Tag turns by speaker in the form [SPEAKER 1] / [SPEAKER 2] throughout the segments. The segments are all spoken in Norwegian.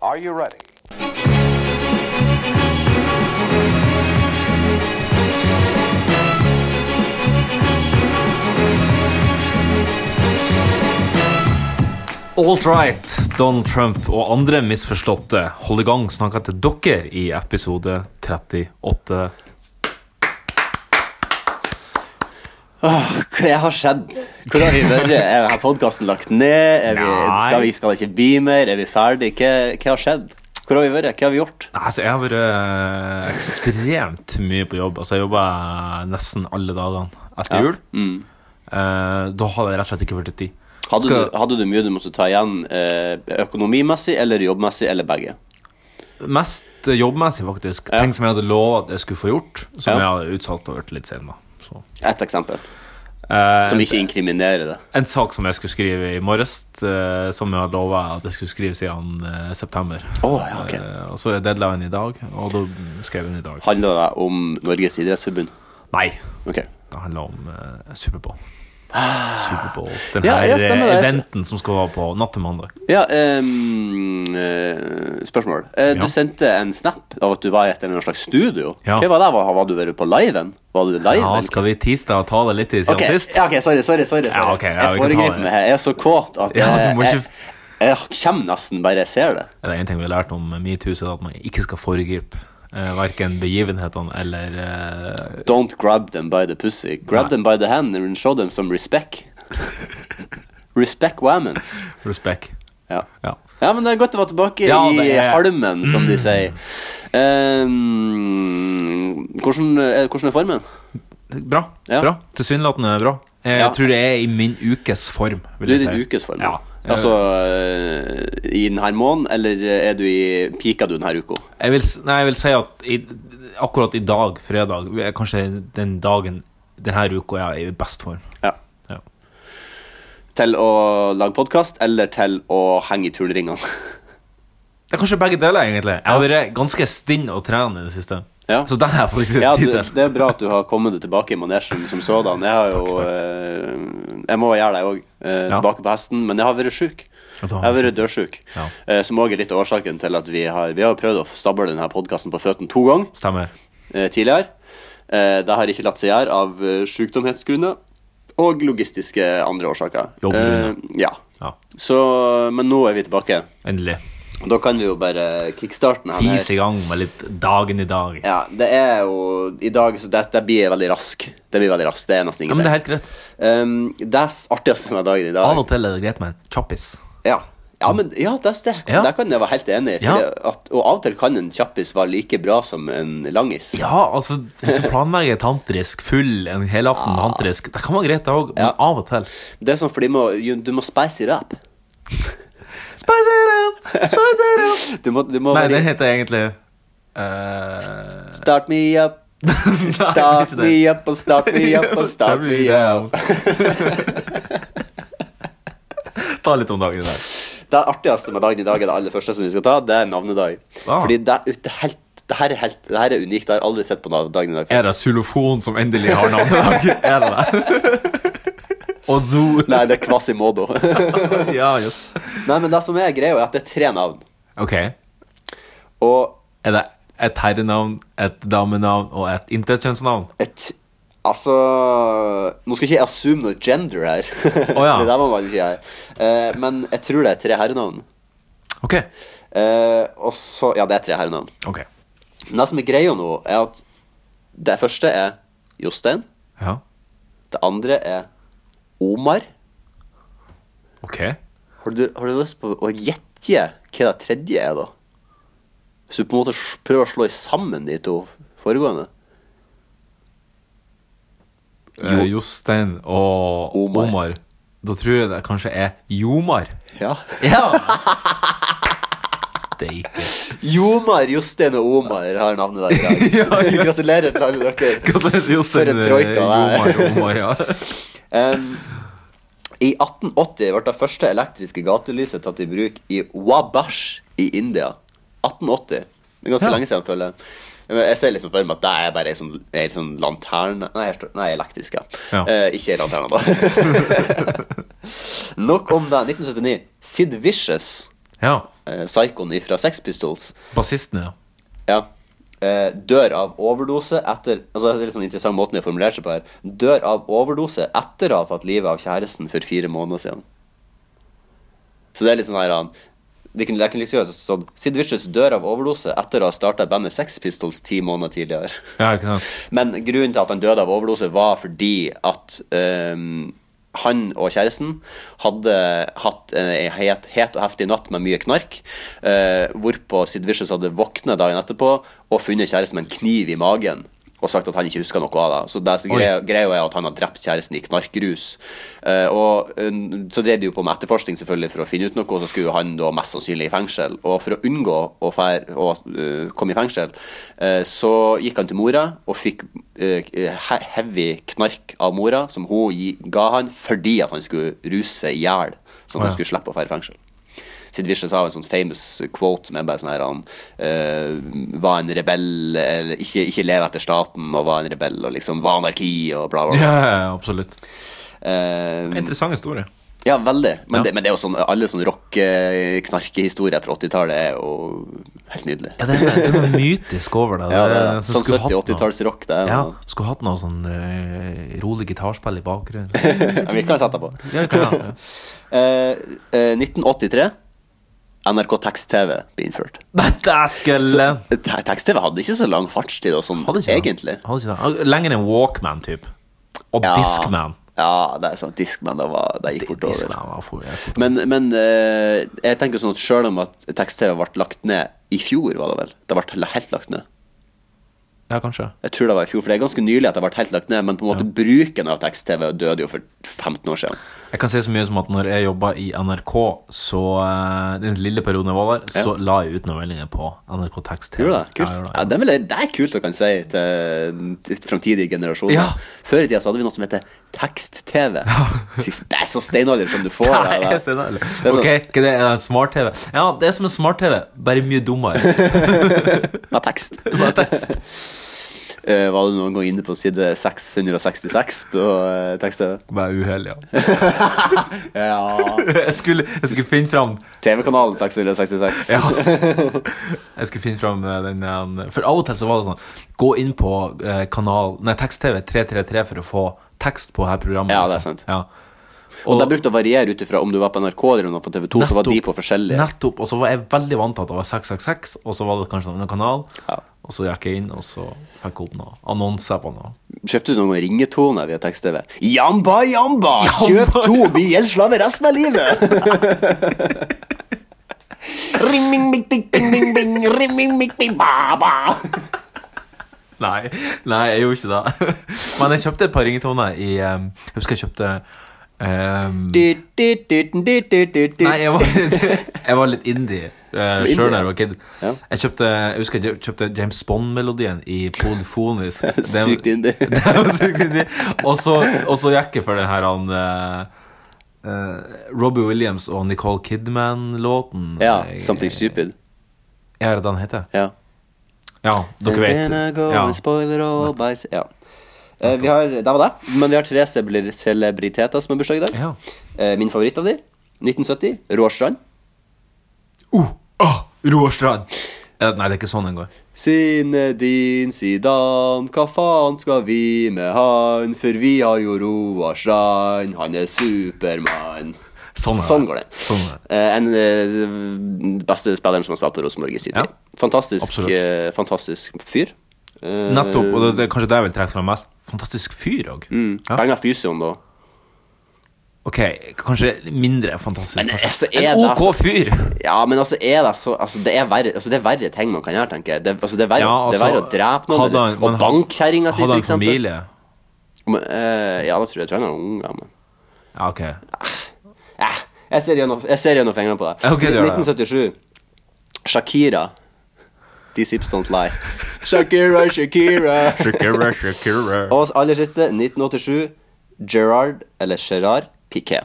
[SPEAKER 1] Are you ready?
[SPEAKER 2] Alt right, Don Trump og andre misforståtte hold i gang snakka til dere i episode 38.
[SPEAKER 3] Hva har skjedd? Hvor har vi vært? Er denne podkasten lagt ned? Er vi,
[SPEAKER 2] Nei.
[SPEAKER 3] skal, vi, skal det ikke bli mer? Er vi ferdig? Hva, hva har skjedd? Hvor har vi vært? Hva har vi gjort?
[SPEAKER 2] Nei, Altså, jeg har vært eh, ekstremt mye på jobb. Altså, jeg jobba nesten alle dagene etter jul. Eh, da hadde jeg rett og slett ikke vært i tid.
[SPEAKER 3] Mm. Hadde,
[SPEAKER 2] Skal-
[SPEAKER 3] du, hadde du mye du måtte ta igjen eh, økonomimessig eller jobbmessig eller begge?
[SPEAKER 2] Mest jobbmessig, faktisk.
[SPEAKER 3] Ja.
[SPEAKER 2] Ting som jeg hadde lova at jeg skulle få gjort, som
[SPEAKER 3] Ja.
[SPEAKER 2] jeg hadde utsatt og vært litt sen med. Så.
[SPEAKER 3] Et eksempel
[SPEAKER 2] Eh,
[SPEAKER 3] som ikke inkriminerer det.
[SPEAKER 2] En sak som jeg skulle skrive i morges, eh, som jeg hadde lova at jeg skulle skrive siden eh, september.
[SPEAKER 3] Å, ja, ok.
[SPEAKER 2] Eh, og så er deadline i dag, og da skrev jeg den i dag.
[SPEAKER 3] Handler det om Norges idrettsforbund?
[SPEAKER 2] Nei,
[SPEAKER 3] Ok.
[SPEAKER 2] det handler om eh, Superbowl. Superbowl. Den
[SPEAKER 3] Ah. Ja,
[SPEAKER 2] her
[SPEAKER 3] ja, stemmer det.
[SPEAKER 2] eh, eventen som skal være på natt til mandag.
[SPEAKER 3] Ja, ehm, eh, spørsmål. Eh,
[SPEAKER 2] Ja.
[SPEAKER 3] Du sendte en snap av at du var i et eller annet slags studio.
[SPEAKER 2] Ja.
[SPEAKER 3] Hva var det? Var, var du vært på liven? Var du live?
[SPEAKER 2] Ja,
[SPEAKER 3] eller
[SPEAKER 2] skal vi tisse deg og ta det litt i siden
[SPEAKER 3] Ok,
[SPEAKER 2] sist?
[SPEAKER 3] Ja, ok, sorry, sorry, sorry, sorry.
[SPEAKER 2] ok, ja, vi
[SPEAKER 3] Jeg
[SPEAKER 2] kan ta
[SPEAKER 3] foregriper
[SPEAKER 2] det.
[SPEAKER 3] meg her Jeg er så kåt at jeg,
[SPEAKER 2] Ja, du må
[SPEAKER 3] jeg,
[SPEAKER 2] ikke-
[SPEAKER 3] jeg kommer nesten bare jeg ser det
[SPEAKER 2] Det er en ting vi har lært om metoo, så er det at man ikke skal foregripe uh, verken begivenhetene eller eh,
[SPEAKER 3] Don't grab them by the pussy
[SPEAKER 2] Nei.
[SPEAKER 3] Grab them by the hand and show them some respect Respect women
[SPEAKER 2] respekt.
[SPEAKER 3] ja.
[SPEAKER 2] Ja.
[SPEAKER 3] ja, men det er godt å være tilbake
[SPEAKER 2] Ja, det
[SPEAKER 3] i
[SPEAKER 2] er- Mm.
[SPEAKER 3] halmen, som de sier Ehm, hvordan, eh, hvordan er formen?
[SPEAKER 2] Bra.
[SPEAKER 3] Ja.
[SPEAKER 2] bra. Tilsynelatende bra. Jeg
[SPEAKER 3] Ja.
[SPEAKER 2] tror det er i min ukes form. Vil
[SPEAKER 3] Du er i
[SPEAKER 2] jeg
[SPEAKER 3] din
[SPEAKER 2] si.
[SPEAKER 3] ukes form
[SPEAKER 2] Ja.
[SPEAKER 3] Altså, eh, i denne måneden, eller er du i, pika du denne uka?
[SPEAKER 2] Jeg vil, s- nei, jeg vil si at i, akkurat i dag, fredag, er kanskje den dagen denne uka jeg er i best form.
[SPEAKER 3] Ja
[SPEAKER 2] Ja.
[SPEAKER 3] Til å lage podkast eller til å henge i turnringene.
[SPEAKER 2] Det er kanskje begge deler, egentlig. Jeg har vært ganske stinn og tren i det siste.
[SPEAKER 3] Ja.
[SPEAKER 2] Så den har jeg faktisk
[SPEAKER 3] Ja,
[SPEAKER 2] tid
[SPEAKER 3] det,
[SPEAKER 2] til.
[SPEAKER 3] det er bra at du har kommet deg tilbake i manesjen som sådan. Jeg har jo eh, Jeg må gjøre det, jeg òg.
[SPEAKER 2] Ja.
[SPEAKER 3] eh, Tilbake på hesten. Men jeg har vært sjuk.
[SPEAKER 2] Ja,
[SPEAKER 3] Jeg
[SPEAKER 2] du har
[SPEAKER 3] har
[SPEAKER 2] vært
[SPEAKER 3] vært dødsjuk.
[SPEAKER 2] Ja.
[SPEAKER 3] Eh, Som òg er litt av årsaken til at vi har Vi har prøvd å stable denne podkasten på føttene to ganger
[SPEAKER 2] Stemmer.
[SPEAKER 3] eh, tidligere. Eh, Det har ikke latt seg gjøre av eh, sykdomhetsgrunner og logistiske andre årsaker.
[SPEAKER 2] Jobbgrunner.
[SPEAKER 3] Eh, Ja.
[SPEAKER 2] Ja.
[SPEAKER 3] Så, men nå er vi tilbake.
[SPEAKER 2] Endelig.
[SPEAKER 3] Og Da kan vi jo bare kickstarte den her.
[SPEAKER 2] Fis i gang med litt dagen i dag. Ja,
[SPEAKER 3] Ja, det er jo I dag så det, det blir veldig rask. Det blir veldig rask, det er nesten
[SPEAKER 2] men det
[SPEAKER 3] ingenting. Ja,
[SPEAKER 2] er helt greit.
[SPEAKER 3] det, s- artigste med dagen i
[SPEAKER 2] Av
[SPEAKER 3] dag
[SPEAKER 2] og til er det greit med en kjappis.
[SPEAKER 3] Ja, ja men ja, det, er- det,
[SPEAKER 2] Ja.
[SPEAKER 3] der kan jeg være helt enig i. fordi
[SPEAKER 2] Ja.
[SPEAKER 3] at- Og av og til kan en kjappis være like bra som en langis.
[SPEAKER 2] Ja, altså, hvis du planlegger tantrisk, full en helaften med tantrisk, det kan være greit, det òg, men
[SPEAKER 3] Ja.
[SPEAKER 2] av og til
[SPEAKER 3] Det er sånn fordi må, you- du må spice it up.
[SPEAKER 2] Spice it up! Spice it up!
[SPEAKER 3] Du må, du må
[SPEAKER 2] Nei,
[SPEAKER 3] være
[SPEAKER 2] den heter egentlig eh,
[SPEAKER 3] Start me up,
[SPEAKER 2] nei,
[SPEAKER 3] start
[SPEAKER 2] ikke det.
[SPEAKER 3] me up, og start me up, og start me up.
[SPEAKER 2] Ta litt om dagen i dag.
[SPEAKER 3] Det artigste med dagen i dag er det aller første som vi skal ta, det er navnedag.
[SPEAKER 2] Ah.
[SPEAKER 3] Fordi det, er- det, er helt, det, her er helt, det her er unikt. Jeg har aldri sett på na- dagen i dag før.
[SPEAKER 2] Er det xylofon som endelig har navn i dag? Er det det? Og zoo.
[SPEAKER 3] Nei, det er Quasimodo.
[SPEAKER 2] Ja, yes.
[SPEAKER 3] Nei, men det som er greia, er at det er tre navn.
[SPEAKER 2] Ok. Er
[SPEAKER 3] Og
[SPEAKER 2] det et herrenavn, et damenavn og et intetkjønnsnavn?
[SPEAKER 3] et Altså Nå skal ikke jeg assume noe gender her.
[SPEAKER 2] Å, ja.
[SPEAKER 3] det der må man ikke gjøre. Eh, men jeg tror det er tre herrenavn.
[SPEAKER 2] Ok.
[SPEAKER 3] Eh, og så Ja, det er tre herrenavn.
[SPEAKER 2] Ok.
[SPEAKER 3] Men det som er greia nå, er at det første er Jostein.
[SPEAKER 2] Ja.
[SPEAKER 3] Det andre er Omar.
[SPEAKER 2] Ok.
[SPEAKER 3] Har du, har du lyst på å gjette hva det tredje er, da? Hvis du på en måte s- prøver å slå sammen de to foregående?
[SPEAKER 2] Jo. Jostein og
[SPEAKER 3] Omar.
[SPEAKER 2] Omar. Da tror jeg det kanskje er Jomar.
[SPEAKER 3] Ja.
[SPEAKER 2] Ja! Steike.
[SPEAKER 3] Jomar, Jostein og Omar har navnet der i dag.
[SPEAKER 2] Ja, yes.
[SPEAKER 3] Gratulerer til alle dere.
[SPEAKER 2] Gratulerer til Jostein. eh,
[SPEAKER 3] For en troika,
[SPEAKER 2] Jomar,
[SPEAKER 3] det er.
[SPEAKER 2] Omar, ja.
[SPEAKER 3] Em, I 1880 ble det første elektriske gatelyset tatt i bruk i Wabash i India. 1880. Det er ganske
[SPEAKER 2] Ja.
[SPEAKER 3] lenge siden, føler jeg. Men Jeg ser liksom for meg at det er bare ei sånn, ei sånn lanterne Nei, her står, nei elektrisk, ja.
[SPEAKER 2] Ja.
[SPEAKER 3] Eh, ikke ei lanterne, da. Nok om det. 1979. Sid Vicious
[SPEAKER 2] ja.
[SPEAKER 3] eh, psykoen fra Sex Pistols,
[SPEAKER 2] Bassisten, ja.
[SPEAKER 3] ja, eh, dør av overdose etter altså Det er litt sånn interessant måten de har formulert seg på her. Dør av overdose etter å ha tatt livet av kjæresten for fire måneder siden. Så det er litt sånn her han de kunne, de kunne liksom gjøre sånn Sid Vicious dør av overdose etter å ha starta bandet Sex Pistols ti måneder tidligere.
[SPEAKER 2] Ja, ikke sant?
[SPEAKER 3] Men grunnen til at han døde av overdose, var fordi at ehm, han og kjæresten hadde hatt eh, ei het, het og heftig natt med mye knark, eh, hvorpå Sid Vicious hadde våknet dagen etterpå og funnet kjæresten med en kniv i magen. Og sagt at han ikke husker noe av det. Så det som
[SPEAKER 2] Oi.
[SPEAKER 3] greia, greia er at han har drept kjæresten i knarkrus. Eh, og eh, så drev de jo på med etterforskning selvfølgelig for å finne ut noe, og så skulle han da mest sannsynlig i fengsel. Og for å unngå å, fær, å eh, komme i fengsel, eh, så gikk han til mora og fikk eh, he- heavy knark av mora, som hun gi, ga han fordi at han skulle ruse seg i hjel, sånn at
[SPEAKER 2] Ja.
[SPEAKER 3] han skulle slippe å dra i fengsel. Sid Vicious har en sånn famous quote med bare sånn her han eh, var en rebell, eller ikke, ikke leve etter staten, og var en rebell, og liksom var anarki, og bla, bla, bla.
[SPEAKER 2] Ja, ja, ja, absolutt.
[SPEAKER 3] Eh,
[SPEAKER 2] Interessant historie.
[SPEAKER 3] ja, veldig.
[SPEAKER 2] Ja.
[SPEAKER 3] Men, Det, men det er jo sånn, alle sånne rock-knarkehistorier fra 80-tallet er jo helt nydelig.
[SPEAKER 2] Ja, det er, det er noe mytisk over det.
[SPEAKER 3] Ja,
[SPEAKER 2] det
[SPEAKER 3] det,
[SPEAKER 2] er- som Eh,
[SPEAKER 3] sånn
[SPEAKER 2] skulle hatt noe-
[SPEAKER 3] 70-80-tallsrock, det. er
[SPEAKER 2] Ja,
[SPEAKER 3] noe-
[SPEAKER 2] skulle hatt noe sånn eh, rolig gitarspill i bakgrunnen.
[SPEAKER 3] Men vi kan sette på.
[SPEAKER 2] Ja, det kan jeg ha, ja.
[SPEAKER 3] Eh, eh, 1983. NRK Tekst-TV ble innført.
[SPEAKER 2] Nei, dæskelen!
[SPEAKER 3] Te- Tekst-TV hadde ikke så lang fartstid, og sånn,
[SPEAKER 2] Hadde ikke det.
[SPEAKER 3] egentlig.
[SPEAKER 2] Hadde ikke det. Lenger enn Walkman, typ. Og
[SPEAKER 3] Ja.
[SPEAKER 2] Discman.
[SPEAKER 3] Ja, det er sant. Diskman, det, var, det gikk fort over.
[SPEAKER 2] Discman var for, jeg-
[SPEAKER 3] Men, men eh, jeg tenker sånn at selv om at Tekst-TV ble lagt ned i fjor, var det vel? Det ble helt lagt ned.
[SPEAKER 2] ja, kanskje.
[SPEAKER 3] Jeg tror det var i fjor, for det er ganske nylig at det har vært helt lagt ned, men på en måte bruken av tekst-TV døde jo for 15 år siden.
[SPEAKER 2] Jeg kan si så mye som at når jeg jobba i NRK, så eh, den lille perioden jeg var der, så la jeg ut noen meldinger på NRK Tekst.
[SPEAKER 3] Gjorde det? Kult.
[SPEAKER 2] Ja, jeg gjorde det.
[SPEAKER 3] Ja, det, er vel, det er kult å kan si til, til framtidige generasjoner.
[SPEAKER 2] Ja.
[SPEAKER 3] Før i tida så hadde vi noe som heter tekst-TV. Fy f- Det er så steinalder som du får.
[SPEAKER 2] Nei,
[SPEAKER 3] det,
[SPEAKER 2] jeg
[SPEAKER 3] det.
[SPEAKER 2] ser det.
[SPEAKER 3] er sånn-
[SPEAKER 2] Ok, hva det er en smart-TV? Ja, det er som en smart-TV, bare mye dummere.
[SPEAKER 3] Med tekst. Eh, var du noen gang inne på side 666 på eh, tekst-TV?
[SPEAKER 2] Bare uheldig, ja.
[SPEAKER 3] Ja.
[SPEAKER 2] Jeg skulle, jeg skulle finne fram
[SPEAKER 3] TV-kanalen 666.
[SPEAKER 2] Ja. Jeg skulle finne fram eh, den eh, For av og til så var det sånn Gå inn på eh, kanal Nei, tekst-TV 333 for å få tekst på her programmet.
[SPEAKER 3] Ja, det er
[SPEAKER 2] liksom.
[SPEAKER 3] sant.
[SPEAKER 2] Ja.
[SPEAKER 3] Og det brukte å variere ut ifra om du var på NRK eller om du var på TV 2, så var de
[SPEAKER 2] Nettopp.
[SPEAKER 3] på forskjellige.
[SPEAKER 2] Nettopp. Og så var jeg veldig vant til at det var 666, og så var det kanskje en annen kanal.
[SPEAKER 3] Ja.
[SPEAKER 2] Og så gikk jeg inn, og så fikk jeg opp noe annonser på noe.
[SPEAKER 3] Kjøpte du noen ringetoner via tekst-TV? Jamba, jamba!
[SPEAKER 2] Jamba,
[SPEAKER 3] Kjøp to, bli gjeldsslave resten av livet! ring, bing, bing, bing, bing, bing, bing, ring, bing, bing, bing, ba, ba.
[SPEAKER 2] Nei, nei, jeg gjorde ikke det. Men jeg kjøpte et par ringetoner i eh, Jeg husker jeg kjøpte eh,
[SPEAKER 3] Du, du, du, du, du, du, du.
[SPEAKER 2] Nei, jeg var, jeg var litt indie uh,
[SPEAKER 3] var
[SPEAKER 2] sjøl
[SPEAKER 3] indie,
[SPEAKER 2] da jeg var kid.
[SPEAKER 3] ja.
[SPEAKER 2] Jeg, kjøpte, jeg husker jeg kjøpte James Bond-melodien i polyfonisk.
[SPEAKER 3] Sykt indie.
[SPEAKER 2] Det var sykt indie. Og så og så gikk jeg for den her han eh, eh, Robbie Williams og Nicole Kidman-låten.
[SPEAKER 3] Ja,
[SPEAKER 2] Eh,
[SPEAKER 3] Something Stupid.
[SPEAKER 2] Ja, er det den heter?
[SPEAKER 3] Ja.
[SPEAKER 2] Ja, dere vet.
[SPEAKER 3] Then I go
[SPEAKER 2] Ja.
[SPEAKER 3] and spoil it all by s- ja. Eh, vi har, det var det, men vi har tre celebr- celebriteter som har bursdag i dag.
[SPEAKER 2] Ja.
[SPEAKER 3] Eh, min favoritt av de, 1970, Råstrand.
[SPEAKER 2] Uh, ah, Roar Strand! Eh, nei, det er ikke sånn den går.
[SPEAKER 3] Sinedin Sidan, hva faen skal vi med han? For vi har jo Roar Strand, han er Supermann.
[SPEAKER 2] Sånn er det.
[SPEAKER 3] går det.
[SPEAKER 2] Sånn er det.
[SPEAKER 3] Eh, en eh, beste spilleren som har spilt på Rosenborg i sin
[SPEAKER 2] Ja.
[SPEAKER 3] tid. Fantastisk,
[SPEAKER 2] Absolutt.
[SPEAKER 3] eh, fantastisk fyr. Eh,
[SPEAKER 2] Nettopp. Og det, det er kanskje det jeg vil trekke fram mest. Fantastisk fyr òg. Ja.
[SPEAKER 3] Penger fyser om, da.
[SPEAKER 2] Ok, kanskje mindre fantastisk.
[SPEAKER 3] Men,
[SPEAKER 2] kanskje.
[SPEAKER 3] altså, er
[SPEAKER 2] en
[SPEAKER 3] det
[SPEAKER 2] OK
[SPEAKER 3] så-
[SPEAKER 2] fyr!
[SPEAKER 3] Ja, men altså, er det så Altså, det er verre, altså, det er verre ting man kan gjøre, tenker jeg. Det, altså, det, er verre,
[SPEAKER 2] Ja,
[SPEAKER 3] det er verre å drepe noen,
[SPEAKER 2] hadde han-
[SPEAKER 3] eller,
[SPEAKER 2] men
[SPEAKER 3] og banke kjerringa si,
[SPEAKER 2] Hadde
[SPEAKER 3] for
[SPEAKER 2] han
[SPEAKER 3] eksempel.
[SPEAKER 2] familie?
[SPEAKER 3] Men, eh, ja, da tror jeg, jeg tror han har unger, men
[SPEAKER 2] Ja, ok.
[SPEAKER 3] Eh, jeg ser gjennom, jeg ser gjennom fingrene på deg.
[SPEAKER 2] Ok, du gjør det.
[SPEAKER 3] 1977. Shakira. These hips don't lie. Shakira, Shakira.
[SPEAKER 2] Shakira, Shakira.
[SPEAKER 3] Og aller siste, 1987. Gerard, eller Gerard Piquet.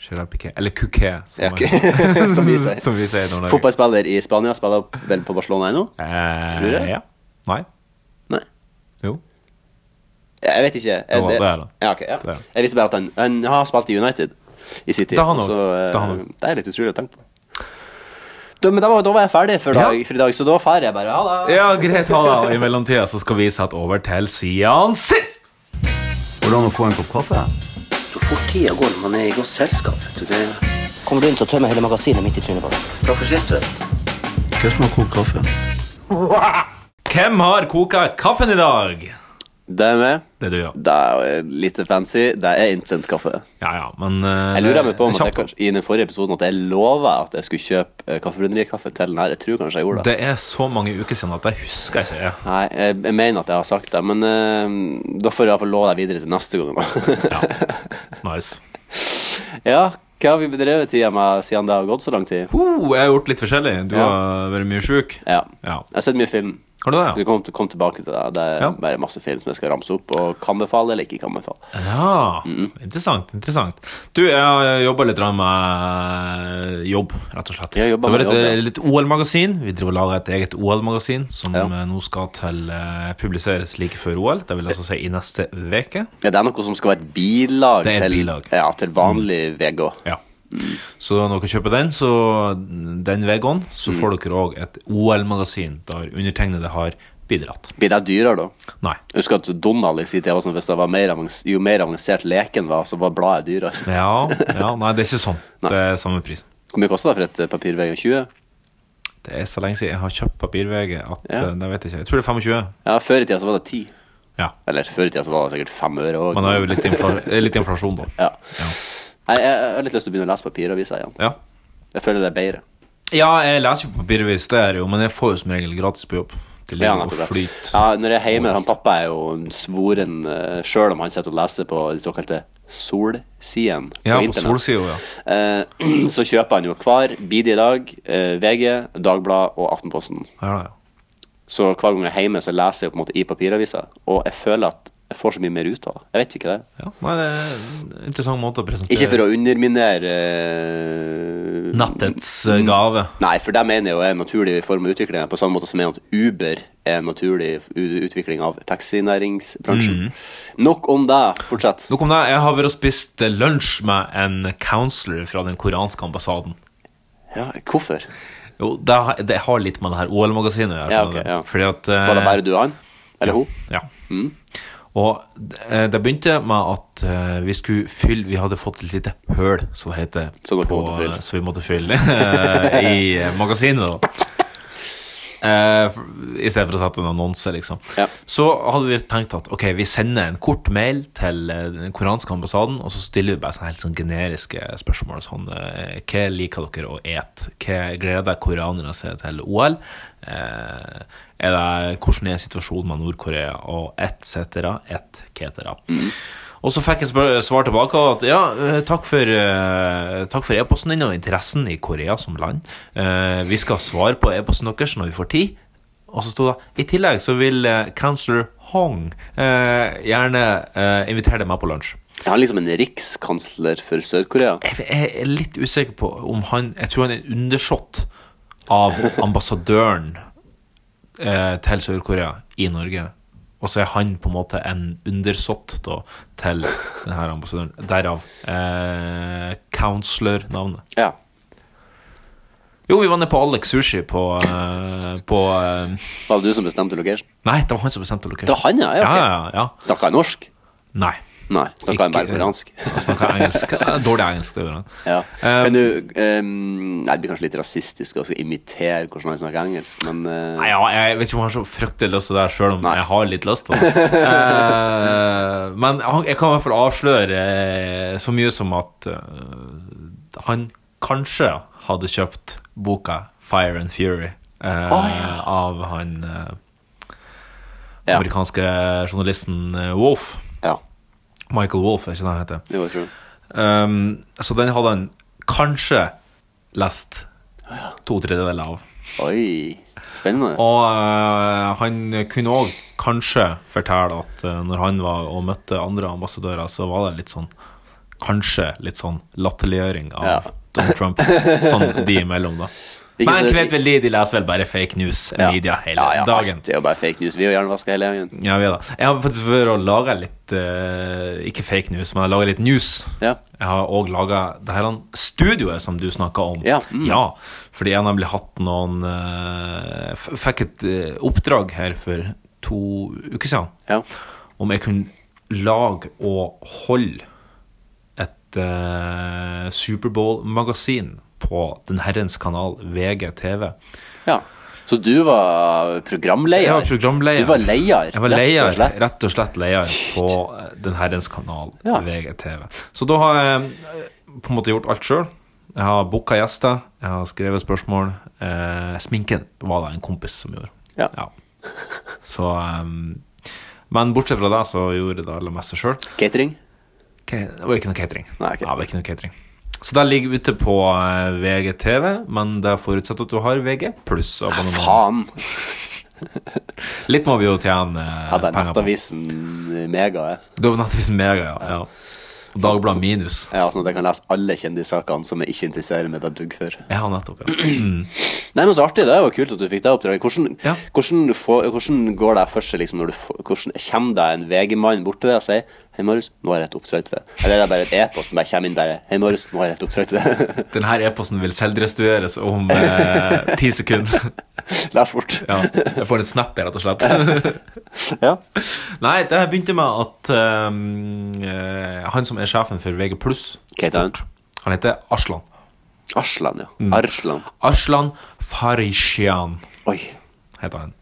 [SPEAKER 2] Gerard Piqué. Eller Kuké, som,
[SPEAKER 3] Ja,
[SPEAKER 2] man-
[SPEAKER 3] som vi sier.
[SPEAKER 2] som vi sier i Nord-Norge.
[SPEAKER 3] Fotballspiller i Spania. Spiller vel på Barcelona ennå?
[SPEAKER 2] Eh,
[SPEAKER 3] Tror jeg.
[SPEAKER 2] Ja. Nei.
[SPEAKER 3] Nei.
[SPEAKER 2] Jo.
[SPEAKER 3] Jeg vet ikke. Er
[SPEAKER 2] Jo, det er det.
[SPEAKER 3] Ja, ok,
[SPEAKER 2] Det er
[SPEAKER 3] ja.
[SPEAKER 2] det.
[SPEAKER 3] Jeg visste bare at han, han har spilt i United i sin tid.
[SPEAKER 2] Det har han
[SPEAKER 3] så,
[SPEAKER 2] også.
[SPEAKER 3] eh,
[SPEAKER 2] Det har han også.
[SPEAKER 3] det er litt utrolig å tenke på. Da, men da var, da var jeg ferdig for, dag,
[SPEAKER 2] Ja.
[SPEAKER 3] for i dag, så da drar jeg bare. Ha det.
[SPEAKER 2] Ja, greit, ha det. Og i mellomtida så skal vi sette over til siden sist.
[SPEAKER 1] Går det an å få en kopp kaffe?
[SPEAKER 4] Så fort tida går når man er i godt selskap. vet du, det...
[SPEAKER 5] Kommer du inn, så tømmer jeg hele magasinet midt i trynet på deg.
[SPEAKER 4] Takk for sist, forresten.
[SPEAKER 1] Hvem som har kokt kaffe?
[SPEAKER 2] Hvem har koka kaffen i dag?
[SPEAKER 3] Det er med.
[SPEAKER 2] Det er du, ja.
[SPEAKER 3] Det er jo litt fancy. Det er instant kaffe.
[SPEAKER 2] Ja, ja, men eh,
[SPEAKER 3] Jeg lurer meg på om at jeg
[SPEAKER 2] kjapt.
[SPEAKER 3] kanskje, i den forrige episoden at jeg lova at jeg skulle kjøpe eh, kaffebrennerikaffe til den her. Jeg tror kanskje jeg gjorde det.
[SPEAKER 2] Det er så mange uker siden at jeg husker ikke. Ja.
[SPEAKER 3] Nei, jeg, jeg mener at jeg har sagt det, men eh, da får jeg iallfall love deg videre til neste gang. Da.
[SPEAKER 2] Nice.
[SPEAKER 3] ja, hva har vi bedrevet tida med siden det har gått så lang tid?
[SPEAKER 2] Uh, jeg har gjort litt forskjellig. Du
[SPEAKER 3] Ja.
[SPEAKER 2] har vært mye sjuk.
[SPEAKER 3] Ja.
[SPEAKER 2] Ja.
[SPEAKER 3] Jeg har sett mye film.
[SPEAKER 2] Har du
[SPEAKER 3] Du
[SPEAKER 2] det, ja?
[SPEAKER 3] kom, til, kom tilbake til det. Det er
[SPEAKER 2] Ja.
[SPEAKER 3] bare masse film som jeg skal ramse opp, og kan befale eller ikke kan befale.
[SPEAKER 2] ja. Interessant. interessant Du, jeg har jobba litt grann med jobb, rett og slett.
[SPEAKER 3] Jeg har jobbet
[SPEAKER 2] det var
[SPEAKER 3] med
[SPEAKER 2] litt,
[SPEAKER 3] jobb, ja.
[SPEAKER 2] litt OL-magasin. Vi driver og lager et eget OL-magasin som
[SPEAKER 3] Ja.
[SPEAKER 2] eh, nå skal til eh, publiseres like før OL. Det vil altså si i neste uke.
[SPEAKER 3] Ja, det er noe som skal være et bilag,
[SPEAKER 2] Det er et
[SPEAKER 3] til,
[SPEAKER 2] bilag.
[SPEAKER 3] Ja, til vanlig VG.
[SPEAKER 2] Ja.
[SPEAKER 3] Mm.
[SPEAKER 2] Så når dere kjøper den, så den veien, så
[SPEAKER 3] Mm.
[SPEAKER 2] får dere òg et OL-magasin der undertegnede har bidratt.
[SPEAKER 3] Blir det dyrere, da?
[SPEAKER 2] Nei.
[SPEAKER 3] Jeg husker at Donald i sin tid var sånn hvis det var mer avans- jo mer avansert leken var, så var bladet dyrere.
[SPEAKER 2] Ja, ja, nei, det er ikke sånn. Det er samme pris.
[SPEAKER 3] Hvor mye kosta det for et eh, papir VG20?
[SPEAKER 2] Det er så lenge siden jeg har kjøpt papir-VG at
[SPEAKER 3] Ja.
[SPEAKER 2] eh, det vet jeg ikke. Jeg tror det er 25.
[SPEAKER 3] Ja, før i tida så var det 10.
[SPEAKER 2] Ja.
[SPEAKER 3] Eller før i tida så var det sikkert 5 øre òg.
[SPEAKER 2] Man har jo litt, infla eh, litt inflasjon, da.
[SPEAKER 3] Ja. Nei, Jeg, jeg har litt lyst til å begynne å lese papiraviser igjen.
[SPEAKER 2] Ja.
[SPEAKER 3] Jeg føler det er bedre.
[SPEAKER 2] ja, jeg leser jo på papiravis, det er jo, men jeg får jo som regel gratis på jobb. Det
[SPEAKER 3] Ja,
[SPEAKER 2] ligger og
[SPEAKER 3] nettopp det.
[SPEAKER 2] flyter.
[SPEAKER 3] Ja, når jeg er hjemme, han pappa er jo en svoren uh, Sjøl om han sitter og leser på de såkalte solsidene
[SPEAKER 2] Ja,
[SPEAKER 3] på
[SPEAKER 2] på
[SPEAKER 3] internett,
[SPEAKER 2] solsida, ja.
[SPEAKER 3] eh, så kjøper han jo hver Bidi i dag, eh, VG, Dagbladet og Aftenposten.
[SPEAKER 2] ja, ja.
[SPEAKER 3] Så hver gang jeg er hjemme, så leser jeg på en måte i papiravisa, og jeg føler at jeg får så mye mer ut av det. Jeg vet ikke det.
[SPEAKER 2] ja. Nei, det er en interessant måte å presentere
[SPEAKER 3] Ikke for å underminere eh,
[SPEAKER 2] Nattets eh, gave.
[SPEAKER 3] Nei, for det mener jeg jo er en naturlig form av utvikling, på samme måte som jeg mener at Uber er en naturlig u- utvikling av taxinæringsbransjen.
[SPEAKER 2] Mhm.
[SPEAKER 3] Nok om det. Fortsett.
[SPEAKER 2] Nok om det. Jeg har vært og spist eh, lunsj med en counselor fra den koreanske ambassaden.
[SPEAKER 3] Ja, hvorfor?
[SPEAKER 2] Jo, det, har- det har litt med det her OL-magasinet å gjøre.
[SPEAKER 3] Ja,
[SPEAKER 2] skjønner
[SPEAKER 3] ok,
[SPEAKER 2] du.
[SPEAKER 3] ja.
[SPEAKER 2] Fordi at eh,
[SPEAKER 3] Var det bare du og han? Eller hun?
[SPEAKER 2] Ja. Mm. Og eh, det begynte med at eh, vi skulle fylle Vi hadde fått et lite høl, som det heter.
[SPEAKER 3] Så dere måtte fylle.
[SPEAKER 2] Så vi måtte fylle eh, i eh, magasinet, da. Eh, for- I stedet for å sette en annonse, liksom.
[SPEAKER 3] Ja.
[SPEAKER 2] Så hadde vi tenkt at ok, vi sender en kort mail til eh, den koreanske ambassaden, og så stiller vi bare sånne helt sånn generiske spørsmål. Sånn, eh, hva liker dere å ete? Hva gleder koreanere seg til OL? Eh, er det, hvordan er situasjonen med Nord-Korea? Og et cetera, et cetera. Og så fikk jeg spør- svar tilbake at ja, eh, takk for, eh, takk for e-posten din og interessen i Korea som land. Eh, Vi skal svare på e-posten deres når vi får tid. Og så sto det I tillegg så vil eh, Counselor Hong eh, gjerne eh, invitere deg med på lunsj.
[SPEAKER 3] Er han liksom en rikskansler for Sør-Korea?
[SPEAKER 2] Jeg jeg er litt usikker på om han Jeg tror han er en undersått av ambassadøren eh, til Sør-Korea i Norge. Og så er han på en måte en undersått da, til denne ambassadøren. Derav eh, counselor-navnet.
[SPEAKER 3] Ja.
[SPEAKER 2] Jo, vi var nede på Alex Sushi på, eh, på eh,
[SPEAKER 3] Var det du som bestemte location?
[SPEAKER 2] Nei, det var han som bestemte lokasjonen.
[SPEAKER 3] Det var han, ja, ja, ok.
[SPEAKER 2] ja, ja, ja.
[SPEAKER 3] Snakka han norsk?
[SPEAKER 2] Nei.
[SPEAKER 3] Nei, snakka han bare
[SPEAKER 2] Ikke-
[SPEAKER 3] koreansk?
[SPEAKER 2] Han snakka engelsk. Dårlig engelsk, det gjorde han.
[SPEAKER 3] Ja.
[SPEAKER 2] Eh,
[SPEAKER 3] Kan du ehm, Nei, det blir kanskje litt rasistisk å skulle imitere hvordan han snakker engelsk, men eh,
[SPEAKER 2] Nei, ja, jeg vet ikke om jeg har så fryktelig lyst til det, her, selv om
[SPEAKER 3] Nei.
[SPEAKER 2] jeg har litt lyst til det. Eh, men han- jeg kan i hvert fall avsløre eh, så mye som at eh, han kanskje hadde kjøpt boka 'Fire and Fury' eh, av han eh,
[SPEAKER 3] Ja.
[SPEAKER 2] amerikanske journalisten eh, Wolf.
[SPEAKER 3] Ja.
[SPEAKER 2] Michael Wolf, er ikke det han heter?
[SPEAKER 3] Jo, jeg tror det.
[SPEAKER 2] Um, så den hadde han kanskje lest to tredjedeler av.
[SPEAKER 3] Oi. Spennende.
[SPEAKER 2] Og eh, han kunne òg kanskje fortelle at eh, når han var og møtte andre ambassadører, så var det litt sånn Kanskje litt sånn latterliggjøring av
[SPEAKER 3] Ja.
[SPEAKER 2] Donald Trump. Sånn de imellom, da.
[SPEAKER 3] Ikke
[SPEAKER 2] Men
[SPEAKER 3] så-
[SPEAKER 2] vet vel de, de leser vel bare fake news
[SPEAKER 3] Ja.
[SPEAKER 2] media hele
[SPEAKER 3] ja, ja,
[SPEAKER 2] dagen.
[SPEAKER 3] alt er jo bare fake news. Vi er jo hjernevaska hele gjengen.
[SPEAKER 2] Ja, vi er da. Jeg har faktisk vært og laga litt eh, Ikke fake news, men jeg laga litt news.
[SPEAKER 3] Ja.
[SPEAKER 2] Jeg har òg laga det her han- studioet som du snakka om.
[SPEAKER 3] Ja, mm.
[SPEAKER 2] ja. Fordi jeg har nemlig hatt noen eh, f- Fikk et eh, oppdrag her for to uker siden
[SPEAKER 3] Ja.
[SPEAKER 2] om jeg kunne lage og holde et eh, Superbowl-magasin på den herrens kanal VGTV.
[SPEAKER 3] ja. Så du var
[SPEAKER 2] Så jeg
[SPEAKER 3] programleder?
[SPEAKER 2] var programleder.
[SPEAKER 3] Du var leier,
[SPEAKER 2] Jeg var
[SPEAKER 3] rett og
[SPEAKER 2] leier,
[SPEAKER 3] slett.
[SPEAKER 2] rett og slett leier på eh, den herrens kanal
[SPEAKER 3] Ja.
[SPEAKER 2] VGTV. Så da har jeg eh, på en måte gjort alt sjøl. Jeg har booka gjester, jeg har skrevet spørsmål. Eh, sminken var det en kompis som gjorde.
[SPEAKER 3] Ja.
[SPEAKER 2] Så eh, Men bortsett fra det, så gjorde jeg det aller meste sjøl.
[SPEAKER 3] Catering?
[SPEAKER 2] Ok, Det var ikke noe catering.
[SPEAKER 3] Nei, ok.
[SPEAKER 2] Ja, det var ikke noe catering. Så det ligger ute på eh, VGTV, men det er forutsatt at du har VG pluss abonnement.
[SPEAKER 3] Faen!
[SPEAKER 2] Litt må vi jo tjene eh,
[SPEAKER 3] Hadde jeg
[SPEAKER 2] penger på.
[SPEAKER 3] nettavisen Mega, jeg.
[SPEAKER 2] Det var nettavisen Mega, ja. ja. Og Dagbladet Minus.
[SPEAKER 3] Ja, sånn at jeg kan lese alle kjendissakene som jeg ikke interesserer meg bare dugg for.
[SPEAKER 2] Ja, nettopp. Ja.
[SPEAKER 3] Nei, men så artig, det var kult at du fikk det oppdraget. Hvordan,
[SPEAKER 2] Ja.
[SPEAKER 3] hvordan, får, hvordan går det for seg, liksom, når du får, hvordan kommer det en VG-mann bort til deg og sier Hei, Marius, nå har jeg et oppdrag til deg. Eller er det bare et e-post som bare kommer inn bare Hei, Marius, nå har jeg et oppdrag til deg.
[SPEAKER 2] Denne e-posten vil selvdestrueres om eh, ti sekunder.
[SPEAKER 3] Les bort.
[SPEAKER 2] Ja, jeg får en snap, rett og slett.
[SPEAKER 3] Ja.
[SPEAKER 2] Nei, det her begynte med at eh, eh, han som er sjefen for VG+,
[SPEAKER 3] Hva heter han? Mm.
[SPEAKER 2] han heter Aslan.
[SPEAKER 3] Arslan, ja. Arslan.
[SPEAKER 2] Aslan Farishian
[SPEAKER 3] Oi.
[SPEAKER 2] heter han.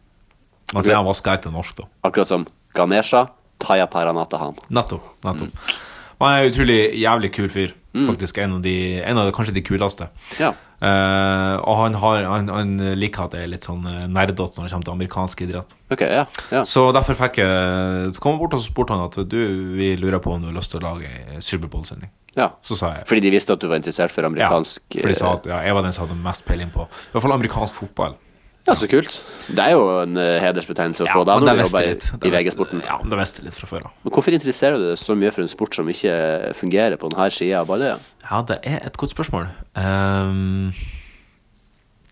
[SPEAKER 2] Man sier han vasker ekte norsk, da.
[SPEAKER 3] Akkurat som Ganesha, Taya Paranatahan.
[SPEAKER 2] Nettopp. nettopp. Han er en utrolig jævlig kul fyr. Faktisk en av de, en av de kanskje de kuleste.
[SPEAKER 3] Ja.
[SPEAKER 2] Eh, og han, har, han, han liker at det er litt sånn eh, nerdete når det kommer til amerikansk idrett.
[SPEAKER 3] Ok, ja. ja.
[SPEAKER 2] Så derfor fikk jeg Så kom jeg bort og så spurte han at du, vi lurer på om du har lyst til å lage ei Superbowl-sending.
[SPEAKER 3] ja.
[SPEAKER 2] Så sa jeg
[SPEAKER 3] Fordi de visste at du var interessert for
[SPEAKER 2] ja.
[SPEAKER 3] amerikansk eh,
[SPEAKER 2] For de sa at ja, jeg var den som hadde mest peiling på I hvert fall amerikansk fotball.
[SPEAKER 3] Ja, så kult. Det er jo en eh, hedersbetegnelse å få da
[SPEAKER 2] men
[SPEAKER 3] når du
[SPEAKER 2] visste
[SPEAKER 3] jobber
[SPEAKER 2] jeg litt.
[SPEAKER 3] i-
[SPEAKER 2] Det
[SPEAKER 3] i
[SPEAKER 2] visste-
[SPEAKER 3] VG-sporten.
[SPEAKER 2] Ja, men det visste jeg litt fra før av.
[SPEAKER 3] Men hvorfor interesserer du deg så mye for en sport som ikke eh, fungerer på denne sida av ballet?
[SPEAKER 2] Ja, det er et godt spørsmål. Ehm,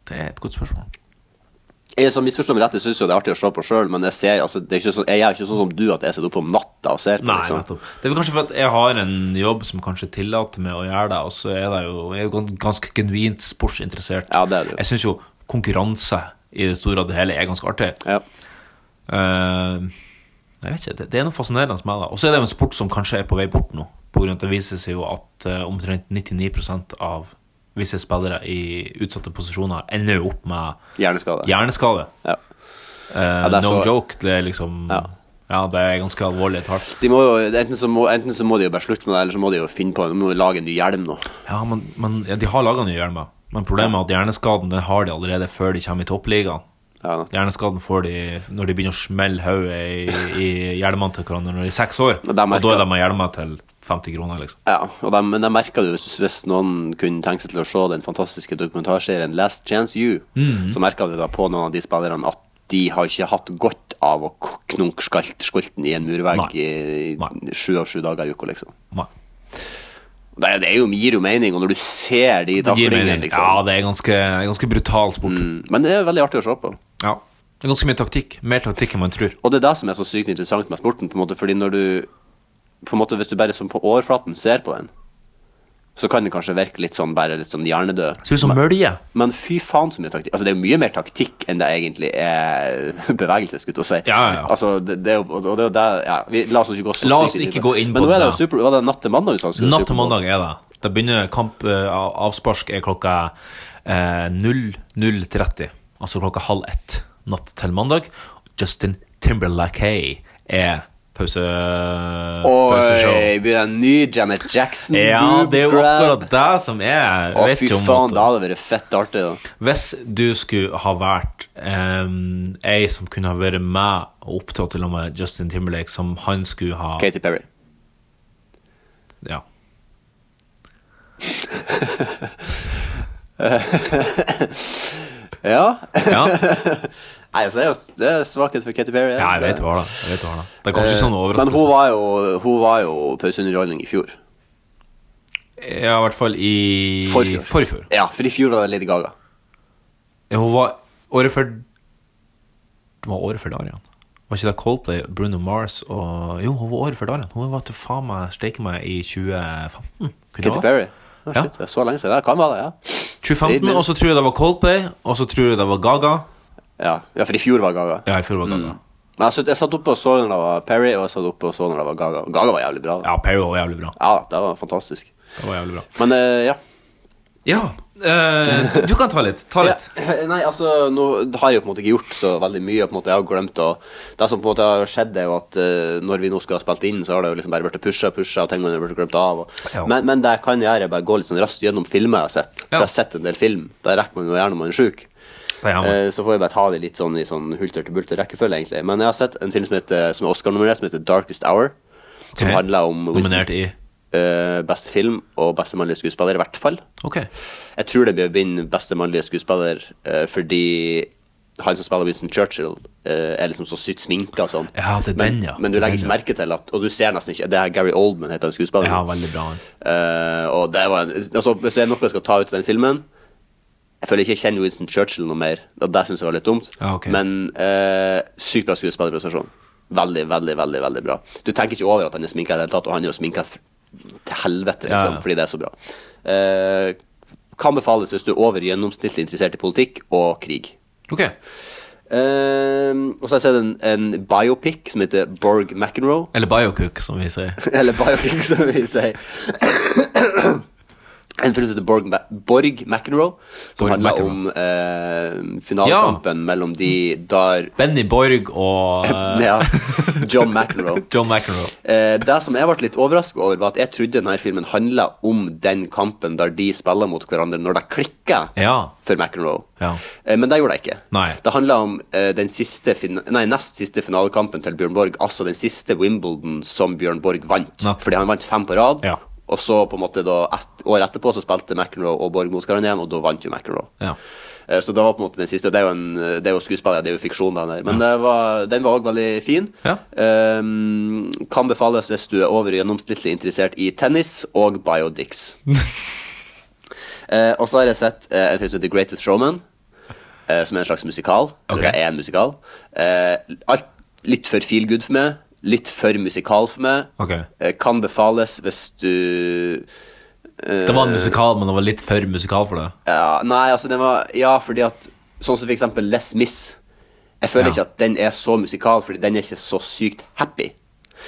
[SPEAKER 2] det er et godt spørsmål.
[SPEAKER 3] Jeg som misforstår meg rett, jeg syns jo det er artig å se på sjøl, men jeg ser, altså, det er ikke sånn, jeg er ikke sånn som du at jeg sitter oppe om natta og ser på.
[SPEAKER 2] Nei,
[SPEAKER 3] liksom.
[SPEAKER 2] nettopp. Det er vel kanskje for at jeg har en jobb som kanskje tillater meg å gjøre det, og så er det jo, jeg er jo gans- ganske genuint sportsinteressert.
[SPEAKER 3] Ja, det er du.
[SPEAKER 2] Jeg syns jo konkurranse i det store og det hele er ganske artig.
[SPEAKER 3] Ja.
[SPEAKER 2] Eh, jeg vet ikke, det, det er noe fascinerende med det. Og så er det jo en sport som kanskje er på vei bort nå. På grunn av at det viser seg jo at eh, omtrent 99 av visse spillere i utsatte posisjoner ender jo opp med
[SPEAKER 3] Hjerneskade.
[SPEAKER 2] hjerneskade.
[SPEAKER 3] Ja.
[SPEAKER 2] Eh,
[SPEAKER 3] det er
[SPEAKER 2] no
[SPEAKER 3] så-
[SPEAKER 2] joke, det er liksom ja.
[SPEAKER 3] Ja.
[SPEAKER 2] det er ganske alvorlig talt.
[SPEAKER 3] De må jo, enten, så må, enten så må de jo bare slutte med det, eller så må de jo finne på de må jo lage en ny hjelm nå.
[SPEAKER 2] Ja, men, men ja, de har laga nye hjelmer. Men problemet er at hjerneskaden den har de allerede før de kommer i toppligaen.
[SPEAKER 3] Ja, nettopp.
[SPEAKER 2] Hjerneskaden får de når de begynner å smelle hodet i, i hjelmene til hverandre når de er seks år.
[SPEAKER 3] Og
[SPEAKER 2] Og
[SPEAKER 3] da
[SPEAKER 2] da
[SPEAKER 3] merker-
[SPEAKER 2] er de med hjelmer til 50 kroner, liksom.
[SPEAKER 3] ja, og de, men det merker du hvis, hvis noen kunne tenke seg til å se den fantastiske dokumentarserien Last Chance You,
[SPEAKER 2] Mhm.
[SPEAKER 3] så merker du da på noen av de spillerne at de har ikke hatt godt av å k- knunke skalt- skolten i en murvegg
[SPEAKER 2] Nei.
[SPEAKER 3] i-
[SPEAKER 2] Nei.
[SPEAKER 3] i sju av sju dager i uka, liksom.
[SPEAKER 2] Nei.
[SPEAKER 3] Det, er- det er jo, gir jo mening, og når du ser de
[SPEAKER 2] Det gir mening.
[SPEAKER 3] taklingene, liksom.
[SPEAKER 2] Ja, det er ganske, ganske brutal sport.
[SPEAKER 3] Mm, Men det er veldig artig å se på.
[SPEAKER 2] Ja. Det er ganske mye taktikk. Mer taktikk enn man tror.
[SPEAKER 3] Og det er det som er så sykt interessant med sporten, på en måte, fordi når du på en måte, Hvis du bare som på overflaten ser på den, så kan det kanskje virke litt sånn bare litt sånn hjernedød.
[SPEAKER 2] Ser ut som mølje.
[SPEAKER 3] Men fy faen så mye taktikk. Altså, det er jo mye mer taktikk enn det egentlig er bevegelse, skulle jeg til å si.
[SPEAKER 2] Ja, ja, ja.
[SPEAKER 3] Altså, det, det er jo, og det er jo det ja, vi, La oss ikke gå så
[SPEAKER 2] La oss
[SPEAKER 3] sykt i
[SPEAKER 2] ikke
[SPEAKER 3] det.
[SPEAKER 2] gå inn på
[SPEAKER 3] Men nå er det
[SPEAKER 2] det.
[SPEAKER 3] jo super, var det natt til mandag? Liksom, skulle
[SPEAKER 2] Natt til
[SPEAKER 3] Superbowl?
[SPEAKER 2] mandag er det. Da begynner kamp eh, av- Avspark er klokka eh, 00.30. Altså klokka halv ett natt til mandag. Justin Timberlake er pause, pauseshow.
[SPEAKER 3] Oi, blir det en ny Janet Jackson?
[SPEAKER 2] Ja,
[SPEAKER 3] boob
[SPEAKER 2] det er jo
[SPEAKER 3] grab?
[SPEAKER 2] akkurat det som er
[SPEAKER 3] Å,
[SPEAKER 2] Vet
[SPEAKER 3] fy
[SPEAKER 2] ikke om
[SPEAKER 3] faen,
[SPEAKER 2] at-
[SPEAKER 3] da hadde det vært fett artig, da.
[SPEAKER 2] Hvis du skulle ha vært um, ei som kunne ha vært med og opptrådt til og med Justin Timberlake, som han skulle ha
[SPEAKER 3] Katy Perry.
[SPEAKER 2] Ja.
[SPEAKER 3] Ja.
[SPEAKER 2] ja.
[SPEAKER 3] Nei, altså, det er jo s- det er svakhet for Katy Perry.
[SPEAKER 2] Ja, jeg vet hva det er. Jeg vet hva det er. Det kom ikke sånn
[SPEAKER 3] Eh, Men hun
[SPEAKER 2] overraskelse.
[SPEAKER 3] var jo, hun var jo pauseunderholdning i fjor.
[SPEAKER 2] Ja, i hvert fall i
[SPEAKER 3] Forfjor.
[SPEAKER 2] Forfjor.
[SPEAKER 3] Ja, for i fjor var det Lady Gaga.
[SPEAKER 2] Ja, hun var året før Det var året før der igjen. Var ikke det Coldplay, Bruno Mars og Jo, hun var året før der igjen. Hun var til faen meg steike meg i 2015. Kunne det
[SPEAKER 3] Katy
[SPEAKER 2] være?
[SPEAKER 3] Perry.
[SPEAKER 2] Ja.
[SPEAKER 3] shit, det er så lenge siden. Det kan være det, ja.
[SPEAKER 2] 2015, og så tror jeg det var Coldplay, og så tror jeg det var Gaga.
[SPEAKER 3] Ja, ja for i fjor var Gaga.
[SPEAKER 2] Ja, i fjor var Gaga.
[SPEAKER 3] Men jeg, satt- jeg satt oppe og så når det var Perry, og jeg satt oppe og så når det var Gaga. Gaga var jævlig bra. da.
[SPEAKER 2] Ja, Perry var jævlig bra.
[SPEAKER 3] Ja, det var fantastisk.
[SPEAKER 2] Det var jævlig bra.
[SPEAKER 3] Men eh, ja.
[SPEAKER 2] Ja, eh, du kan ta litt. Ta
[SPEAKER 3] Ja,
[SPEAKER 2] litt.
[SPEAKER 3] Nei, altså, nå har jeg jo på en måte ikke gjort så veldig mye. på en måte, Jeg har glemt å Det som på en måte har skjedd, er jo at eh, når vi nå skulle ha spilt inn, så har det jo liksom bare blitt pusha pusha, og ting har blitt glemt av. Og,
[SPEAKER 2] Ja.
[SPEAKER 3] men, men det jeg kan gjøre, er bare gå litt sånn raskt gjennom filmer jeg har sett. For
[SPEAKER 2] Ja.
[SPEAKER 3] jeg har sett en del film. Da rekker man jo gjerne når man er sjuk.
[SPEAKER 2] Det er han.
[SPEAKER 3] Eh, Så får vi bare ta det litt sånn i sånn hulter til bulter rekkefølge, egentlig. Men jeg har sett en film som, heter, som er Oscar-nominert, som heter Darkest Hour. Som
[SPEAKER 2] Ok.
[SPEAKER 3] handler om Winston-
[SPEAKER 2] Nominert i
[SPEAKER 3] eh, beste film og beste mannlige skuespiller, i hvert fall.
[SPEAKER 2] Ok.
[SPEAKER 3] Jeg tror det blir å vinne beste mannlige skuespiller eh, fordi han som spiller Winston Churchill, eh, er liksom så sykt sminka og sånn.
[SPEAKER 2] Ja, det er
[SPEAKER 3] men,
[SPEAKER 2] den, ja.
[SPEAKER 3] men du legger ikke
[SPEAKER 2] Den, ja.
[SPEAKER 3] merke til at Og du ser nesten ikke Det er Gary Oldman, heter han skuespilleren.
[SPEAKER 2] Ja, veldig bra. han.
[SPEAKER 3] Eh, og det var en, altså, Hvis det er noe jeg skal ta ut av den filmen Jeg føler ikke jeg kjenner Winston Churchill noe mer. Og det syns jeg var litt dumt.
[SPEAKER 2] Ja, Ah, ok.
[SPEAKER 3] Men eh, sykt bra skuespillerprestasjon. Veldig, veldig, veldig veldig bra. Du tenker ikke over at han er sminka i det hele tatt, og han er jo sminka f- til helvete,
[SPEAKER 2] Ja,
[SPEAKER 3] liksom,
[SPEAKER 2] ja.
[SPEAKER 3] fordi det er så bra. Eh, kan befales hvis du er over gjennomsnittlig interessert i politikk og krig.
[SPEAKER 2] Ok.
[SPEAKER 3] Eh, og så har jeg sett en, en biopic som heter Borg McEnroe.
[SPEAKER 2] Eller Biocook, som vi sier.
[SPEAKER 3] Eller biopic, som vi sier. En film som heter Borg, Ma Borg McEnroe, som
[SPEAKER 2] Borg
[SPEAKER 3] handler
[SPEAKER 2] McEnroe.
[SPEAKER 3] om eh, finalekampen mellom de der
[SPEAKER 2] Benny Borg og eh,
[SPEAKER 3] ja, John McEnroe.
[SPEAKER 2] John McEnroe.
[SPEAKER 3] Eh, det som jeg ble litt overrasket over, var at jeg trodde denne filmen handla om den kampen der de spiller mot hverandre når det klikker
[SPEAKER 2] Ja.
[SPEAKER 3] for McEnroe.
[SPEAKER 2] Ja.
[SPEAKER 3] Eh, men det gjorde det ikke.
[SPEAKER 2] Nei.
[SPEAKER 3] Det handla om eh, den siste fin nei, nest siste finalekampen til Bjørn Borg, altså den siste Wimbledon som Bjørn Borg vant.
[SPEAKER 2] Nettopp.
[SPEAKER 3] Fordi han vant fem på rad,
[SPEAKER 2] Ja.
[SPEAKER 3] og så på en måte da et, året etterpå så spilte McEnroe og Borg mot hverandre igjen, og da vant jo McEnroe.
[SPEAKER 2] Ja.
[SPEAKER 3] Eh, Så det var på en måte den siste. og Det er jo, en, det er jo skuespiller, det er jo fiksjon, den her. Men det var, den var òg veldig fin.
[SPEAKER 2] Ja.
[SPEAKER 3] Ehm, kan befales hvis du er over gjennomsnittlig interessert i tennis og biodicks. Eh, og så har jeg sett eh, en film som heter Greatest Showman, eh, som er en slags musikal.
[SPEAKER 2] Ok.
[SPEAKER 3] Eller det er en musikal. Eh, alt litt for feel good for meg, litt for musikal for meg.
[SPEAKER 2] Ok.
[SPEAKER 3] Eh, kan befales hvis du
[SPEAKER 2] Det var en musikal, men det var litt for musikal for det.
[SPEAKER 3] ja, nei, altså den var Ja, fordi at Sånn som for eksempel Les Mis Jeg føler
[SPEAKER 2] Ja.
[SPEAKER 3] ikke at den er så musikal Fordi den er ikke så sykt happy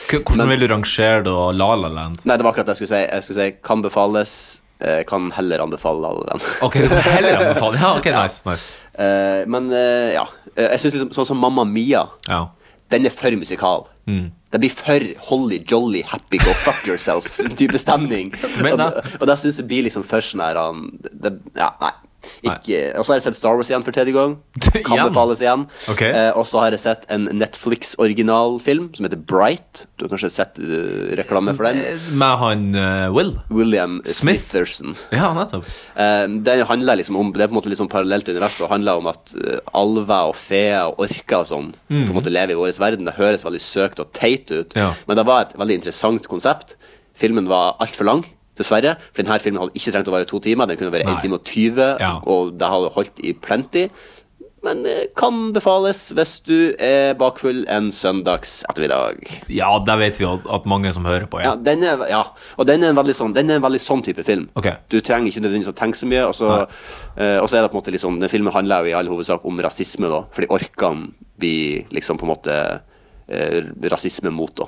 [SPEAKER 2] K- Hvordan vil du rangere da La La Land?
[SPEAKER 3] Nei, det var akkurat det jeg skulle si Jeg skulle si Kan befales eh, Kan heller anbefale alle den
[SPEAKER 2] Ok, du får heller anbefale Ja, ok, nice, nice.
[SPEAKER 3] Eh, Men eh, ja Eh, Jeg synes liksom Sånn som Mamma Mia
[SPEAKER 2] Ja.
[SPEAKER 3] Den er for musikal
[SPEAKER 2] Mm.
[SPEAKER 3] Det blir for holly, jolly, happy, go fuck yourself Type stemning
[SPEAKER 2] mener
[SPEAKER 3] Og,
[SPEAKER 2] det?
[SPEAKER 3] og da synes jeg det blir liksom for sånn her han- det, Ja, nei ikke, og så har jeg sett Star Wars igjen for tredje gang Kan
[SPEAKER 2] Igjen?
[SPEAKER 3] befales igjen
[SPEAKER 2] Ok.
[SPEAKER 3] eh, Og så har jeg sett en Netflix-originalfilm Som heter Bright Du har kanskje sett eh, reklame for den
[SPEAKER 2] Eh, Med han eh, Will?
[SPEAKER 3] William
[SPEAKER 2] Smith.
[SPEAKER 3] Smitherson
[SPEAKER 2] Ja, nettopp.
[SPEAKER 3] Eh, Den handler liksom om Det er på en måte liksom parallelt univers og handler om at eh, alver og feer og orker og sånn på en måte lever i vår verden. Det høres veldig søkt og teit ut,
[SPEAKER 2] Mm. Ja.
[SPEAKER 3] men det var et veldig interessant konsept. Filmen var altfor lang, dessverre. For denne filmen hadde ikke trengt å være to timer. Den kunne være
[SPEAKER 2] Nei.
[SPEAKER 3] 1 time og 20,
[SPEAKER 2] Ja.
[SPEAKER 3] og det hadde holdt i plenty. Men eh, kan befales hvis du er bakfull en søndags ettermiddag.
[SPEAKER 2] Ja, det vet vi jo at mange som hører på. Ja.
[SPEAKER 3] Ja, den er, ja. og den er, en veldig sånn, den er en veldig sånn type film.
[SPEAKER 2] Ok.
[SPEAKER 3] Du trenger ikke nødvendigvis å tenke så mye. Og så, eh, og så er det på en måte liksom Den filmen handler jo i all hovedsak om rasisme, da. Fordi orkene blir liksom på en måte eh, rasisme mot, da.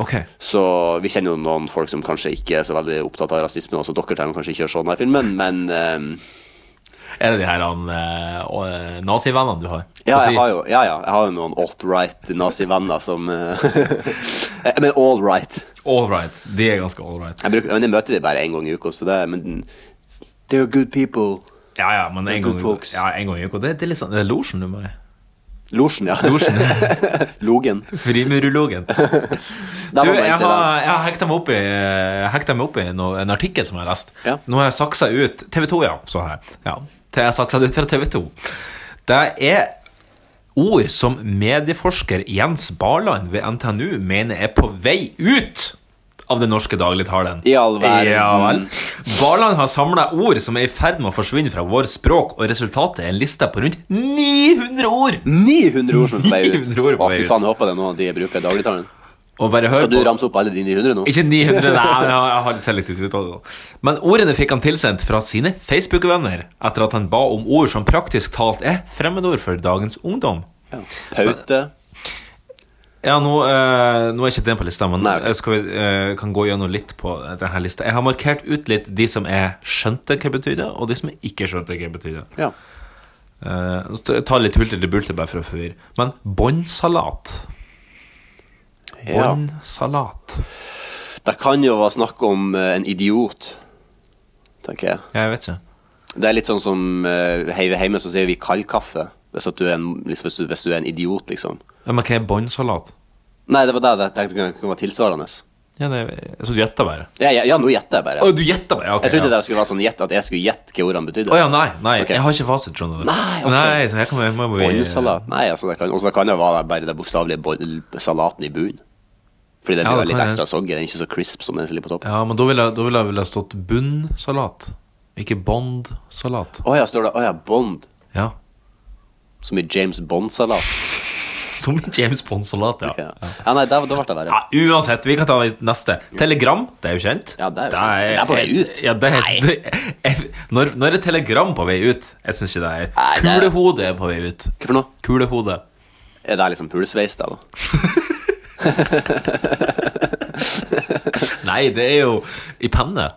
[SPEAKER 2] Ok.
[SPEAKER 3] Så vi kjenner jo noen folk som kanskje ikke er så veldig opptatt av rasisme, og så dere trenger kanskje ikke å se denne filmen, men eh,
[SPEAKER 2] Er det de her han, eh, og, eh, nazivennene du har?
[SPEAKER 3] ja,
[SPEAKER 2] Hva
[SPEAKER 3] jeg
[SPEAKER 2] sier-
[SPEAKER 3] har jo, ja, ja, jeg har jo noen alt-right nazivenner som eh, Men all right.
[SPEAKER 2] All right. De er ganske all right.
[SPEAKER 3] Jeg, bruker, men jeg møter dem bare én gang i uka, så det Men they're good people.
[SPEAKER 2] Ja, ja, men en
[SPEAKER 3] Good
[SPEAKER 2] gang, i-
[SPEAKER 3] folks.
[SPEAKER 2] ja, en gang i uka. Det, det er litt sånn Det er losjen du må i.
[SPEAKER 3] Losjen, ja. Logen.
[SPEAKER 2] Frimurologen.
[SPEAKER 3] Der
[SPEAKER 2] Du,
[SPEAKER 3] var man
[SPEAKER 2] jeg
[SPEAKER 3] egentlig
[SPEAKER 2] har, jeg har hekta meg opp i, jeg hekta meg opp i noe, en artikkel som jeg har lest.
[SPEAKER 3] Ja.
[SPEAKER 2] Nå har jeg saksa ut TV 2, ja. Så her. ja. Til jeg har saksa det ut fra TV 2. Det er ord som medieforsker Jens Barland ved NTNU mener er på vei ut av den norske dagligtalen.
[SPEAKER 3] I all verden.
[SPEAKER 2] Ja vel. Barland har samla ord som er i ferd med å forsvinne fra vårt språk, og resultatet er en liste på rundt 900 ord!
[SPEAKER 3] der. 900 ord som er på vei ut.
[SPEAKER 2] 900 ord på
[SPEAKER 3] Å,
[SPEAKER 2] vei
[SPEAKER 3] fy
[SPEAKER 2] ut.
[SPEAKER 3] faen, jeg håper det er noen av de jeg bruker i dagligtalen.
[SPEAKER 2] Og bare hør
[SPEAKER 3] Skal du
[SPEAKER 2] på.
[SPEAKER 3] ramse opp alle dine i 100 nå?
[SPEAKER 2] Ikke 900, nei, men jeg jeg har litt selektivt uttale. nå. Men ordene fikk han tilsendt fra sine Facebook-venner etter at han ba om ord som praktisk talt er fremmedord for dagens ungdom.
[SPEAKER 3] Ja. Paute.
[SPEAKER 2] Ja, nå, eh, nå er ikke den på lista, men
[SPEAKER 3] Nei, ok.
[SPEAKER 2] jeg skal, vi, eh, kan gå gjennom litt på denne lista. Jeg har markert ut litt de som jeg skjønte hva betydde, og de som jeg ikke skjønte hva betydde.
[SPEAKER 3] Ja.
[SPEAKER 2] Eh, nå tar jeg ta litt hulter til bulter bare for å forvirre. Men båndsalat
[SPEAKER 3] ja.
[SPEAKER 2] Båndsalat.
[SPEAKER 3] Det kan jo være snakk om eh, en idiot, tenker jeg.
[SPEAKER 2] Jeg vet ikke.
[SPEAKER 3] Det er litt sånn som uh, heive hjemme, så sier vi kald kaffe. Hvis, at du er en, liksom, hvis, du, hvis du er en idiot, liksom.
[SPEAKER 2] Ja, Men hva er båndsalat?
[SPEAKER 3] Nei, det var det jeg tenkte kunne- kunne være tilsvarende.
[SPEAKER 2] Ja, det, så du gjetter bare?
[SPEAKER 3] Ja, ja, ja nå gjetter jeg bare.
[SPEAKER 2] Å, du gjetter bare? Ja, ok,
[SPEAKER 3] Jeg trodde
[SPEAKER 2] ja.
[SPEAKER 3] det skulle være sånn gjett, at jeg skulle gjette hva ordene betydde.
[SPEAKER 2] Å ja, nei, nei.
[SPEAKER 3] Ok.
[SPEAKER 2] Jeg har ikke fasit, skjønner du.
[SPEAKER 3] Nei, ok.
[SPEAKER 2] nei så her kan vi, må vi
[SPEAKER 3] Båndsalat? Nei, altså, det kan, også kan det være bare det bokstavelige bånd- salaten i bunnen. Fordi det
[SPEAKER 2] Ja,
[SPEAKER 3] blir
[SPEAKER 2] det
[SPEAKER 3] litt
[SPEAKER 2] kan det.
[SPEAKER 3] ekstra soggy. Den er ikke så crisp som den som ligger på toppen.
[SPEAKER 2] Ja, men da ville jeg, da ville jeg ville stått bunnsalat, ikke bondsalat.
[SPEAKER 3] Å ja, står det Å ja, Bond.
[SPEAKER 2] Ja.
[SPEAKER 3] Som i James Bond-salat.
[SPEAKER 2] Som i James Bond-salat, ja.
[SPEAKER 3] Ja. ja, nei, da, da ble det verre.
[SPEAKER 2] Ja, uansett, vi kan ta neste. Telegram, det er jo kjent.
[SPEAKER 3] Ja, det er jo kjent. Det er på vei ut.
[SPEAKER 2] Ja, det er, det, jeg, når, når er telegram på vei ut? Jeg syns ikke det er
[SPEAKER 3] Nei, det er-
[SPEAKER 2] Kulehode er på vei ut.
[SPEAKER 3] Hva for noe?
[SPEAKER 2] Kulehode.
[SPEAKER 3] Er det liksom pulsveis, da? da?
[SPEAKER 2] Nei, det er jo i penne.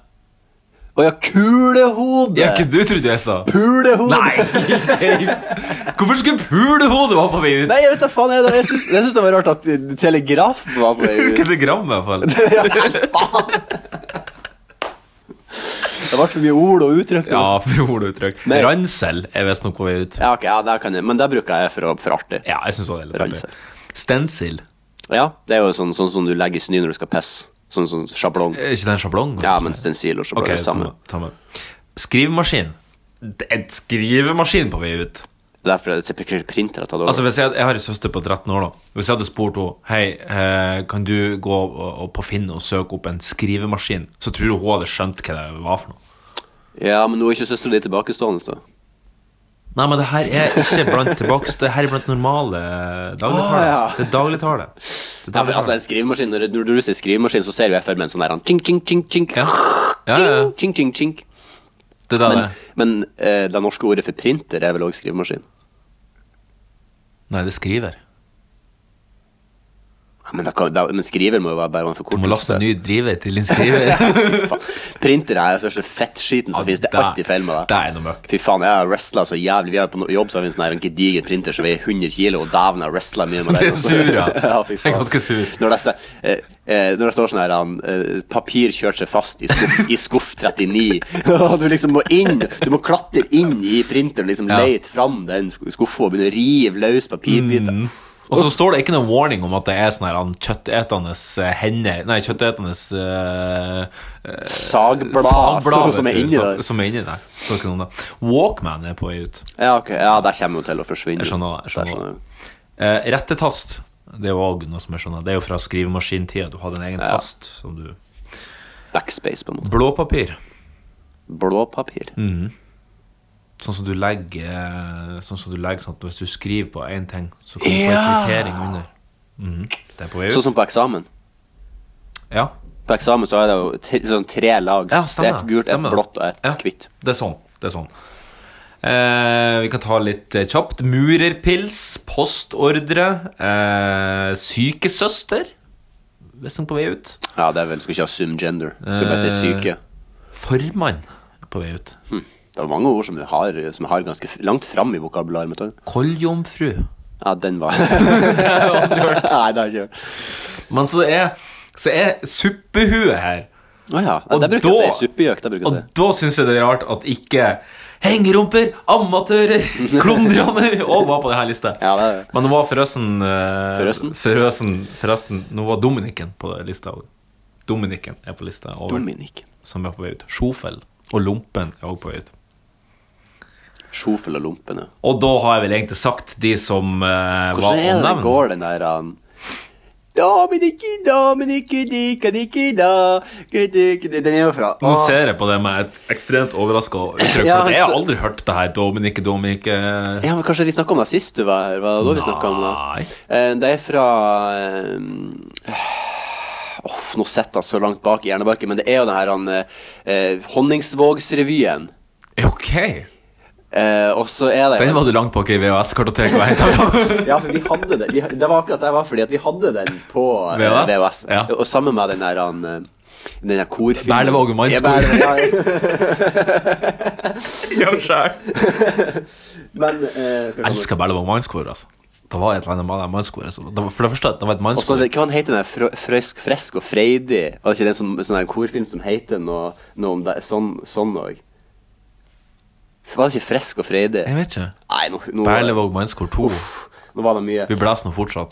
[SPEAKER 3] Å ja, kulehode!
[SPEAKER 2] Ja, ikke du trodde jeg sa?
[SPEAKER 3] Pulehode!
[SPEAKER 2] Nei! Hvorfor skulle pulehodet være på vei ut?
[SPEAKER 3] Nei, jeg vet da faen. Jeg, jeg, syns, jeg syns det var rart at telegrafen var på vei ut.
[SPEAKER 2] Telegram, i hvert fall.
[SPEAKER 3] Ja, faen. Det ble for mye ord og uttrykk. nå.
[SPEAKER 2] Ja, for orduttrykk.
[SPEAKER 3] Nei.
[SPEAKER 2] Ransel er visstnok på vei ut.
[SPEAKER 3] Ja, ok, ja, det kan jeg, men det bruker jeg for, å- for artig.
[SPEAKER 2] Ja, jeg syns det var veldig
[SPEAKER 3] Ransel.
[SPEAKER 2] artig. Stensil.
[SPEAKER 3] Ja, det er jo sånn, sånn som du legger i snø når du skal pisse. Sånn som sjablong.
[SPEAKER 2] Er ikke det en sjablong?
[SPEAKER 3] Ja, men stensil og sjablong
[SPEAKER 2] Ok,
[SPEAKER 3] er det samme.
[SPEAKER 2] samme. samme. Skrivemaskin. Det er En skrivemaskin på vei ut.
[SPEAKER 3] Det er derfor jeg ser pr- printer har tatt over.
[SPEAKER 2] Altså, hvis jeg, jeg har en søster på 13 år. da Hvis jeg hadde spurt henne Hei, eh, kan du gå og, og på Finn og søke opp en skrivemaskin, så tror du hun hadde skjønt hva det var for noe.
[SPEAKER 3] ja, men nå er ikke søstera di tilbakestående, så.
[SPEAKER 2] Nei, men det her er ikke blant tilbake Det her er blant normale dagligtale.
[SPEAKER 3] Å, ja.
[SPEAKER 2] Det er dagligtale. Det er
[SPEAKER 3] Ja, men, altså,
[SPEAKER 2] dagligtale.
[SPEAKER 3] en skrivemaskin, når, når du sier skrivemaskin, så ser jo jeg for meg en sånn der ching, ching, ching, ching,
[SPEAKER 2] Ja. Ja, ja, ja.
[SPEAKER 3] ching, ching, ching.
[SPEAKER 2] Det er det det
[SPEAKER 3] Men,
[SPEAKER 2] er.
[SPEAKER 3] men eh, det norske ordet for printer er vel òg skrivemaskin?
[SPEAKER 2] Nei, det skriver.
[SPEAKER 3] Ja, Men, det kan, det, men skriver må jo være bare en
[SPEAKER 2] Du må laste
[SPEAKER 3] forkortelse.
[SPEAKER 2] en ny driver til din skriver.
[SPEAKER 3] Faen. Printer er den største fettskiten som finnes. Det er alltid feil med
[SPEAKER 2] Det
[SPEAKER 3] det.
[SPEAKER 2] er noe møkk.
[SPEAKER 3] Fy faen, jeg har wrestla så jævlig. Vi har på no- jobb så har vi en sånn her en gedigen printer som veier 100 kilo, og dæven, jeg har wrestla mye med den.
[SPEAKER 2] Det er sur, ja.
[SPEAKER 3] ja fy
[SPEAKER 2] Jeg er
[SPEAKER 3] faen.
[SPEAKER 2] ganske sur.
[SPEAKER 3] Når det, se- eh, eh, når det står sånn her han, eh, Papir kjørte seg fast i skuff, i skuff 39. Og du liksom må inn Du må klatre inn i printeren, liksom
[SPEAKER 2] Ja.
[SPEAKER 3] leite fram den sk- skuffa og begynne å rive løs papirbiter.
[SPEAKER 2] Mm. Og så står det ikke noen warning om at det er sånne her an- kjøttetende eh, hender Nei, kjøttetende eh, eh,
[SPEAKER 3] Sagblad, sånn
[SPEAKER 2] sagblad,
[SPEAKER 3] som er
[SPEAKER 2] vet du, sånn.
[SPEAKER 3] inni
[SPEAKER 2] som-
[SPEAKER 3] der.
[SPEAKER 2] Som er inni der. Så ikke noen da. Walkman er på vei ut.
[SPEAKER 3] Ja, ok. ja, der kommer hun til å forsvinne. sånn
[SPEAKER 2] Jeg skjønner det. Jeg
[SPEAKER 3] Mm, Der
[SPEAKER 2] skjønner. det. Eh, rettetast. Det er jo også noe som jeg skjønner. Det er jo fra skrivemaskintida. Du hadde en egen tast som du
[SPEAKER 3] Backspace, på en måte.
[SPEAKER 2] Blåpapir.
[SPEAKER 3] Blåpapir.
[SPEAKER 2] Mm. Sånn som du legger eh, Sånn som du legger sånn at hvis du skriver på én ting, så kommer det
[SPEAKER 3] Ja!
[SPEAKER 2] en kvittering under. Mhm. Det er på vei ut.
[SPEAKER 3] Sånn som på eksamen.
[SPEAKER 2] ja.
[SPEAKER 3] På eksamen så er det jo tre, sånn tre lag.
[SPEAKER 2] Ja, stemmer
[SPEAKER 3] et gult, et
[SPEAKER 2] stemmer.
[SPEAKER 3] blått og et
[SPEAKER 2] Ja,
[SPEAKER 3] hvitt.
[SPEAKER 2] Det er sånn. Det er sånn. Eh, vi kan ta litt eh, kjapt. Murerpils, postordre, eh, sykesøster Hvis den er på vei ut.
[SPEAKER 3] Ja, det er vel, du skal ikke ha sumgender. Du skal
[SPEAKER 2] Eh.
[SPEAKER 3] bare si syke.
[SPEAKER 2] Formann er på vei ut.
[SPEAKER 3] Det er mange ord som vi har, som vi har ganske f- langt fram i vokabularet mitt. også.
[SPEAKER 2] Koljomfru.
[SPEAKER 3] Ja, den var Nei, det har jeg ikke hørt.
[SPEAKER 2] Men så er, så er suppehue her.
[SPEAKER 3] Å ja.
[SPEAKER 2] Og
[SPEAKER 3] Det bruker jeg
[SPEAKER 2] da-
[SPEAKER 3] å si. Suppegjøk. Det bruker
[SPEAKER 2] Og
[SPEAKER 3] jeg å si.
[SPEAKER 2] da syns jeg det er rart at ikke hengerumper, amatører, klondrene òg var på denne lista.
[SPEAKER 3] Ja, det er det.
[SPEAKER 2] Men nå var forresten eh,
[SPEAKER 3] Forresten?
[SPEAKER 2] Forresten, forresten Nå var Dominiken på lista òg. Dominiken er på lista over,
[SPEAKER 3] Dominik.
[SPEAKER 2] som er på vei ut. Sjofel og Lompen er òg på vei ut.
[SPEAKER 3] Sjofel og lompen, ja.
[SPEAKER 2] Og da har jeg vel egentlig sagt de som eh, var
[SPEAKER 3] Hvordan er det det
[SPEAKER 2] omnevnt.
[SPEAKER 3] går, den der um, Dominik, Dominik, dika, diki, da gudiki, di- Den er jo fra
[SPEAKER 2] Nå
[SPEAKER 3] Å,
[SPEAKER 2] ser jeg på det med et ekstremt overraska uttrykk.
[SPEAKER 3] Ja,
[SPEAKER 2] for at
[SPEAKER 3] men
[SPEAKER 2] jeg har
[SPEAKER 3] så-
[SPEAKER 2] aldri hørt det her. Dominike, Dominike
[SPEAKER 3] Ja, men Kanskje vi snakka om Eh, det sist du var her? Var det da vi snakket om det?
[SPEAKER 2] Nei.
[SPEAKER 3] Eh, Det er fra eh, Åh, nå sitter jeg så langt bak i hjernebarken, men det er jo den her han, eh, Honningsvågsrevyen.
[SPEAKER 2] Ok!
[SPEAKER 3] Eh, og så er det
[SPEAKER 2] Den var du langt bak i VHS-kartoteket. og hentet fram.
[SPEAKER 3] Ja, for vi hadde den. Vi, det var akkurat det jeg var, fordi at vi hadde den på eh,
[SPEAKER 2] VHS,
[SPEAKER 3] VHS.
[SPEAKER 2] ja.
[SPEAKER 3] Og sammen med den der, han, eh, den der korfilmen.
[SPEAKER 2] Berlevåg og Mannskog.
[SPEAKER 3] Ja, Berle-
[SPEAKER 2] Ja,
[SPEAKER 3] ja.
[SPEAKER 2] selv.
[SPEAKER 3] Men eh, skal vi
[SPEAKER 2] Jeg
[SPEAKER 3] komme-
[SPEAKER 2] elsker Berlevåg mannskor, altså. Det var et eller annet med det mannskoret. som- det var- For det første, det var et
[SPEAKER 3] Og så
[SPEAKER 2] mannskor.
[SPEAKER 3] det- Hva han heter den der? Frø- Frøsk, Fresk og Freidig? Var det ikke det en sånn, sånn der korfilm som heter noe, noe om det? Sånn sånn òg? var det ikke Fresk og Freidig?
[SPEAKER 2] Jeg vet ikke.
[SPEAKER 3] Nei, nå, nå,
[SPEAKER 2] Berlevåg mannskor 2.
[SPEAKER 3] Uff, nå var det mye.
[SPEAKER 2] Vi blåser nå fortsatt.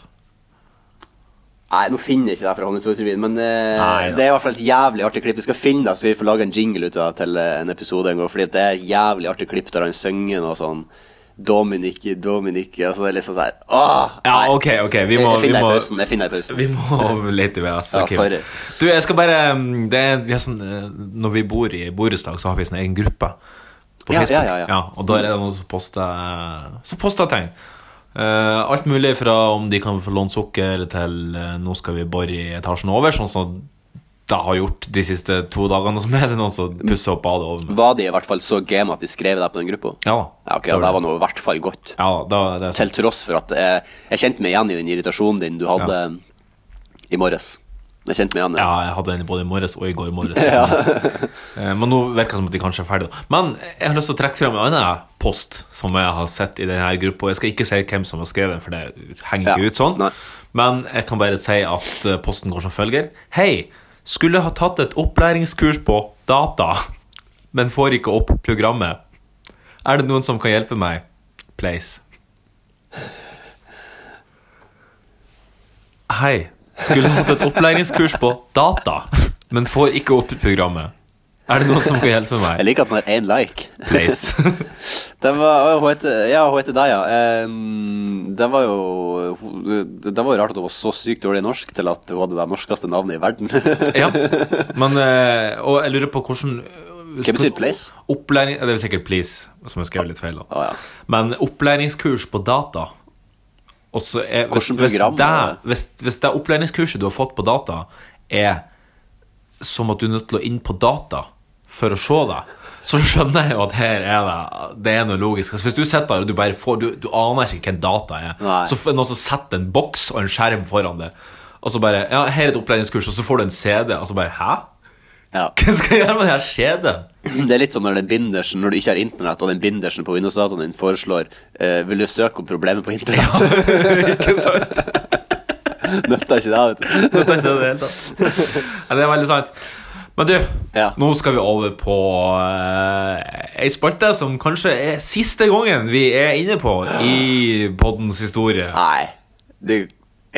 [SPEAKER 3] Nei, nå finner jeg ikke det fra Honningsvågsrevyen, men eh,
[SPEAKER 2] Nei, da.
[SPEAKER 3] det er i hvert fall et jævlig artig klipp. Vi skal finne det, så vi får lage en jingle ut av det til eh, en episode en gang, fordi det er et jævlig artig klipp der han synger noe sånn Dominic, Dominic Altså, det er litt sånn der Åh!
[SPEAKER 2] Ja,
[SPEAKER 3] nei.
[SPEAKER 2] ok, ok. Vi
[SPEAKER 3] Jeg-
[SPEAKER 2] må,
[SPEAKER 3] jeg
[SPEAKER 2] vi
[SPEAKER 3] finner det i
[SPEAKER 2] må,
[SPEAKER 3] pausen. Jeg finner det i pausen.
[SPEAKER 2] vi må lete i VHS.
[SPEAKER 3] Ja,
[SPEAKER 2] arkiv.
[SPEAKER 3] sorry.
[SPEAKER 2] Du, jeg skal bare mm, det er, vi har sånn, eh, Når vi bor i borettslag, så har vi sånn egen gruppe på
[SPEAKER 3] Ja,
[SPEAKER 2] Facebook.
[SPEAKER 3] ja, ja, ja.
[SPEAKER 2] og der er det noen som poster, som poster ting. Eh, alt mulig fra om de kan få lånt sukker, til eh, nå skal vi bore i etasjen over. Sånn som det har gjort de siste to dagene. Og så er det noen som pusser opp badet over meg.
[SPEAKER 3] Var de i hvert fall så game at de skrev det på den gruppa?
[SPEAKER 2] Ja,
[SPEAKER 3] Ja, ok, ja, det var noe i hvert fall godt.
[SPEAKER 2] ja, da, det er
[SPEAKER 3] Til tross for at eh, jeg kjente meg igjen i den irritasjonen din du hadde
[SPEAKER 2] Ja.
[SPEAKER 3] i morges. Jeg kjente meg igjen.
[SPEAKER 2] Ja, jeg hadde den både i morges og i går morges. Eh, Men nå virker det som at de kanskje er ferdige. da. Men jeg har lyst til å trekke frem en annen post som jeg har sett i denne gruppa. Jeg skal ikke si hvem som har skrevet den, for det henger
[SPEAKER 3] Ja,
[SPEAKER 2] ikke ut sånn.
[SPEAKER 3] nei.
[SPEAKER 2] Men jeg kan bare si at eh, posten går som følger. Hei! Skulle ha tatt et opplæringskurs på data, men får ikke opp programmet. Er det noen som kan hjelpe meg? Please. Hei. Skulle hatt et opplæringskurs på data, men får ikke opp programmet. Er det noen som kan hjelpe meg?
[SPEAKER 3] Jeg liker at den har én like.
[SPEAKER 2] Please.
[SPEAKER 3] Det var, å, hun heter, ja, hun heter deg, ja. Ehm, det var jo hun- Det var jo rart at hun var så sykt dårlig i norsk til at hun hadde det norskeste navnet i verden.
[SPEAKER 2] Ja. Men eh, Og jeg lurer på hvordan eh,
[SPEAKER 3] Hva betyr place?
[SPEAKER 2] Opplæring Det er sikkert please, som jeg skrev litt feil. da.
[SPEAKER 3] Å, ja.
[SPEAKER 2] Men opplæringskurs på data og så er, hvis,
[SPEAKER 3] Hvordan
[SPEAKER 2] hvis,
[SPEAKER 3] program
[SPEAKER 2] det,
[SPEAKER 3] er det?
[SPEAKER 2] hvis, hvis det opplæringskurset du har fått på data, er som at du er nødt til å inn på data for å se det, så skjønner jeg jo at her er det Det er noe logisk. Altså, hvis du sitter der og du bare får Du, du aner ikke hvem data er,
[SPEAKER 3] Nei.
[SPEAKER 2] så er noen som setter en boks og en skjerm foran deg, og så bare Ja, her er et opplæringskurs, og så får du en CD, og så bare Hæ?
[SPEAKER 3] Ja.
[SPEAKER 2] Hva skal jeg gjøre med den her CD-en?
[SPEAKER 3] Det er litt som når den bindersen Når du ikke har internett, og den bindersen på Windows-dataen din foreslår eh, Vil du søke om problemet på internett?
[SPEAKER 2] ikke sant?
[SPEAKER 3] Nytter ikke det, vet du.
[SPEAKER 2] Det er ikke det i det hele tatt. Nei, det er veldig sant. Men du,
[SPEAKER 3] Ja.
[SPEAKER 2] nå skal vi over på eh, ei spalte som kanskje er siste gangen vi er inne på i poddens historie.
[SPEAKER 3] Nei. Det,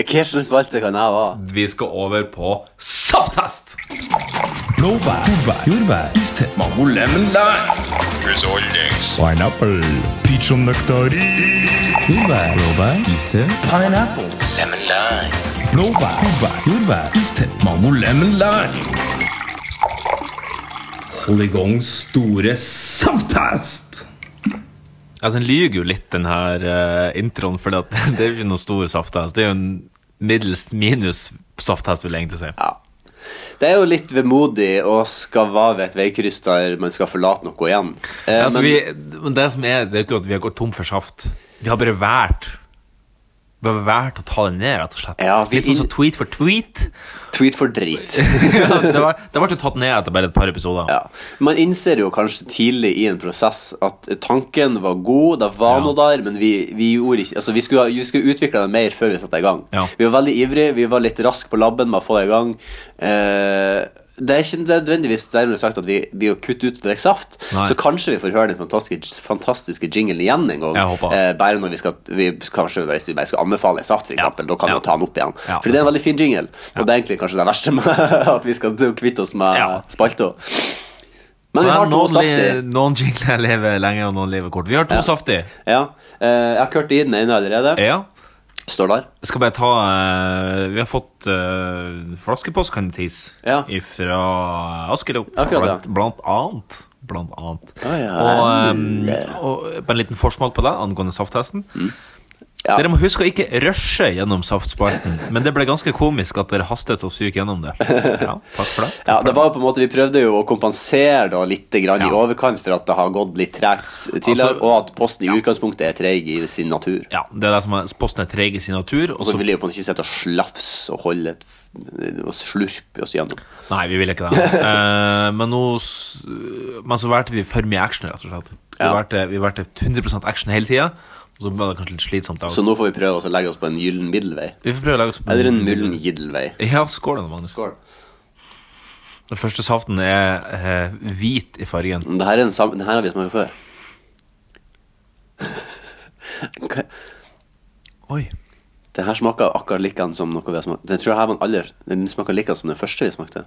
[SPEAKER 3] hva slags spalte kan jeg være?
[SPEAKER 2] Vi skal over på safttest!
[SPEAKER 6] Blåbær, jordbær, iste, mango, lemon, lime, pineapple, peach og nektarin. Jordbær, blåbær, iste, pineapple, lemon, lime. Blåbær, jordbær, jordbær, iste, mango, lemon, lime. Hold i gang store safttest!
[SPEAKER 2] Ja, den lyger jo litt, den her eh, introen, for det er jo ikke noe stor safttest. Det er jo en middels minus safttest, vil jeg egentlig si.
[SPEAKER 3] Det er jo litt vemodig å skal være ved et veikryss der man skal forlate noe igjen. Eh,
[SPEAKER 2] altså,
[SPEAKER 3] men
[SPEAKER 2] vi, men det som er, det er jo ikke at vi har gått tom for saft. Vi har bare vært Vi har vært å ta det ned, rett og slett.
[SPEAKER 3] Ja, vi-
[SPEAKER 2] Litt sånn som tweet for tweet.
[SPEAKER 3] tweet for drit.
[SPEAKER 2] Ja, det var- det ble jo tatt ned etter bare et par episoder.
[SPEAKER 3] Ja. Man innser jo kanskje tidlig i en prosess at tanken var god, det var noe der, men vi, vi gjorde ikke Altså, vi skulle, ha- vi skulle utvikle det mer før vi satte i gang.
[SPEAKER 2] Ja.
[SPEAKER 3] Vi var veldig ivrige, vi var litt raske på labben med å få det i gang. Eh, det er ikke nødvendigvis dermed sagt at vi blir å kutte ut og drikke saft,
[SPEAKER 2] Nei.
[SPEAKER 3] så kanskje vi får høre den fantastiske, fantastiske jinglen igjen en gang.
[SPEAKER 2] Jeg håper.
[SPEAKER 3] Eh, bare når vi skal vi, Kanskje hvis vi bare skal anbefale saft, f.eks., eksempel da kan
[SPEAKER 2] Ja.
[SPEAKER 3] vi jo ta den opp igjen.
[SPEAKER 2] Ja,
[SPEAKER 3] For det er en veldig fin jingle, og det er egentlig kanskje det verste med at vi skal kvitte oss med
[SPEAKER 2] Ja.
[SPEAKER 3] spalta. Men vi
[SPEAKER 2] Men
[SPEAKER 3] har to
[SPEAKER 2] noen, li-
[SPEAKER 3] saftig.
[SPEAKER 2] noen jingler lever lenge, og noen lever kort. Vi har to saftig.
[SPEAKER 3] Ja. eh, jeg har kørt i den ene allerede.
[SPEAKER 2] Ja.
[SPEAKER 3] Står der.
[SPEAKER 2] Jeg skal bare ta eh, Vi har fått uh, flaskepost, kan det tis,
[SPEAKER 3] Ja.
[SPEAKER 2] fra Askelopp.
[SPEAKER 3] Akkurat, ja.
[SPEAKER 2] blant, blant annet. Blant annet. ehm,
[SPEAKER 3] Å, ja.
[SPEAKER 2] og, eh, og på en liten forsmak på det angående safttesten.
[SPEAKER 3] Mm. Ja.
[SPEAKER 2] Dere må huske å ikke rushe gjennom saftspalten, men det ble ganske komisk at dere hastet så sykt gjennom det. Ja, takk for det.
[SPEAKER 3] Ja, det var jo på en måte, Vi prøvde jo å kompensere da litt grann i
[SPEAKER 2] Ja.
[SPEAKER 3] overkant for at det har gått litt tregt s- tidligere,
[SPEAKER 2] Altså,
[SPEAKER 3] og at Posten i utgangspunktet er treig i sin natur.
[SPEAKER 2] Ja, det er det som er Posten er treig i sin natur, og
[SPEAKER 3] Og så
[SPEAKER 2] så
[SPEAKER 3] vil jeg jo på en måte ikke sitte og slafse og holde et, f- og slurpe oss gjennom.
[SPEAKER 2] Nei, vi ville ikke det. Eh, men, nå, s- men så valgte vi for mye action, rett og slett. Vi
[SPEAKER 3] Ja.
[SPEAKER 2] valgte, vi valgte 100 action hele tida, og så var det kanskje litt slitsomt. da.
[SPEAKER 3] Så nå får vi prøve oss å legge oss på en gyllen middelvei.
[SPEAKER 2] Vi får prøve å lage oss
[SPEAKER 3] Eller en mullen giddelvei.
[SPEAKER 2] Ja, skål da, Magnus.
[SPEAKER 3] Skål.
[SPEAKER 2] Den første saften er eh, hvit i fargen.
[SPEAKER 3] Men Det her, er en sam det her har vi smakt før. Hva-
[SPEAKER 2] Oi.
[SPEAKER 3] det her smaker akkurat likende som noe vi har smakt. Den tror jeg her var en aller Den smaker likende som den første vi smakte.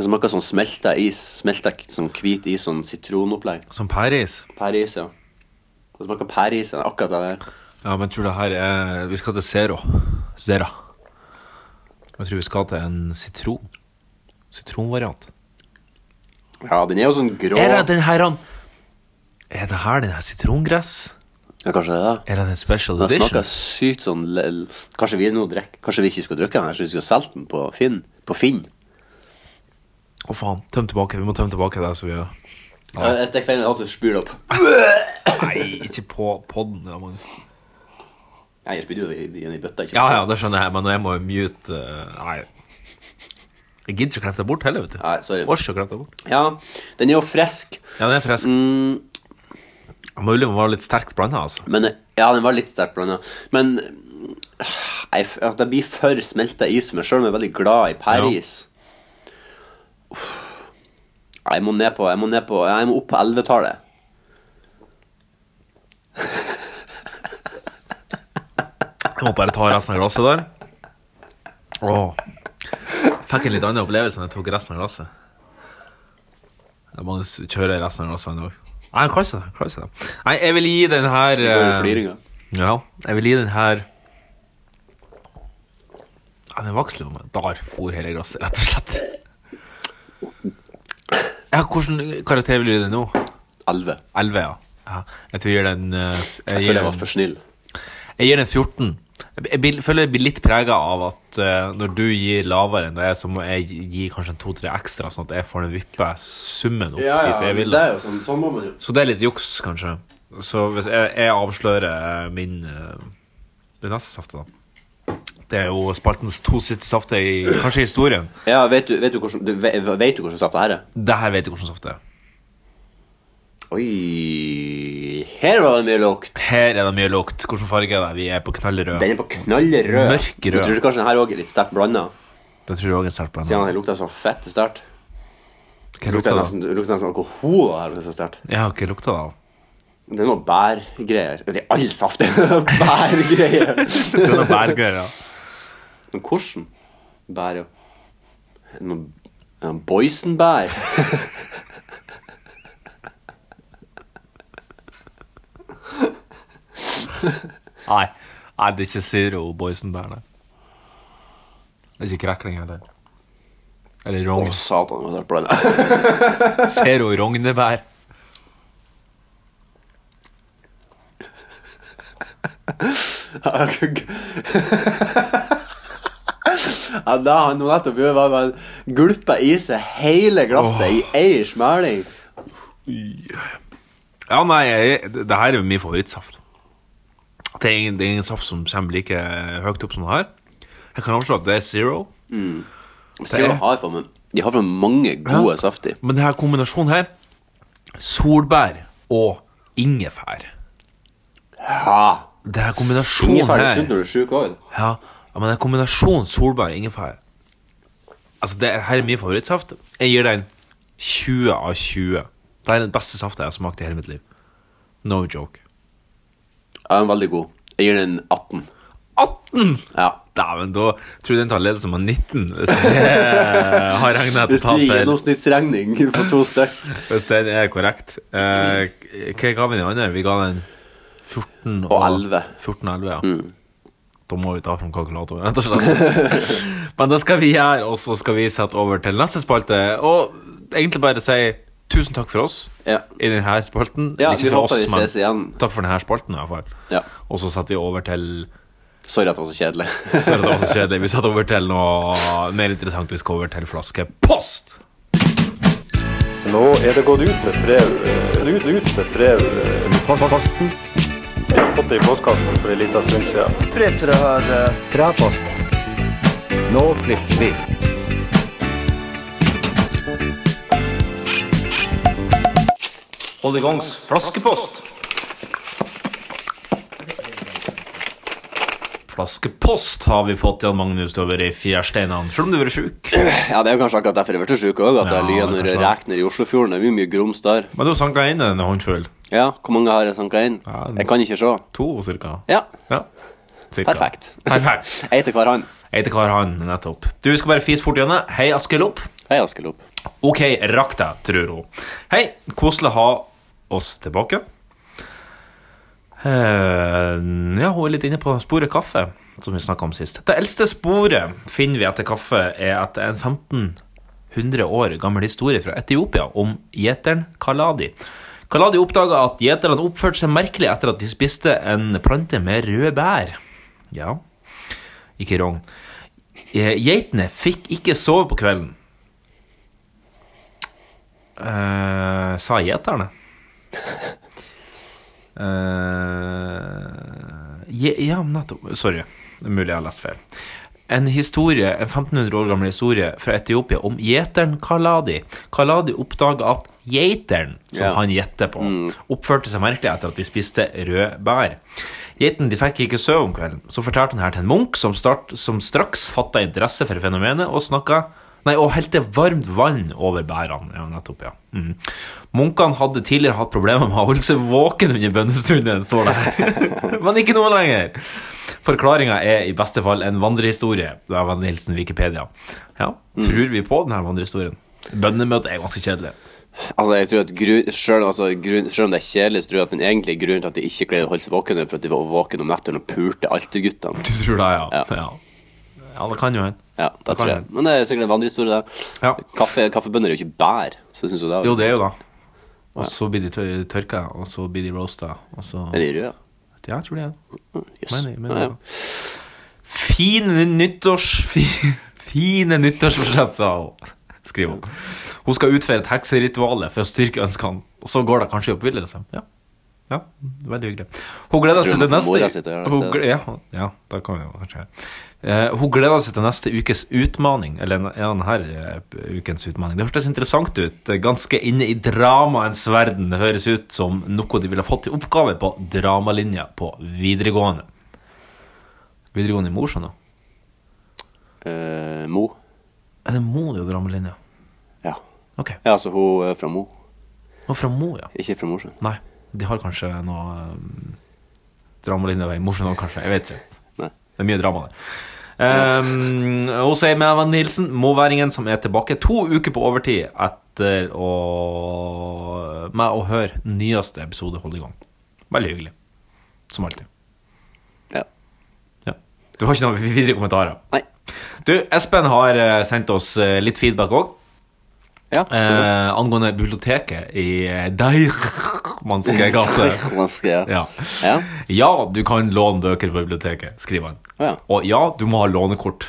[SPEAKER 3] Den smaker som smelta is. Smelta k- som hvit is, sånn sitronopplegg.
[SPEAKER 2] Som pæreis.
[SPEAKER 3] Pæreis, ja. Det smaker pæreis. ja, Akkurat det der.
[SPEAKER 2] Ja, men jeg tror det her er Vi skal til Zero. Zera. Jeg tror vi skal til en sitron. Sitronvariant.
[SPEAKER 3] Ja, den er jo sånn grå.
[SPEAKER 2] Er det den her han Er det her den her sitrongress?
[SPEAKER 3] Ja, kanskje det, er det.
[SPEAKER 2] Er det den special
[SPEAKER 3] Den smaker
[SPEAKER 2] edition?
[SPEAKER 3] sykt sånn l- l- Kanskje vi nå drikker Kanskje vi ikke skulle drikke den her, så vi skulle solgt den på Finn. På Finn.
[SPEAKER 2] Å faen, tøm tilbake. Vi må tømme tilbake det. Så vi
[SPEAKER 3] Ja. Jeg stikker fingeren i halsen og spyr det opp.
[SPEAKER 2] Nei, ikke på podden. da, Magnus.
[SPEAKER 3] Nei, jeg spyr jo i, i, i bøtta, ikke
[SPEAKER 2] Ja ja, det skjønner jeg, men jeg må jo mute eh, Nei. Jeg gidder ikke å klippe deg bort heller, vet du.
[SPEAKER 3] Nei, sorry.
[SPEAKER 2] Orker ikke å klippe deg bort.
[SPEAKER 3] Ja, den er jo frisk,
[SPEAKER 2] Ja, den er frisk. Mm. Mulig den var litt sterkt blanda, altså.
[SPEAKER 3] men Ja, den var litt sterkt blanda. Men mm, jeg, f- altså, det blir for smelta is for meg sjøl, men jeg er veldig glad i Paris. Uff. Nei, Jeg må ned på Jeg må, ned på, jeg må opp på 11-tallet.
[SPEAKER 2] Jeg må bare ta resten av glasset der. Åh. Fikk en litt annen opplevelse når jeg tok resten av glasset. Jeg må s- kjøre resten av glasset en dag. Nei, jeg klarer ikke det. jeg klarer ikke det. Nei, jeg vil gi den her
[SPEAKER 3] Det går i
[SPEAKER 2] eh,
[SPEAKER 3] fliringa.
[SPEAKER 2] Ja, jeg vil gi den her Ja, den vaksler på meg. Der for hele glasset, rett og slett. Ja, Hvilken karakter vil du gi den nå?
[SPEAKER 3] 11.
[SPEAKER 2] 11, ja. ja. Jeg tror jeg gir den eh,
[SPEAKER 3] Jeg
[SPEAKER 2] gir
[SPEAKER 3] føler jeg
[SPEAKER 2] den-
[SPEAKER 3] var for snill.
[SPEAKER 2] jeg gir den 14. Jeg blir- føler jeg blir litt prega av at eh, når du gir lavere enn det er, så må jeg gi kanskje en to-tre ekstra, sånn at jeg får den vippe summen opp dit jeg vil.
[SPEAKER 3] jo sånn. Sånn må man jo.
[SPEAKER 2] Så det er litt juks, kanskje. Så hvis jeg, jeg avslører eh, min eh, Det neste saftet, da. Det er jo spaltens to siste safter i kanskje i historien.
[SPEAKER 3] Ja, vet du, vet du hvordan du, vet, vet du hvordan saft det her er?
[SPEAKER 2] Det her vet jeg hvordan saft det er.
[SPEAKER 3] Oi Her var det mye lukt.
[SPEAKER 2] Her er det mye lukt. Hvilken farge er det? Vi er på knallrød.
[SPEAKER 3] Den er på knallrød.
[SPEAKER 2] Mørkerød.
[SPEAKER 3] Jeg tror kanskje den her også er litt sterkt blanda.
[SPEAKER 2] Det tror jeg også er sterkt blanda.
[SPEAKER 3] Siden den lukta så fett til start.
[SPEAKER 2] Hva
[SPEAKER 3] Det lukta
[SPEAKER 2] lukter det?
[SPEAKER 3] nesten, det lukta nesten alkohol av det her. så sterkt.
[SPEAKER 2] Jeg har ikke lukta det.
[SPEAKER 3] Det er noe bærgreier. Det er all saft. det er bærgreier.
[SPEAKER 2] Det er noe bærgreier, ja.
[SPEAKER 3] Men hvordan bær, ja? Noe ja, boysenbær?
[SPEAKER 2] Nei, nei det er ikke Zero Boysen-bær, nei. Det er ikke Krekling heller. Eller
[SPEAKER 3] Å,
[SPEAKER 2] Rogn.
[SPEAKER 3] satan, det var sterkt blanda.
[SPEAKER 2] Zero Rognebær.
[SPEAKER 3] Ja, det han nå nettopp gjorde, var at han gulpa i seg hele glasset i ei smæling.
[SPEAKER 2] Ja, nei, jeg, det her er jo min favorittsaft. Det er, ingen, det er ingen saft som kommer like høyt opp som det her. Jeg kan avslå at det er Zero.
[SPEAKER 3] Zero har for meg De har for meg mange gode safter.
[SPEAKER 2] Men denne kombinasjonen her Solbær og ingefær.
[SPEAKER 3] Ja.
[SPEAKER 2] Denne kombinasjonen
[SPEAKER 3] Ingefær er
[SPEAKER 2] her
[SPEAKER 3] sunt når du er sjuk òg.
[SPEAKER 2] Ja, ja, men det er kombinasjonen solbær og ingefær Altså, det her er min favorittsaft Jeg gir den 20 av 20 Det er den beste saften jeg har smakt i hele mitt liv No joke
[SPEAKER 3] Ja, den er veldig god. Jeg gir den 18.
[SPEAKER 2] 18!
[SPEAKER 3] Ja.
[SPEAKER 2] Daven, da tror jeg den tar ledelse med 19 Hvis det har regnet
[SPEAKER 3] Hvis
[SPEAKER 2] et tap
[SPEAKER 3] det er
[SPEAKER 2] her
[SPEAKER 3] gjennomsnittsregning på to stykk
[SPEAKER 2] Hvis den er korrekt eh, Hva ga vi den andre? Vi ga den 14 og,
[SPEAKER 3] Og Mm. 11.
[SPEAKER 2] 14 og 11, ja Da må vi ta frem kalkulatoren, rett og slett. Men det skal vi gjøre, og så skal vi sette over til neste spalte. Og egentlig bare si tusen takk for oss
[SPEAKER 3] Ja.
[SPEAKER 2] i denne spalten.
[SPEAKER 3] Ja,
[SPEAKER 2] Ikke
[SPEAKER 3] vi
[SPEAKER 2] for
[SPEAKER 3] håper
[SPEAKER 2] oss,
[SPEAKER 3] vi
[SPEAKER 2] men
[SPEAKER 3] ses igjen.
[SPEAKER 2] Takk for denne spalten, i hvert fall.
[SPEAKER 3] Ja.
[SPEAKER 2] Og så setter vi over til
[SPEAKER 3] Sorry at det var så kjedelig.
[SPEAKER 2] så er det også kjedelig. Vi setter over til noe mer interessant. Vi skal over til flaskepost.
[SPEAKER 7] Nå er det gått ut med brev. eh, Ut, ut med brev. eh, Jeg har fått det i postkassen for en liten stund siden.
[SPEAKER 2] Hold i gangs flaskepost. Flaskepost har vi fått Jan Magnus over i fjærsteinene, selv om du har vært sjuk.
[SPEAKER 3] Ja, Det er jo kanskje akkurat derfor jeg ble sjuk òg, at
[SPEAKER 2] Ja,
[SPEAKER 3] jeg lyver
[SPEAKER 2] det er
[SPEAKER 3] når det
[SPEAKER 2] kanskje
[SPEAKER 3] regner i Oslofjorden. Det er jo mye grums der.
[SPEAKER 2] Men du har sanka inn en håndfull.
[SPEAKER 3] Ja, hvor mange har jeg sanka inn?
[SPEAKER 2] Ja, det-
[SPEAKER 3] Jeg kan ikke se.
[SPEAKER 2] To, cirka.
[SPEAKER 3] Ja,
[SPEAKER 2] Ja. Cirka.
[SPEAKER 3] perfekt.
[SPEAKER 2] Perfekt.
[SPEAKER 3] Ei til hver hand.
[SPEAKER 2] Jeg heter Kar Han, nettopp. Du vi skal bare fise fort gjennom. Hei, Askelopp.
[SPEAKER 3] Hei, Askelopp.
[SPEAKER 2] Ok, rakk det, tror hun. Hei, koselig å ha oss tilbake. Eh, ja, hun er litt inne på sporet kaffe, som vi snakka om sist. Det eldste sporet finner vi etter kaffe, er etter en 1500 år gammel historie fra Etiopia om gjeteren Kaladi. Kaladi oppdaga at gjeterne oppførte seg merkelig etter at de spiste en plante med røde bær. Ja, ikke wrong. Eh, Geitene fikk ikke sove på kvelden. Eh, sa gjeterne. Eh, je, ja, nettopp. Sorry. Det er mulig jeg har lest feil. En historie, en 1500 år gammel historie fra Etiopia om gjeteren Kaladi. Kaladi oppdaga at geiteren, som
[SPEAKER 3] Ja.
[SPEAKER 2] han gjetter på, oppførte seg merkelig etter at de spiste røde bær. Geiten de fikk ikke sove om kvelden, så fortalte han her til en munk som, start, som straks fatta interesse for fenomenet og snakka Nei, og helte varmt vann over bærene. Ja, nettopp, ja. Mm. Munkene hadde tidligere hatt problemer med å holde seg våken under bønnestunden, står det her. Men ikke nå lenger. Forklaringa er i beste fall en vandrehistorie. Det er vel hilsen Wikipedia. Ja,
[SPEAKER 3] Mm.
[SPEAKER 2] tror vi på denne vandrehistorien? Bønnemøte er ganske kjedelig.
[SPEAKER 3] Altså, jeg tror at grunn, selv, altså, grunn, selv om det er kjedelig, så tror jeg at den egentlige grunnen til at de ikke greide å holde seg våkne, er for at de var våkne om nettene og pulte alterguttene.
[SPEAKER 2] Du tror det, ja.
[SPEAKER 3] Ja.
[SPEAKER 2] Ja, ja det kan jo hende.
[SPEAKER 3] Ja,
[SPEAKER 2] Det
[SPEAKER 3] det
[SPEAKER 2] kan
[SPEAKER 3] tror jeg.
[SPEAKER 2] hende.
[SPEAKER 3] Men det er sikkert en vandrehistorie, det.
[SPEAKER 2] Ja.
[SPEAKER 3] Kaffe, kaffebønner er jo ikke bær, så jeg syns jo det.
[SPEAKER 2] Jo, det er jo da. Og så blir de tør- tørka, og så blir de roasta, og så
[SPEAKER 3] Er de røde?
[SPEAKER 2] Ja, jeg tror det. er det.
[SPEAKER 3] Jøss.
[SPEAKER 2] Mener, jeg, mener
[SPEAKER 3] Ja,
[SPEAKER 2] jeg
[SPEAKER 3] ja.
[SPEAKER 2] da. Fine nyttårs... fi- Fine nyttårsforsett, sa hun. Skriver hun. Hun skal utføre et hekseritual for å styrke ønskene. Og så går det kanskje i oppfyllelse. Ja. ja. Veldig hyggelig. Hun gleder
[SPEAKER 3] Jeg
[SPEAKER 2] seg
[SPEAKER 3] tror
[SPEAKER 2] til
[SPEAKER 3] hun får mora altså. si
[SPEAKER 2] neste
[SPEAKER 3] til å gjøre det
[SPEAKER 2] hun,
[SPEAKER 3] i
[SPEAKER 2] gle- ja, ja, da kan vi jo kanskje Eh, Hun gleder seg til neste ukes utmaning. Eller en- ja, denne eh, ukens utmaning. Det hørtes interessant ut. eh, Ganske inne i dramaens verden. Det høres ut som noe de ville fått i oppgave på dramalinja på videregående. Videregående i Mosjøen, da?
[SPEAKER 3] Eh, Mo.
[SPEAKER 2] Er det Mo det er dramalinja?
[SPEAKER 3] Ja.
[SPEAKER 2] Ok.
[SPEAKER 3] ja, altså hun er fra Mo,
[SPEAKER 2] Og fra Mo, ja.
[SPEAKER 3] ikke fra Mosjøen.
[SPEAKER 2] Nei, de har kanskje noe um, dramalinje i Mosjøen òg, kanskje. Jeg vet ikke.
[SPEAKER 3] Nei.
[SPEAKER 2] Det er mye drama der. Um, og så er jeg med Van Nilsen, moværingen som er tilbake to uker på overtid etter å meg å høre nyeste episode holde i gang. Veldig hyggelig. Som alltid.
[SPEAKER 3] Ja.
[SPEAKER 2] Ja. Du har ikke noen videre kommentarer?
[SPEAKER 3] Nei.
[SPEAKER 2] Du, Espen har eh, sendt oss eh, litt feedback òg.
[SPEAKER 3] Ja,
[SPEAKER 2] Eh,
[SPEAKER 3] så
[SPEAKER 2] angående biblioteket i eh, Deichmanske gate.
[SPEAKER 3] bra. Ganske, ja.
[SPEAKER 2] Ja.
[SPEAKER 3] Ja.
[SPEAKER 2] ja, du kan låne bøker på biblioteket, skriver han.
[SPEAKER 3] Å ja.
[SPEAKER 2] Og ja, du må ha lånekort.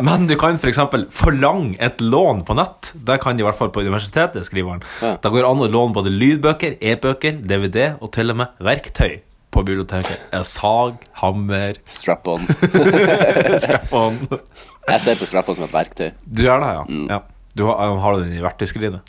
[SPEAKER 2] Men du kan f.eks. eksempel forlange et lån på nett. Det kan de i hvert fall på universitetet, skriver han.
[SPEAKER 3] Ja.
[SPEAKER 2] Det går an å låne både lydbøker, e-bøker, DVD og til og med verktøy på biblioteket. Eh, Sag, hammer,
[SPEAKER 3] Strap on.
[SPEAKER 2] strap-on.
[SPEAKER 3] Jeg ser på strap on som et verktøy.
[SPEAKER 2] Du gjør det, ja.
[SPEAKER 3] Mm.
[SPEAKER 2] ja. Du har, har du den i verktøyskrinet?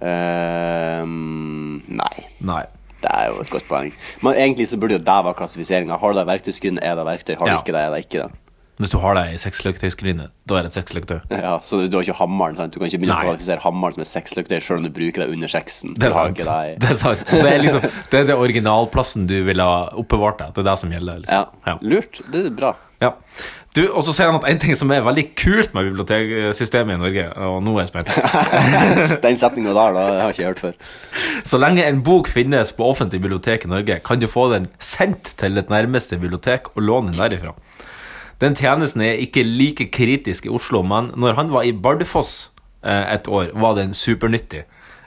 [SPEAKER 3] Eh, nei.
[SPEAKER 2] Nei.
[SPEAKER 3] Det er jo et godt poeng. Men egentlig så burde jo det være klassifiseringa. Har du det verktøyskrinet, er det verktøy. Har du
[SPEAKER 2] Ja.
[SPEAKER 3] ikke det, er det ikke det.
[SPEAKER 2] Hvis du har det i seksløktøyskrinet, da er det et seksløktøy.
[SPEAKER 3] Ja, så du har ikke hammeren, sant? Du kan ikke begynne
[SPEAKER 2] Nei.
[SPEAKER 3] å kvalifisere hammeren som et seksløktøy selv om du bruker det under sexen.
[SPEAKER 2] Det er
[SPEAKER 3] Du har jo
[SPEAKER 2] sant.
[SPEAKER 3] ikke det i-
[SPEAKER 2] Det er, sant. Så det, er liksom, det er det originalplassen du ville ha oppbevart deg. Det er det som gjelder.
[SPEAKER 3] Ja.
[SPEAKER 2] Liksom. Ja.
[SPEAKER 3] Lurt. Det er bra.
[SPEAKER 2] Ja. Du, og så sier han at en ting som er veldig kult med biblioteksystemet i Norge, og nå er jeg spent
[SPEAKER 3] Den setninga der, da, det har jeg ikke hørt før.
[SPEAKER 2] Så lenge en bok finnes på offentlig bibliotek i Norge, kan du få den sendt til et nærmeste bibliotek og låne den derifra. Den tjenesten er ikke like kritisk i Oslo, men når han var i Bardufoss eh, et år, var den supernyttig.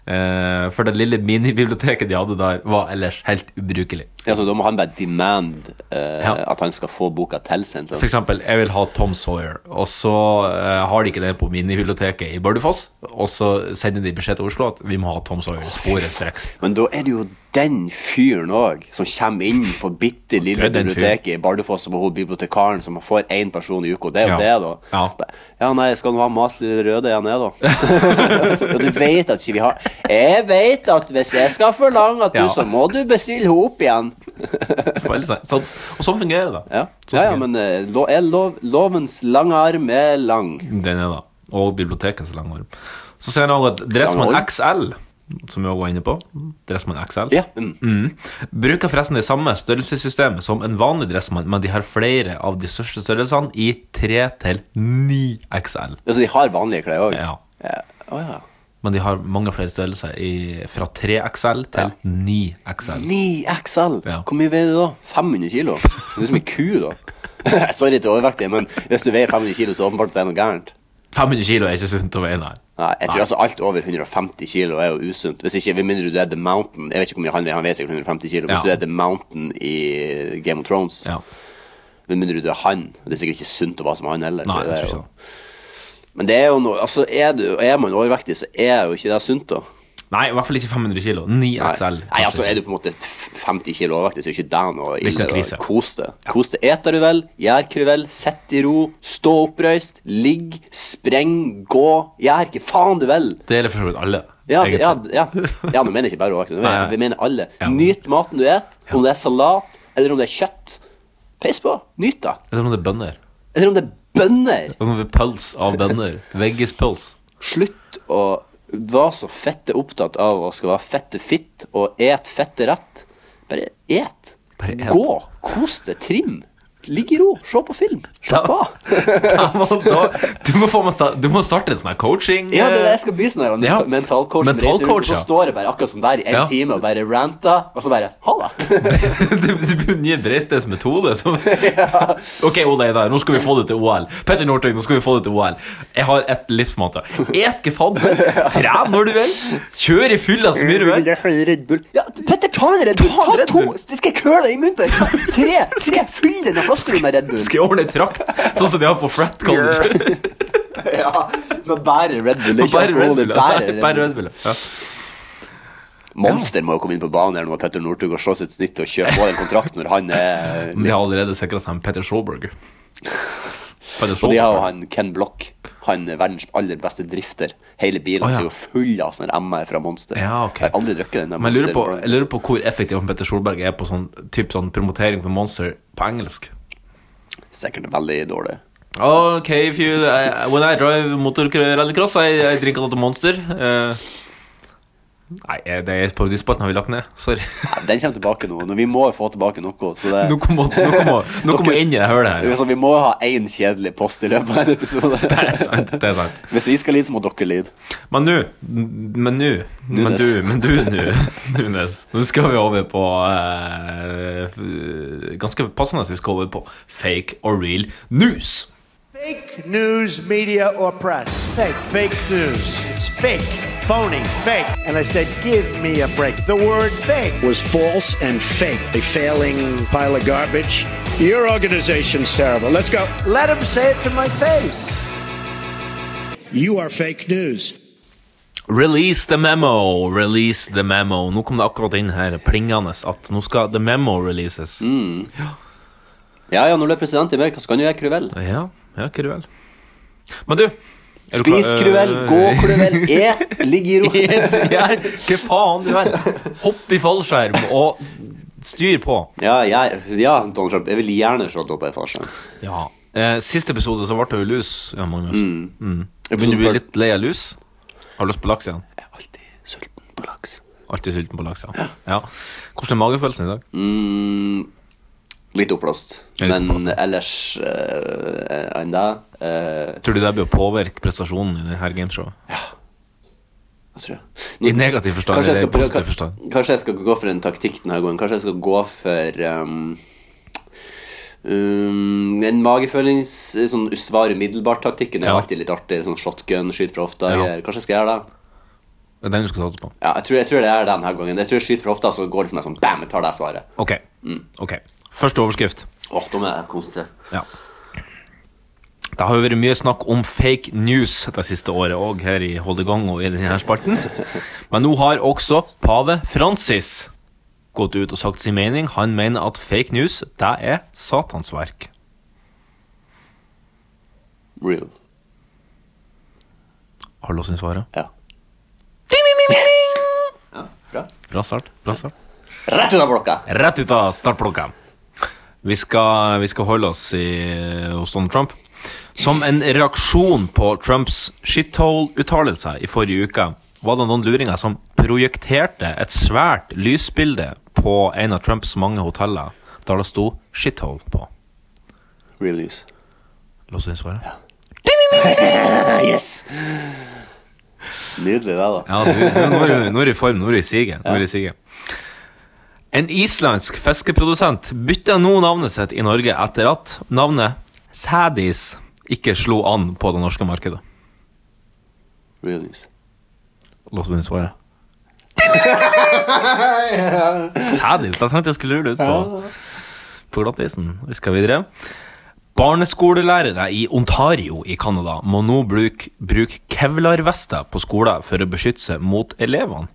[SPEAKER 2] Eh, for det lille minibiblioteket de hadde der, var ellers helt ubrukelig.
[SPEAKER 3] Ja, så da må han bare demand eh,
[SPEAKER 2] Ja.
[SPEAKER 3] at han skal få boka tilsendt.
[SPEAKER 2] For eksempel, jeg vil ha Tom Sawyer, og så eh, har de ikke den på minibiblioteket i Bardufoss, og så sender de beskjed til Oslo at vi må ha Tom Sawyer sporenstreks.
[SPEAKER 3] Men da er det jo den fyren òg som kommer inn på bitte lille
[SPEAKER 2] Det er den
[SPEAKER 3] biblioteket i Bardufoss og hun bibliotekaren som får én person i uka. Det er
[SPEAKER 2] Ja.
[SPEAKER 3] jo det, da.
[SPEAKER 2] Ja.
[SPEAKER 3] Ba- ja, nei, skal han ha mat til de røde igjen, jeg, da? Så- Og du vet at ikke vi har Jeg vet at hvis jeg skal forlange at du,
[SPEAKER 2] Ja.
[SPEAKER 3] så må du bestille henne opp igjen.
[SPEAKER 2] For ellers er- sant? Og sånn fungerer det.
[SPEAKER 3] Ja,
[SPEAKER 2] Sånn
[SPEAKER 3] ja,
[SPEAKER 2] fungerer
[SPEAKER 3] ja
[SPEAKER 2] det.
[SPEAKER 3] men eh, lo, er lov, lovens lange arm er lang.
[SPEAKER 2] Den er da. Og bibliotekets lange arm. Så ser han også at Dressmann
[SPEAKER 3] Lange arm?
[SPEAKER 2] XL, som vi også var inne på Dressmann XL
[SPEAKER 3] Ja. Mm.
[SPEAKER 2] mm, bruker forresten det samme størrelsessystemet som en vanlig dressmann, men de har flere av de største størrelsene i 3 til 9 XL.
[SPEAKER 3] Altså, de har vanlige klær òg?
[SPEAKER 2] Ja.
[SPEAKER 3] Ja. Å ja.
[SPEAKER 2] Men de har mange flere størrelser i, fra 3 XL til 9 XL.
[SPEAKER 3] 9 XL!
[SPEAKER 2] Ja.
[SPEAKER 3] Hvor mye veier du da? 500 kilo? Du er som en ku, da. Sorry til overvektige, men hvis du veier 500 kilo, så åpenbart det er noe gærent.
[SPEAKER 2] 500 kilo er ikke sunt å veie, nei.
[SPEAKER 3] Nei, jeg tror altså alt over 150 kilo er jo usunt. Hvis ikke, Med mindre du er The Mountain. Jeg vet ikke hvor mye han veier, han veier sikkert 150 kilo.
[SPEAKER 2] Ja.
[SPEAKER 3] Hvis du er The Mountain i Game of Thrones,
[SPEAKER 2] Ja.
[SPEAKER 3] med mindre du er han Det er sikkert ikke sunt å være som han heller.
[SPEAKER 2] Nei,
[SPEAKER 3] for
[SPEAKER 2] jeg
[SPEAKER 3] det er
[SPEAKER 2] tror
[SPEAKER 3] jo-
[SPEAKER 2] ikke det.
[SPEAKER 3] Men det er jo noe Altså, er, du, er man overvektig, så er jo ikke det sunt, da.
[SPEAKER 2] Nei, i hvert fall ikke 500 kilo. 9
[SPEAKER 3] Nei.
[SPEAKER 2] XL.
[SPEAKER 3] Nei, altså Er du på en måte f- 50 kilo overvektig, så er ikke det noe
[SPEAKER 2] er ikke
[SPEAKER 3] ille.
[SPEAKER 2] en
[SPEAKER 3] da.
[SPEAKER 2] krise.
[SPEAKER 3] Kos deg. Kos deg. Et du vel, gjør hva du vel, sitt i ro, stå oppreist, ligg, spreng, gå, gjør hva faen du vil.
[SPEAKER 2] Det gjelder for så vidt alle.
[SPEAKER 3] Ja, det- ja,
[SPEAKER 2] egentlig.
[SPEAKER 3] ja. ja, nå mener jeg ikke bare overvektig, nå mener
[SPEAKER 2] Nei, nei.
[SPEAKER 3] jeg- vi mener alle.
[SPEAKER 2] Ja.
[SPEAKER 3] Nyt maten du et, om det er salat eller om det er kjøtt. Peis på. Nyt det.
[SPEAKER 2] Eller om det er bønner.
[SPEAKER 3] Eller om det er bønner.
[SPEAKER 2] Eller om det er pøls av bønner. Veggispøls.
[SPEAKER 3] Slutt å være så fette opptatt av å skal være fette fitt og et fette rett. Bare et.
[SPEAKER 2] Bare et.
[SPEAKER 3] Gå. Kos deg. Trim. Ligg i ro. Se på film. Slapp
[SPEAKER 2] Ja.
[SPEAKER 3] av.
[SPEAKER 2] Ja, men da- Du må, få meg sta- du må starte en sånn her coaching
[SPEAKER 3] Ja, det er det
[SPEAKER 2] eh,
[SPEAKER 3] jeg skal bli sånn her.
[SPEAKER 2] Ja.
[SPEAKER 3] mental- Mentalcoach. som reiser rundt,
[SPEAKER 2] Mentalcoach,
[SPEAKER 3] og
[SPEAKER 2] ja.
[SPEAKER 3] Så står jeg bare akkurat sånn der i en
[SPEAKER 2] Ja.
[SPEAKER 3] time og bare ranter, og så bare ha det.
[SPEAKER 2] Det blir den nye Breisteds metode. Som... Ok, Ole Einar, nå skal vi få det til OL. Petter Northug, nå skal vi få det til OL. Jeg har et livsmantra. Et gefadde, tren når du vil, kjør i fylla så mye du vil.
[SPEAKER 3] Ja, Petter, ta en Red Bull.
[SPEAKER 2] Ta en
[SPEAKER 3] Ta
[SPEAKER 2] Red
[SPEAKER 3] to.
[SPEAKER 2] Bull.
[SPEAKER 3] Du skal køle deg i munnen på deg. Ta tre. tre. Fyll denne flasken med Red Bull.
[SPEAKER 2] Skal jeg ordne en trakt, sånn som de har på Frat College?
[SPEAKER 3] Ja, men bare Red Bull. Det er ikke
[SPEAKER 2] Bare Red
[SPEAKER 3] alkohol, det
[SPEAKER 2] Bull,
[SPEAKER 3] er
[SPEAKER 2] ja.
[SPEAKER 3] bare
[SPEAKER 2] Nei,
[SPEAKER 3] Red
[SPEAKER 2] Bare
[SPEAKER 3] Bull.
[SPEAKER 2] Red Bull. ja.
[SPEAKER 3] Monster må jo komme inn på banen her nå med Petter Northug og se sitt snitt og kjøpe på den kontrakten når han er
[SPEAKER 2] Men De har allerede sikra seg en Petter Schauberger. Petter
[SPEAKER 3] Og de har jo
[SPEAKER 2] Schauberger.
[SPEAKER 3] han Ken Block, han er verdens aller beste drifter. Hele bilen
[SPEAKER 2] Å, ja.
[SPEAKER 3] er jo full av sånne MR fra Monster.
[SPEAKER 2] Ja, ok.
[SPEAKER 3] Jeg har aldri drukket den. der
[SPEAKER 2] Men jeg lurer,
[SPEAKER 3] Monster
[SPEAKER 2] på,
[SPEAKER 3] Blonde.
[SPEAKER 2] jeg lurer på hvor effektiv han Petter Solberg er på sånn, typ sånn promotering for Monster på engelsk.
[SPEAKER 3] Sikkert veldig dårlig.
[SPEAKER 2] Okay, if you I, when I drive motorrallycross, I, I drink a lot of Monster. Eh, nei, eh, det er parodispalten har vi lagt ned. Sorry.
[SPEAKER 3] Nei, Den kommer tilbake nå. nå. Vi må jo få tilbake noe. Så det...
[SPEAKER 2] Nå kommer jeg inn i det hølet her.
[SPEAKER 3] Så sånn, vi må ha én kjedelig post i løpet av en
[SPEAKER 2] Det er
[SPEAKER 3] episode.
[SPEAKER 2] sant. det er sant
[SPEAKER 3] Hvis vi skal lide, så må dere lide.
[SPEAKER 2] Men nå Men nå Men
[SPEAKER 3] Nunes.
[SPEAKER 2] du, men du nu, Nunes. Nå skal vi over på eh, f- Ganske passende at vi skal over på fake or real news.
[SPEAKER 8] Fake news, media, or press. Fake. Fake news. It's fake. Phony. Fake. And I said, give me a break. The word fake was false and fake. A failing pile of garbage. Your organization's terrible. Let's go. Let him say it to my face. You are fake news.
[SPEAKER 2] Release the memo, release the memo. Nå kom det akkurat inn her plingende at nå skal the memo releases.
[SPEAKER 3] Ja, ja, når du er president i Amerika, så kan du gjøre hva du vil.
[SPEAKER 2] Ja, ja, Kruell. Men du er du
[SPEAKER 3] Spis
[SPEAKER 2] klar- Øh.
[SPEAKER 3] hva du vil, gå hva du vil, et, ligg i ro.
[SPEAKER 2] Ja, Hva faen du vil? Hopp i fallskjerm og styr på.
[SPEAKER 3] Ja, jeg, ja, Donald Trump, jeg vil gjerne se deg opp i farsen.
[SPEAKER 2] Ja. Eh, siste episode så ble det jo lus, ja, Magnus. Mm. Begynner du å
[SPEAKER 3] Episode
[SPEAKER 2] bli litt lei av lus? Har du lyst på laks igjen?
[SPEAKER 3] Jeg er alltid sulten på laks.
[SPEAKER 2] Alltid sulten på laks, ja. ja. Hvordan er magefølelsen i dag?
[SPEAKER 3] Mm, litt oppblåst.
[SPEAKER 2] Ja, litt
[SPEAKER 3] Men
[SPEAKER 2] oppblåst,
[SPEAKER 3] ellers eh, enn det eh,
[SPEAKER 2] Tror du det blir å påvirke prestasjonen i dette gameshowet?
[SPEAKER 3] Hva tror jeg?
[SPEAKER 2] I negativ forstand
[SPEAKER 3] Kanskje jeg,
[SPEAKER 2] eller i
[SPEAKER 3] skal prøve,
[SPEAKER 2] positiv forstand?
[SPEAKER 3] kan- kanskje jeg skal gå for en taktikk denne gangen. Kanskje jeg skal gå for um, um, En magefølings... Sånn usvar umiddelbart-taktikken er
[SPEAKER 2] Ja.
[SPEAKER 3] alltid litt artig. Sånn shotgun, skyt fra hofta.
[SPEAKER 2] Ja.
[SPEAKER 3] greier. Kanskje jeg skal gjøre det.
[SPEAKER 2] Det er den du skal satse på.
[SPEAKER 3] Ja, jeg tror, jeg tror det er den her gangen. Jeg tror jeg skyter for ofte, så går det liksom en sånn bam, jeg tar det svaret.
[SPEAKER 2] Ok.
[SPEAKER 3] Mm.
[SPEAKER 2] ok. Første overskrift.
[SPEAKER 3] Åh, da må jeg konsentrere.
[SPEAKER 2] Ja. Det har jo vært mye snakk om fake news det siste året òg her i Holdegang og i denne spalten. Men nå har også pave Francis gått ut og sagt sin mening. Han mener at fake news, det er Satans verk.
[SPEAKER 3] Real.
[SPEAKER 2] Har du låst inn svaret?
[SPEAKER 3] Ja. Ja, bra.
[SPEAKER 2] Bra start. Bra start.
[SPEAKER 3] Rett ut av blokka!
[SPEAKER 2] Rett ut av startblokka. Vi skal, vi skal holde oss i, hos Donald Trump. Som en reaksjon på Trumps shithole-uttalelser i forrige uke, var det noen luringer som projekterte et svært lysbilde på en av Trumps mange hoteller der det sto 'shithole' på.
[SPEAKER 3] Real news.
[SPEAKER 2] Lås inn svaret?
[SPEAKER 3] Yes! Nydelig, det, da.
[SPEAKER 2] Ja, du, du, nå, er du, nå er du i form, nå er du i siget. Nå er du i siget. En islandsk fiskeprodusent bytta nå navnet sitt i Norge etter at navnet Sædis ikke slo an på det norske markedet.
[SPEAKER 3] Real news.
[SPEAKER 2] Låste du inn svaret? Sædis, da tenkte jeg skulle lure deg ut på, på glattisen. Vi skal videre. Barneskolelærere i Ontario i Canada må nå bruke, bruke kevlarvester på skoler for å beskytte seg mot elevene.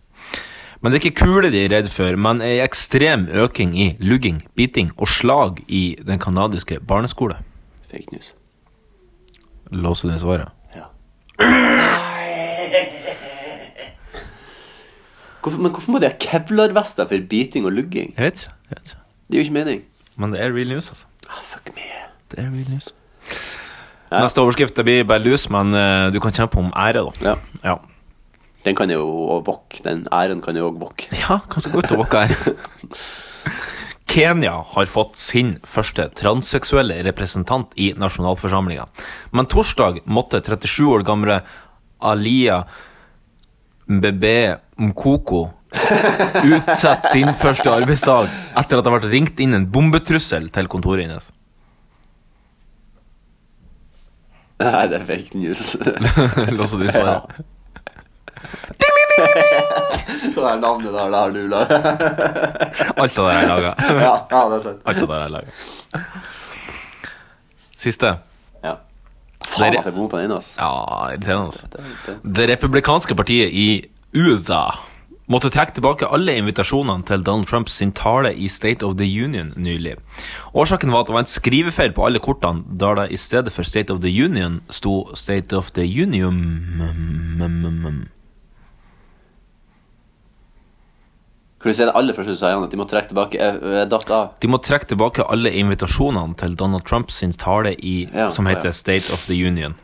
[SPEAKER 2] Men det er ikke kuler de er redd for, men en ekstrem øking i lugging, biting og slag i den kanadiske barneskole.
[SPEAKER 3] Fake news.
[SPEAKER 2] Låser det svaret?
[SPEAKER 3] Ja. Hvorfor, men hvorfor må de ha kevlarvester for biting og lugging?
[SPEAKER 2] Jeg vet, jeg vet.
[SPEAKER 3] Det gir jo ikke mening.
[SPEAKER 2] Men det er real news, altså.
[SPEAKER 3] Ah, fuck me.
[SPEAKER 2] Det er real news. Neste overskrift det blir bare lus, men eh, du kan kjempe om ære, da.
[SPEAKER 3] Ja.
[SPEAKER 2] Ja,
[SPEAKER 3] Den kan jo også vokke. Den æren kan jo òg vokke.
[SPEAKER 2] ja kanskje godt å våke her. Kenya har fått sin første transseksuelle representant i nasjonalforsamlinga. Men torsdag måtte 37 år gamle Alia Mbebe Mkoko utsette sin første arbeidsdag etter at det ble ringt inn en bombetrussel til kontoret hennes.
[SPEAKER 3] Nei, det er fake news.
[SPEAKER 2] Låser du svaret?
[SPEAKER 3] det er navnet der, det har du laga.
[SPEAKER 2] Alt av det jeg laga.
[SPEAKER 3] ja, ja, det er sant.
[SPEAKER 2] Alt av det jeg laga. Siste.
[SPEAKER 3] Ja.
[SPEAKER 2] Det
[SPEAKER 3] Faen,
[SPEAKER 2] er-
[SPEAKER 3] at jeg er god på den ene, ass.
[SPEAKER 2] Ja, irriterende. altså.
[SPEAKER 3] Det er- det-
[SPEAKER 2] Det republikanske partiet i USA måtte trekke tilbake alle invitasjonene til Donald Trumps sin tale i State of the Union nylig. Årsaken var at det var en skrivefeil på alle kortene, da det i stedet for State of the Union sto State of the Union.
[SPEAKER 3] Kan du si det aller første du sa, Jan, at de må trekke tilbake? Jeg, jeg datt av.
[SPEAKER 2] De må trekke tilbake alle invitasjonene til Donald Trumps sin tale i,
[SPEAKER 3] Ja,
[SPEAKER 2] som heter
[SPEAKER 3] ja.
[SPEAKER 2] State of the Union.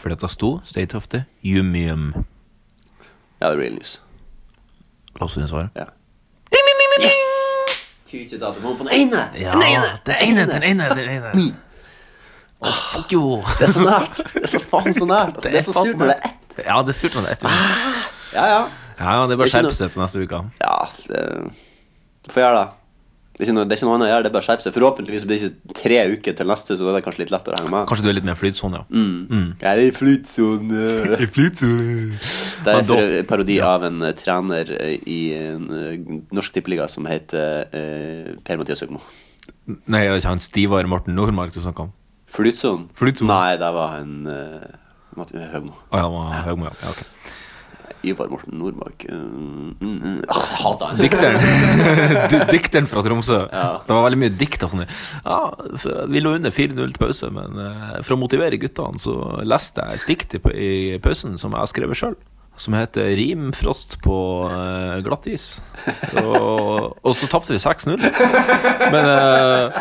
[SPEAKER 2] For dette sto State of the Union.
[SPEAKER 3] Ja, det er real news.
[SPEAKER 2] Låser du inn svaret?
[SPEAKER 3] Ja. Yes! Tyr til datomålen på den ene!
[SPEAKER 2] Ja,
[SPEAKER 3] Den ene!
[SPEAKER 2] den ene, den ene, den ene. Å, fuck jo.
[SPEAKER 3] Det er så nært. Det er så faen så nært. Altså, det, er så
[SPEAKER 2] faen
[SPEAKER 3] surt når det er ett.
[SPEAKER 2] Ja, det er surt når det er ett. Ja,
[SPEAKER 3] Ja, ja.
[SPEAKER 2] ja, det er bare å
[SPEAKER 3] Det er ikke
[SPEAKER 2] skjerpe seg til neste uke.
[SPEAKER 3] Ja, det Du får gjøre det. Det er, ikke noe, det er ikke noe annet å gjøre, det er bare å skjerpe seg. Forhåpentligvis blir det ikke tre uker til neste, så da er det kanskje litt lettere å henge med. Mm.
[SPEAKER 2] Kanskje du er litt mer flytsone, ja.
[SPEAKER 3] Jeg er i flytsone. Det
[SPEAKER 2] Men
[SPEAKER 3] er
[SPEAKER 2] da-
[SPEAKER 3] for en parodi av en eh, trener eh, i en eh, norsk tippeliga som heter eh, Per-Mathias Høgmo.
[SPEAKER 2] Nei, det er ikke han Stivar Morten Nordmark du snakker om.
[SPEAKER 3] Flytsonen?
[SPEAKER 2] Flytsonen.
[SPEAKER 3] Nei, det var en eh, Mathi- Høgmo.
[SPEAKER 2] Å ja, det var Høgmo, ja. ja ok.
[SPEAKER 3] Ivar Morten Nordmark. eh, mm, mm. Ah, jeg hater han.
[SPEAKER 2] Dikteren. Di- Dikteren fra Tromsø. Det var veldig mye dikt og sånn. Ja, f- vi lå under 4-0 til pause, men eh, for å motivere guttene, så leste jeg et dikt i, pa- i pausen som jeg har skrevet sjøl. Som heter 'Rimfrost på eh, glattis'. Og, og så tapte vi 6-0. Men eh,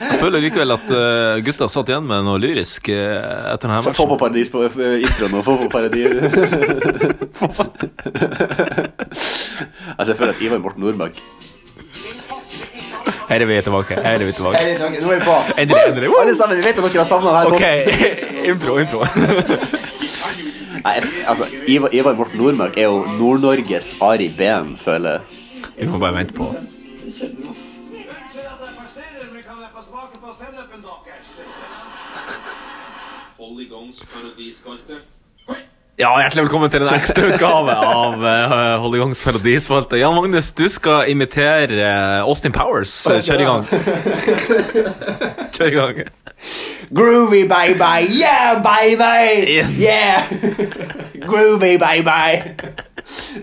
[SPEAKER 2] jeg føler likevel at eh, gutta satt igjen med noe lyrisk eh, etter denne
[SPEAKER 3] Så få på
[SPEAKER 2] matchen.
[SPEAKER 3] paradis på eh, introen og få på paradis. altså, jeg føler at Ivar Morten Nordmark
[SPEAKER 2] Her er vi tilbake. Her er vi tilbake.
[SPEAKER 3] Nå er vi på!
[SPEAKER 2] Endelig, endelig. Woo!
[SPEAKER 3] Alle sammen, vi vet at dere har savna her.
[SPEAKER 2] OK. Impro, impro.
[SPEAKER 3] Nei, altså, Ivar, Ivar Morten Nordmark er jo Nord-Norges Ari Behn, føler jeg.
[SPEAKER 2] Vi må bare vente på
[SPEAKER 9] Polygons parodispalte.
[SPEAKER 2] Ja, Hjertelig velkommen til en ekstrautgave av uh, Holdegangs melodispalte. Jan Magnus, du skal imitere eh, Austin Powers. Kjør i gang. Kjør i gang.
[SPEAKER 3] Groovy, baby! Yeah, baby! Yeah! Groovy, baby!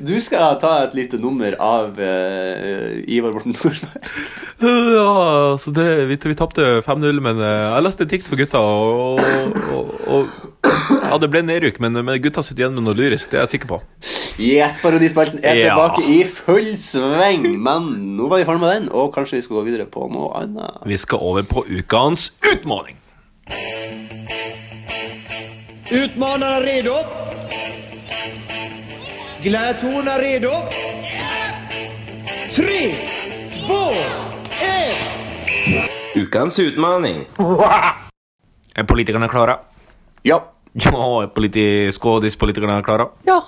[SPEAKER 3] Du skal ta et lite nummer av eh, Ivar Morten Nordberg.
[SPEAKER 2] Ja, så det, vi, vi tapte 5-0, men eh, jeg leste dikt for gutta, og, og, og, og Ja, det ble nedrykk, men, men gutta sitter igjen med noe lyrisk, det er jeg sikker på.
[SPEAKER 3] Yes, parodispalten er
[SPEAKER 2] Ja.
[SPEAKER 3] tilbake i full sving! Men nå var vi ferdig med den, og kanskje vi skal gå videre på noe annet.
[SPEAKER 2] Vi skal over på ukens utmåling.
[SPEAKER 9] Utmanarna redo? Gladiatorerna redo? Tre, två, ett!
[SPEAKER 10] Ukens utmaning.
[SPEAKER 2] Er politikerne klare?
[SPEAKER 3] Ja.
[SPEAKER 2] Ja, er politi- skådispolitikerne klare?
[SPEAKER 3] Ja,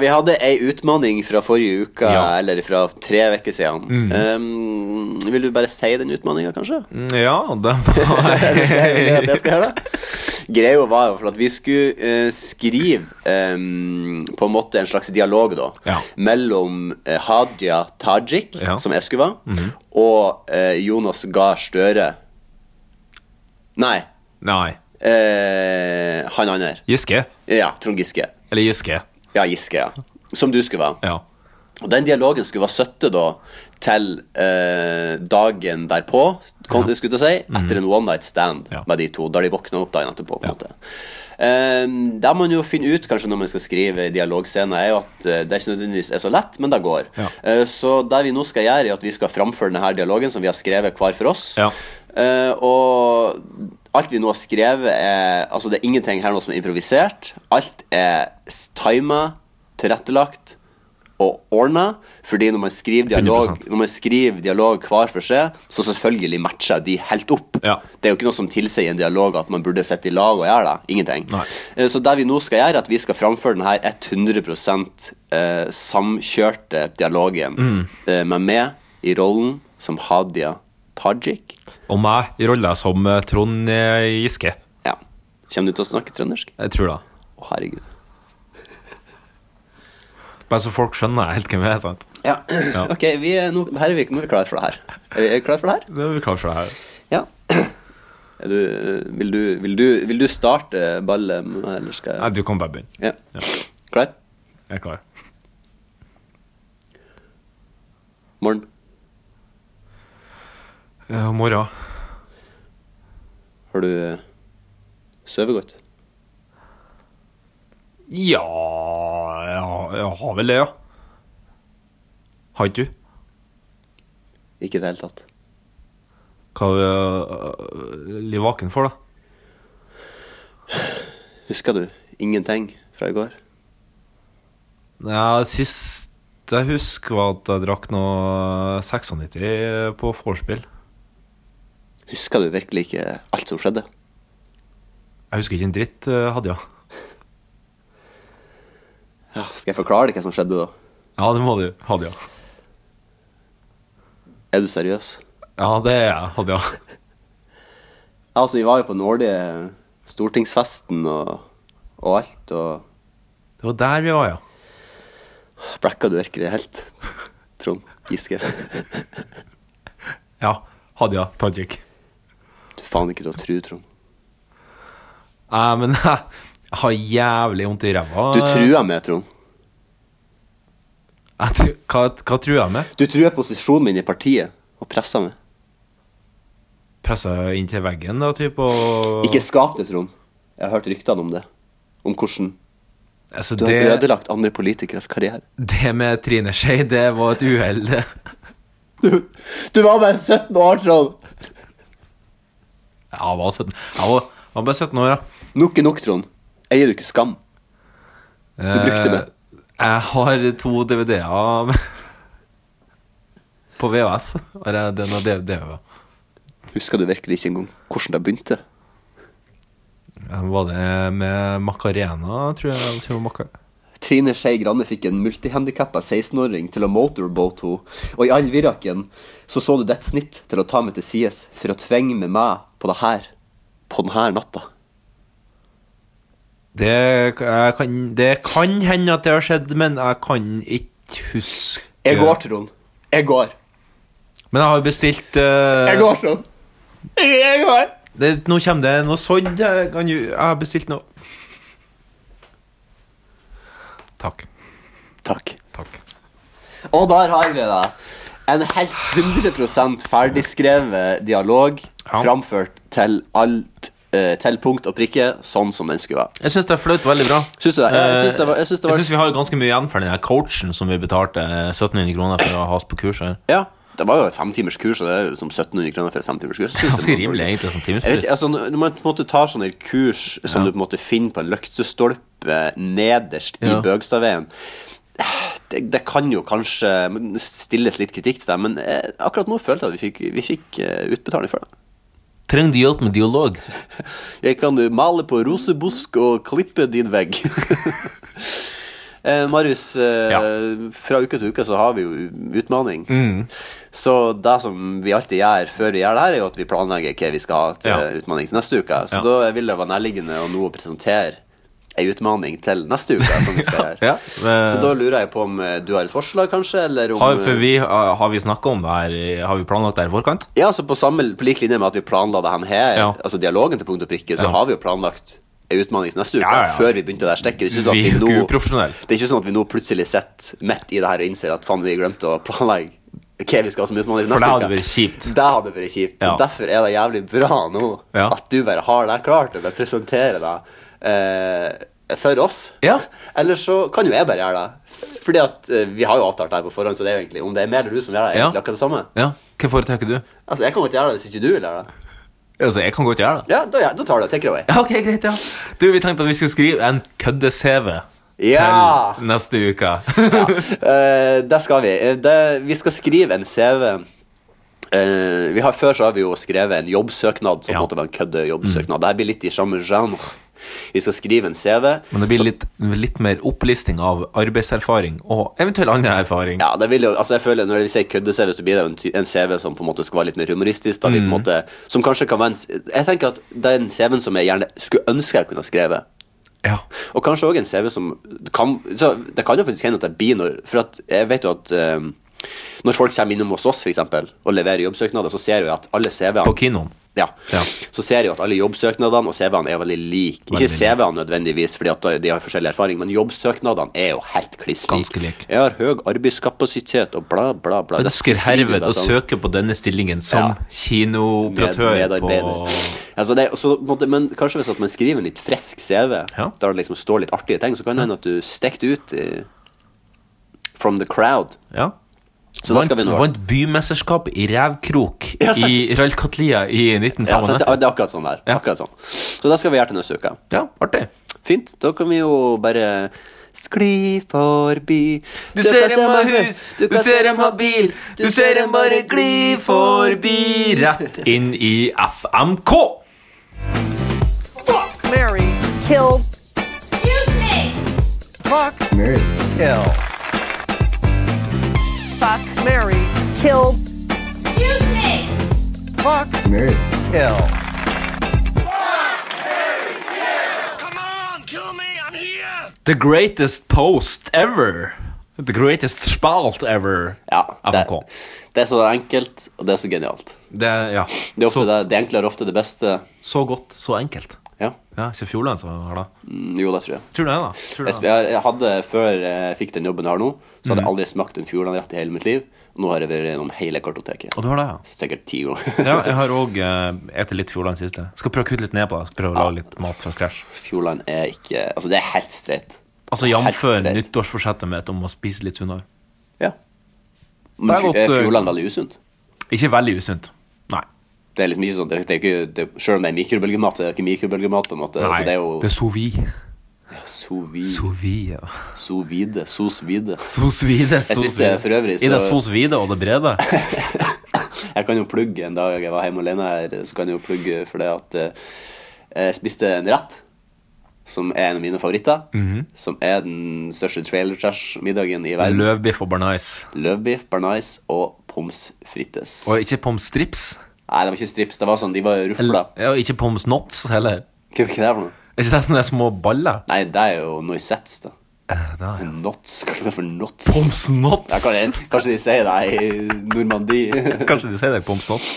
[SPEAKER 3] vi hadde ei utfordring fra forrige uke,
[SPEAKER 2] Ja. Mm.
[SPEAKER 3] eller fra tre uker siden. Um, vil du bare si den utfordringa, kanskje?
[SPEAKER 2] Mm, Ja, det var
[SPEAKER 3] det skal jeg gjøre det. Greia var jo for at vi skulle eh, skrive em, på en måte en slags dialog da,
[SPEAKER 2] Ja.
[SPEAKER 3] mellom eh, Hadia Tajik,
[SPEAKER 2] Ja.
[SPEAKER 3] som Esku var, og eh, Jonas Gahr Støre. Nei,
[SPEAKER 2] Nei.
[SPEAKER 3] eh, han andre.
[SPEAKER 2] Giske.
[SPEAKER 3] Ja, Trond Giske.
[SPEAKER 2] Eller Giske.
[SPEAKER 3] Ja, Giske, ja. Som du skulle være.
[SPEAKER 2] Ja.
[SPEAKER 3] Og den dialogen skulle være søtte da til eh, dagen derpå, kom, skulle jeg til å si, etter en one night stand
[SPEAKER 2] Mhm. Ja.
[SPEAKER 3] med de to, da de våkna opp dagen etterpå. på en måte. Eh, det man jo finner ut kanskje når man skal skrive dialogscener, er jo at eh, det ikke nødvendigvis er så lett, men det går.
[SPEAKER 2] Ja.
[SPEAKER 3] Eh, så det vi nå skal gjøre, er at vi skal framføre denne dialogen som vi har skrevet hver for oss.
[SPEAKER 2] Ja.
[SPEAKER 3] Eh, og alt vi nå har skrevet, er Altså, det er ingenting her nå som er improvisert. Alt er s- timet, tilrettelagt og ordna. Fordi når man skriver dialog,
[SPEAKER 2] 100%.
[SPEAKER 3] når man skriver dialog hver for seg, så selvfølgelig matcher de helt opp.
[SPEAKER 2] Ja.
[SPEAKER 3] Det er jo ikke noe som tilsier i en dialog at man burde sitte i lag og gjøre det. Ingenting.
[SPEAKER 2] Nei.
[SPEAKER 3] Eh, Så det vi nå skal gjøre, er at vi skal framføre den her 100 eh, samkjørte dialogen
[SPEAKER 2] Mm.
[SPEAKER 3] eh, med meg i rollen som Hadia Tajik.
[SPEAKER 2] Og meg i rolla som eh, Trond eh, Giske.
[SPEAKER 3] Ja. Kommer du til å snakke trøndersk? Å,
[SPEAKER 2] Jeg tror det.
[SPEAKER 3] herregud.
[SPEAKER 2] Bare så folk skjønner helt hvem jeg er. sant?
[SPEAKER 3] Ja. Ok, vi er nå, her er vi, nå er vi klare for det her. Er vi er vi klare for det her?
[SPEAKER 2] Det er vi klar for det her.
[SPEAKER 3] Ja. Er du, vil, du, vil, du, vil du starte ballet, med meg, eller skal
[SPEAKER 2] Nei,
[SPEAKER 3] jeg
[SPEAKER 2] du kan bare begynne.
[SPEAKER 3] ja. Klar?
[SPEAKER 2] Jeg er klar.
[SPEAKER 3] Morgen.
[SPEAKER 2] Uh, Mora.
[SPEAKER 3] Har du eh, sovet godt?
[SPEAKER 2] Ja jeg har- Jeg har vel det, ja. Har ikke du?
[SPEAKER 3] Ikke i det hele tatt.
[SPEAKER 2] Hva er du litt vaken for, da?
[SPEAKER 3] Husker du ingenting fra i går?
[SPEAKER 2] Ja, sist jeg husker, var at jeg drakk noe 96 på vorspiel.
[SPEAKER 3] Husker du virkelig ikke alt som skjedde?
[SPEAKER 2] Jeg husker ikke en dritt, eh, Hadia.
[SPEAKER 3] Ja, skal jeg forklare deg hva som skjedde da?
[SPEAKER 2] Ja, det må du. Hadia.
[SPEAKER 3] Er du seriøs?
[SPEAKER 2] Ja, det er jeg. Hadia.
[SPEAKER 3] Ja, altså, vi var jo på den årlige stortingsfesten og, og alt, og
[SPEAKER 2] Det var der vi var, ja.
[SPEAKER 3] Blacka du virkelig helt, Trond Giske?
[SPEAKER 2] Ja, Hadia Tajik.
[SPEAKER 3] Du er faen ikke til å tru, Trond.
[SPEAKER 2] Nei, Eh, men jeg har jævlig vondt i ræva.
[SPEAKER 3] Du truer meg, Trond.
[SPEAKER 2] Jeg tru- Hva, hva truer jeg med?
[SPEAKER 3] Du truer posisjonen min i partiet og presser meg.
[SPEAKER 2] Presser jeg inn til veggen, da, typ, og
[SPEAKER 3] Ikke skap det, Trond. Jeg har hørt ryktene om det. Om hvordan
[SPEAKER 2] altså,
[SPEAKER 3] du har
[SPEAKER 2] det,
[SPEAKER 3] ødelagt andre politikeres karriere.
[SPEAKER 2] det med Trine Skei, det var et uhell. det.
[SPEAKER 3] Du var bare 17 år, Trond!
[SPEAKER 2] Jeg var 17 Jeg var, jeg var bare 17 år, ja.
[SPEAKER 3] Nok er nok, Trond. Eier du ikke skam? Du brukte det.
[SPEAKER 2] Eh, Jeg har to DVD-er med- på VHS. Har jeg den og DVD-er?
[SPEAKER 3] Husker du virkelig ikke engang hvordan det begynte?
[SPEAKER 2] Eh, Var det med Macarena, tror jeg? jeg tror det var Maca-
[SPEAKER 3] Trine Skei Grande fikk en multihandikappa 16-åring til å motorboat henne, og i all viraken så så du ditt snitt til å ta meg til sides for å tvinge med meg på det her, på den her natta.
[SPEAKER 2] Det, jeg kan, det kan hende at det har skjedd, men jeg kan ikke huske
[SPEAKER 3] Jeg går, Trond. Jeg går.
[SPEAKER 2] Men jeg har jo bestilt eh,
[SPEAKER 3] Jeg går, Trond. Jeg, jeg går.
[SPEAKER 2] det, Nå kommer det noe sådd. Jeg, kan jo- jeg har bestilt noe. Takk.
[SPEAKER 3] Takk.
[SPEAKER 2] Takk.
[SPEAKER 3] Og der har vi det. En helt 100 ferdigskrevet dialog framført til alt eh, til punkt og prikke, sånn som den skulle være.
[SPEAKER 2] Jeg syns det fløt veldig bra. Eh,
[SPEAKER 3] Syns du det? Jeg syns det var, jeg syns det
[SPEAKER 2] Jeg
[SPEAKER 3] var
[SPEAKER 2] synes vi har ganske mye igjen for den her coachen som vi betalte eh, 1700 kroner for å ha oss på kurs her.
[SPEAKER 3] Ja. Det var jo et femtimers kurs, og det er jo som 1700 kroner for et femtimers kurs. Jeg synes
[SPEAKER 2] Ganske
[SPEAKER 3] det var-
[SPEAKER 2] rimelig, egentlig, som
[SPEAKER 3] Jeg vet,
[SPEAKER 2] timespris.
[SPEAKER 3] ikke, altså, når man på en måte tar sånne kurs som du på en måte finner på en løktestolpe nederst i
[SPEAKER 2] Ja.
[SPEAKER 3] Bøgstadveien det, det kan jo kanskje stilles litt kritikk til deg, men eh, akkurat nå følte jeg at vi fikk, vi fikk eh, utbetaling for det.
[SPEAKER 2] Trenger du hjelp med dialog?
[SPEAKER 3] Jeg kan eh, male på rosebusk og klippe din vegg. Eh, Marius, eh, fra uke til uke så har vi jo utmaning.
[SPEAKER 2] Mm.
[SPEAKER 3] Så det som vi alltid gjør før vi gjør det her, er jo at vi planlegger hva vi skal ha til
[SPEAKER 2] Ja.
[SPEAKER 3] utmaning til neste uke. Så
[SPEAKER 2] Ja.
[SPEAKER 3] da vil det være nærliggende å nå presentere ei utmaning til neste uke. som vi skal gjøre.
[SPEAKER 2] Ja, men-
[SPEAKER 3] Så da lurer jeg på om eh, du har et forslag, kanskje? Eller om,
[SPEAKER 2] Har, for vi, eh, har vi snakka om det her? i- Har vi planlagt det her i forkant?
[SPEAKER 3] Ja, så på, samme, på lik linje med at vi planla det her,
[SPEAKER 2] Ja.
[SPEAKER 3] altså dialogen til punkt og prikke, så
[SPEAKER 2] Ja.
[SPEAKER 3] har vi jo planlagt ei utmaning til neste uke,
[SPEAKER 2] Ja, ja, ja.
[SPEAKER 3] før vi begynte det her stikket. Det er ikke
[SPEAKER 2] Vi
[SPEAKER 3] sånn at
[SPEAKER 2] er jo ikke
[SPEAKER 3] vi nå-
[SPEAKER 2] uprofesjonelle.
[SPEAKER 3] Det er ikke sånn at vi nå plutselig sitter midt i det her og innser at faen, vi glemte å planlegge hva vi skal ha som utfordring
[SPEAKER 2] For
[SPEAKER 3] neste
[SPEAKER 2] det
[SPEAKER 3] uke.
[SPEAKER 2] hadde vært kjipt.
[SPEAKER 3] Det hadde vært kjipt. Så
[SPEAKER 2] Ja.
[SPEAKER 3] Derfor er det jævlig bra nå
[SPEAKER 2] Ja.
[SPEAKER 3] at du bare har det klart og bare presenterer det eh, for oss.
[SPEAKER 2] Ja.
[SPEAKER 3] Eller så kan jo jeg bare gjøre det. Fordi at eh, vi har jo avtalt det her på forhånd, så det er jo egentlig om det er meg eller du som gjør det, er
[SPEAKER 2] Ja.
[SPEAKER 3] egentlig akkurat det samme.
[SPEAKER 2] Ja. Hva foretrekker du?
[SPEAKER 3] Altså, jeg kommer til å gjøre det hvis ikke du vil gjøre det.
[SPEAKER 2] Altså, jeg kan godt gjøre det.
[SPEAKER 3] Ja, da, gjør- da tar du det. Take it away.
[SPEAKER 2] Ja, ok, greit, ja. Du, vi tenkte at vi skulle skrive en kødde-CV
[SPEAKER 3] Ja!
[SPEAKER 2] til neste uke.
[SPEAKER 3] Eh, det skal vi. Eh, Det, vi skal skrive en CV. Eh, vi har, før så har vi jo skrevet en jobbsøknad, som
[SPEAKER 2] Ja. Mm.
[SPEAKER 3] på en måte var en kødde jobbsøknad. Det her blir litt i samme genre. Vi skal skrive en CV.
[SPEAKER 2] Men det blir litt, litt mer opplisting av arbeidserfaring og eventuell annen erfaring.
[SPEAKER 3] Ja, det vil jo, altså jeg føler Når vi sier kødde-CV, så blir det jo en, ty- en CV som på en måte skal være litt mer humoristisk. Da vi på
[SPEAKER 2] Mm.
[SPEAKER 3] en måte, som kanskje kan være en, s- Jeg tenker at den CV-en som jeg gjerne skulle ønske jeg kunne ha skrevet,
[SPEAKER 2] Ja.
[SPEAKER 3] Og kanskje òg en CV som kan, så Det kan jo faktisk hende at det blir når For at jeg vet jo at eh, når folk kommer innom hos oss for eksempel, og leverer jobbsøknader, så ser jeg jo at alle CV-ene
[SPEAKER 2] På kinoen.
[SPEAKER 3] ja.
[SPEAKER 2] Ja.
[SPEAKER 3] Så ser jeg jo at alle jobbsøknadene og CV-ene er veldig like.
[SPEAKER 2] Veldig
[SPEAKER 3] Ikke CV-ene nødvendigvis, fordi at de har forskjellig erfaring, men jobbsøknadene er jo helt kliss
[SPEAKER 2] Ganske like.
[SPEAKER 3] Jeg har høy arbeidskapasitet og bla, bla, bla. Det
[SPEAKER 2] Ønsker
[SPEAKER 3] skriver jeg
[SPEAKER 2] herved å
[SPEAKER 3] sånn.
[SPEAKER 2] søke på denne stillingen som kinooperatør på
[SPEAKER 3] Altså det, så, på en måte, men kanskje hvis at man skriver en litt frisk CV,
[SPEAKER 2] Ja.
[SPEAKER 3] der det liksom står litt artige ting, så kan det hende at du stikker det ut i, from the crowd.
[SPEAKER 2] Ja.
[SPEAKER 3] Så da
[SPEAKER 2] vant,
[SPEAKER 3] skal vi nå.
[SPEAKER 2] vant bymesterskapet i revkrok
[SPEAKER 3] Ja, sant.
[SPEAKER 2] i Rallkatlia i
[SPEAKER 3] Ja, så det,
[SPEAKER 2] 1995.
[SPEAKER 3] det er akkurat sånn der.
[SPEAKER 2] Ja.
[SPEAKER 3] Akkurat sånn. Så det skal vi gjøre til neste uke.
[SPEAKER 2] Ja, artig.
[SPEAKER 3] Fint. Da kan vi jo bare skli forbi.
[SPEAKER 2] Du ser
[SPEAKER 3] kan
[SPEAKER 2] en
[SPEAKER 3] meg
[SPEAKER 2] av hus,
[SPEAKER 3] hø-
[SPEAKER 2] du
[SPEAKER 3] kan se
[SPEAKER 2] ser en
[SPEAKER 3] meg
[SPEAKER 2] av bil, du ser en bare gli forbi rett inn i FMK. The greatest post ever. The greatest spalt ever.
[SPEAKER 3] Ja, det,
[SPEAKER 2] FMK.
[SPEAKER 3] det er så enkelt, og det er så genialt.
[SPEAKER 2] Det, ja.
[SPEAKER 3] Det er ofte
[SPEAKER 2] så,
[SPEAKER 3] det, det enkle er ofte det beste.
[SPEAKER 2] så godt, så enkelt.
[SPEAKER 3] Ja.
[SPEAKER 2] Ja, ikke Fjordland som har det.
[SPEAKER 3] Mm, Jo, det tror jeg.
[SPEAKER 2] Tror du det, da? Tror du
[SPEAKER 3] Jeg,
[SPEAKER 2] det?
[SPEAKER 3] jeg, jeg hadde, Før jeg fikk den jobben jeg har nå,
[SPEAKER 2] Mm.
[SPEAKER 3] så hadde jeg aldri smakt en Fjordland-rett i hele mitt liv. Og nå har jeg vært gjennom hele kartoteket.
[SPEAKER 2] Og du har det, ja?
[SPEAKER 3] Sikkert ti år.
[SPEAKER 2] Ja, jeg har òg spist litt Fjordland siste. Skal prøve å kutte litt ned på det. Skal prøve å lage litt mat fra scratch.
[SPEAKER 3] Fjordland er ikke Altså, det er helt streit.
[SPEAKER 2] Altså jf.
[SPEAKER 3] Helt streit.
[SPEAKER 2] nyttårsforsettet mitt om å spise litt sunnere.
[SPEAKER 3] Ja. Men
[SPEAKER 2] Det er
[SPEAKER 3] fj-
[SPEAKER 2] godt,
[SPEAKER 3] er
[SPEAKER 2] eh,
[SPEAKER 3] Fjordland veldig usunt?
[SPEAKER 2] Ikke veldig usunt. Nei.
[SPEAKER 3] Det er liksom ikke sånn det, det er ikke, det, Selv om det er mikrobølgemat, det er ikke mikrobølgemat, på en måte. Altså, det er jo
[SPEAKER 2] det er sous vide.
[SPEAKER 3] sous vide,
[SPEAKER 2] Sous vide. ja.
[SPEAKER 3] sous vide, sous vide.
[SPEAKER 2] Sous vide. sous
[SPEAKER 3] spiste
[SPEAKER 2] vide.
[SPEAKER 3] for øvrig,
[SPEAKER 2] I det
[SPEAKER 3] så-
[SPEAKER 2] sous vide og det brede.
[SPEAKER 3] Jeg kan jo plugge en dag jeg var hjemme alene her, så kan jeg jo plugge for det at eh, jeg spiste en rett, som er en av mine favoritter,
[SPEAKER 2] Mhm.
[SPEAKER 3] som er den største trailer trash-middagen i verden.
[SPEAKER 2] Løvbiff og barnice.
[SPEAKER 3] Løvbiff, barnais og pommes frites.
[SPEAKER 2] Og ikke pommes strips.
[SPEAKER 3] Nei, det var ikke strips, det var sånn, de var rufla.
[SPEAKER 2] Ja, og ikke pommes knots heller.
[SPEAKER 3] Hva hva er det for noe?
[SPEAKER 2] Er ikke det sånne små baller?
[SPEAKER 3] Nei, det er jo noisettes, da. Knots? Hva er det for knots?
[SPEAKER 2] Poms knots?
[SPEAKER 3] Ja, kanskje, kanskje de sier det i Normandie.
[SPEAKER 2] Kanskje de sier det, Poms knots.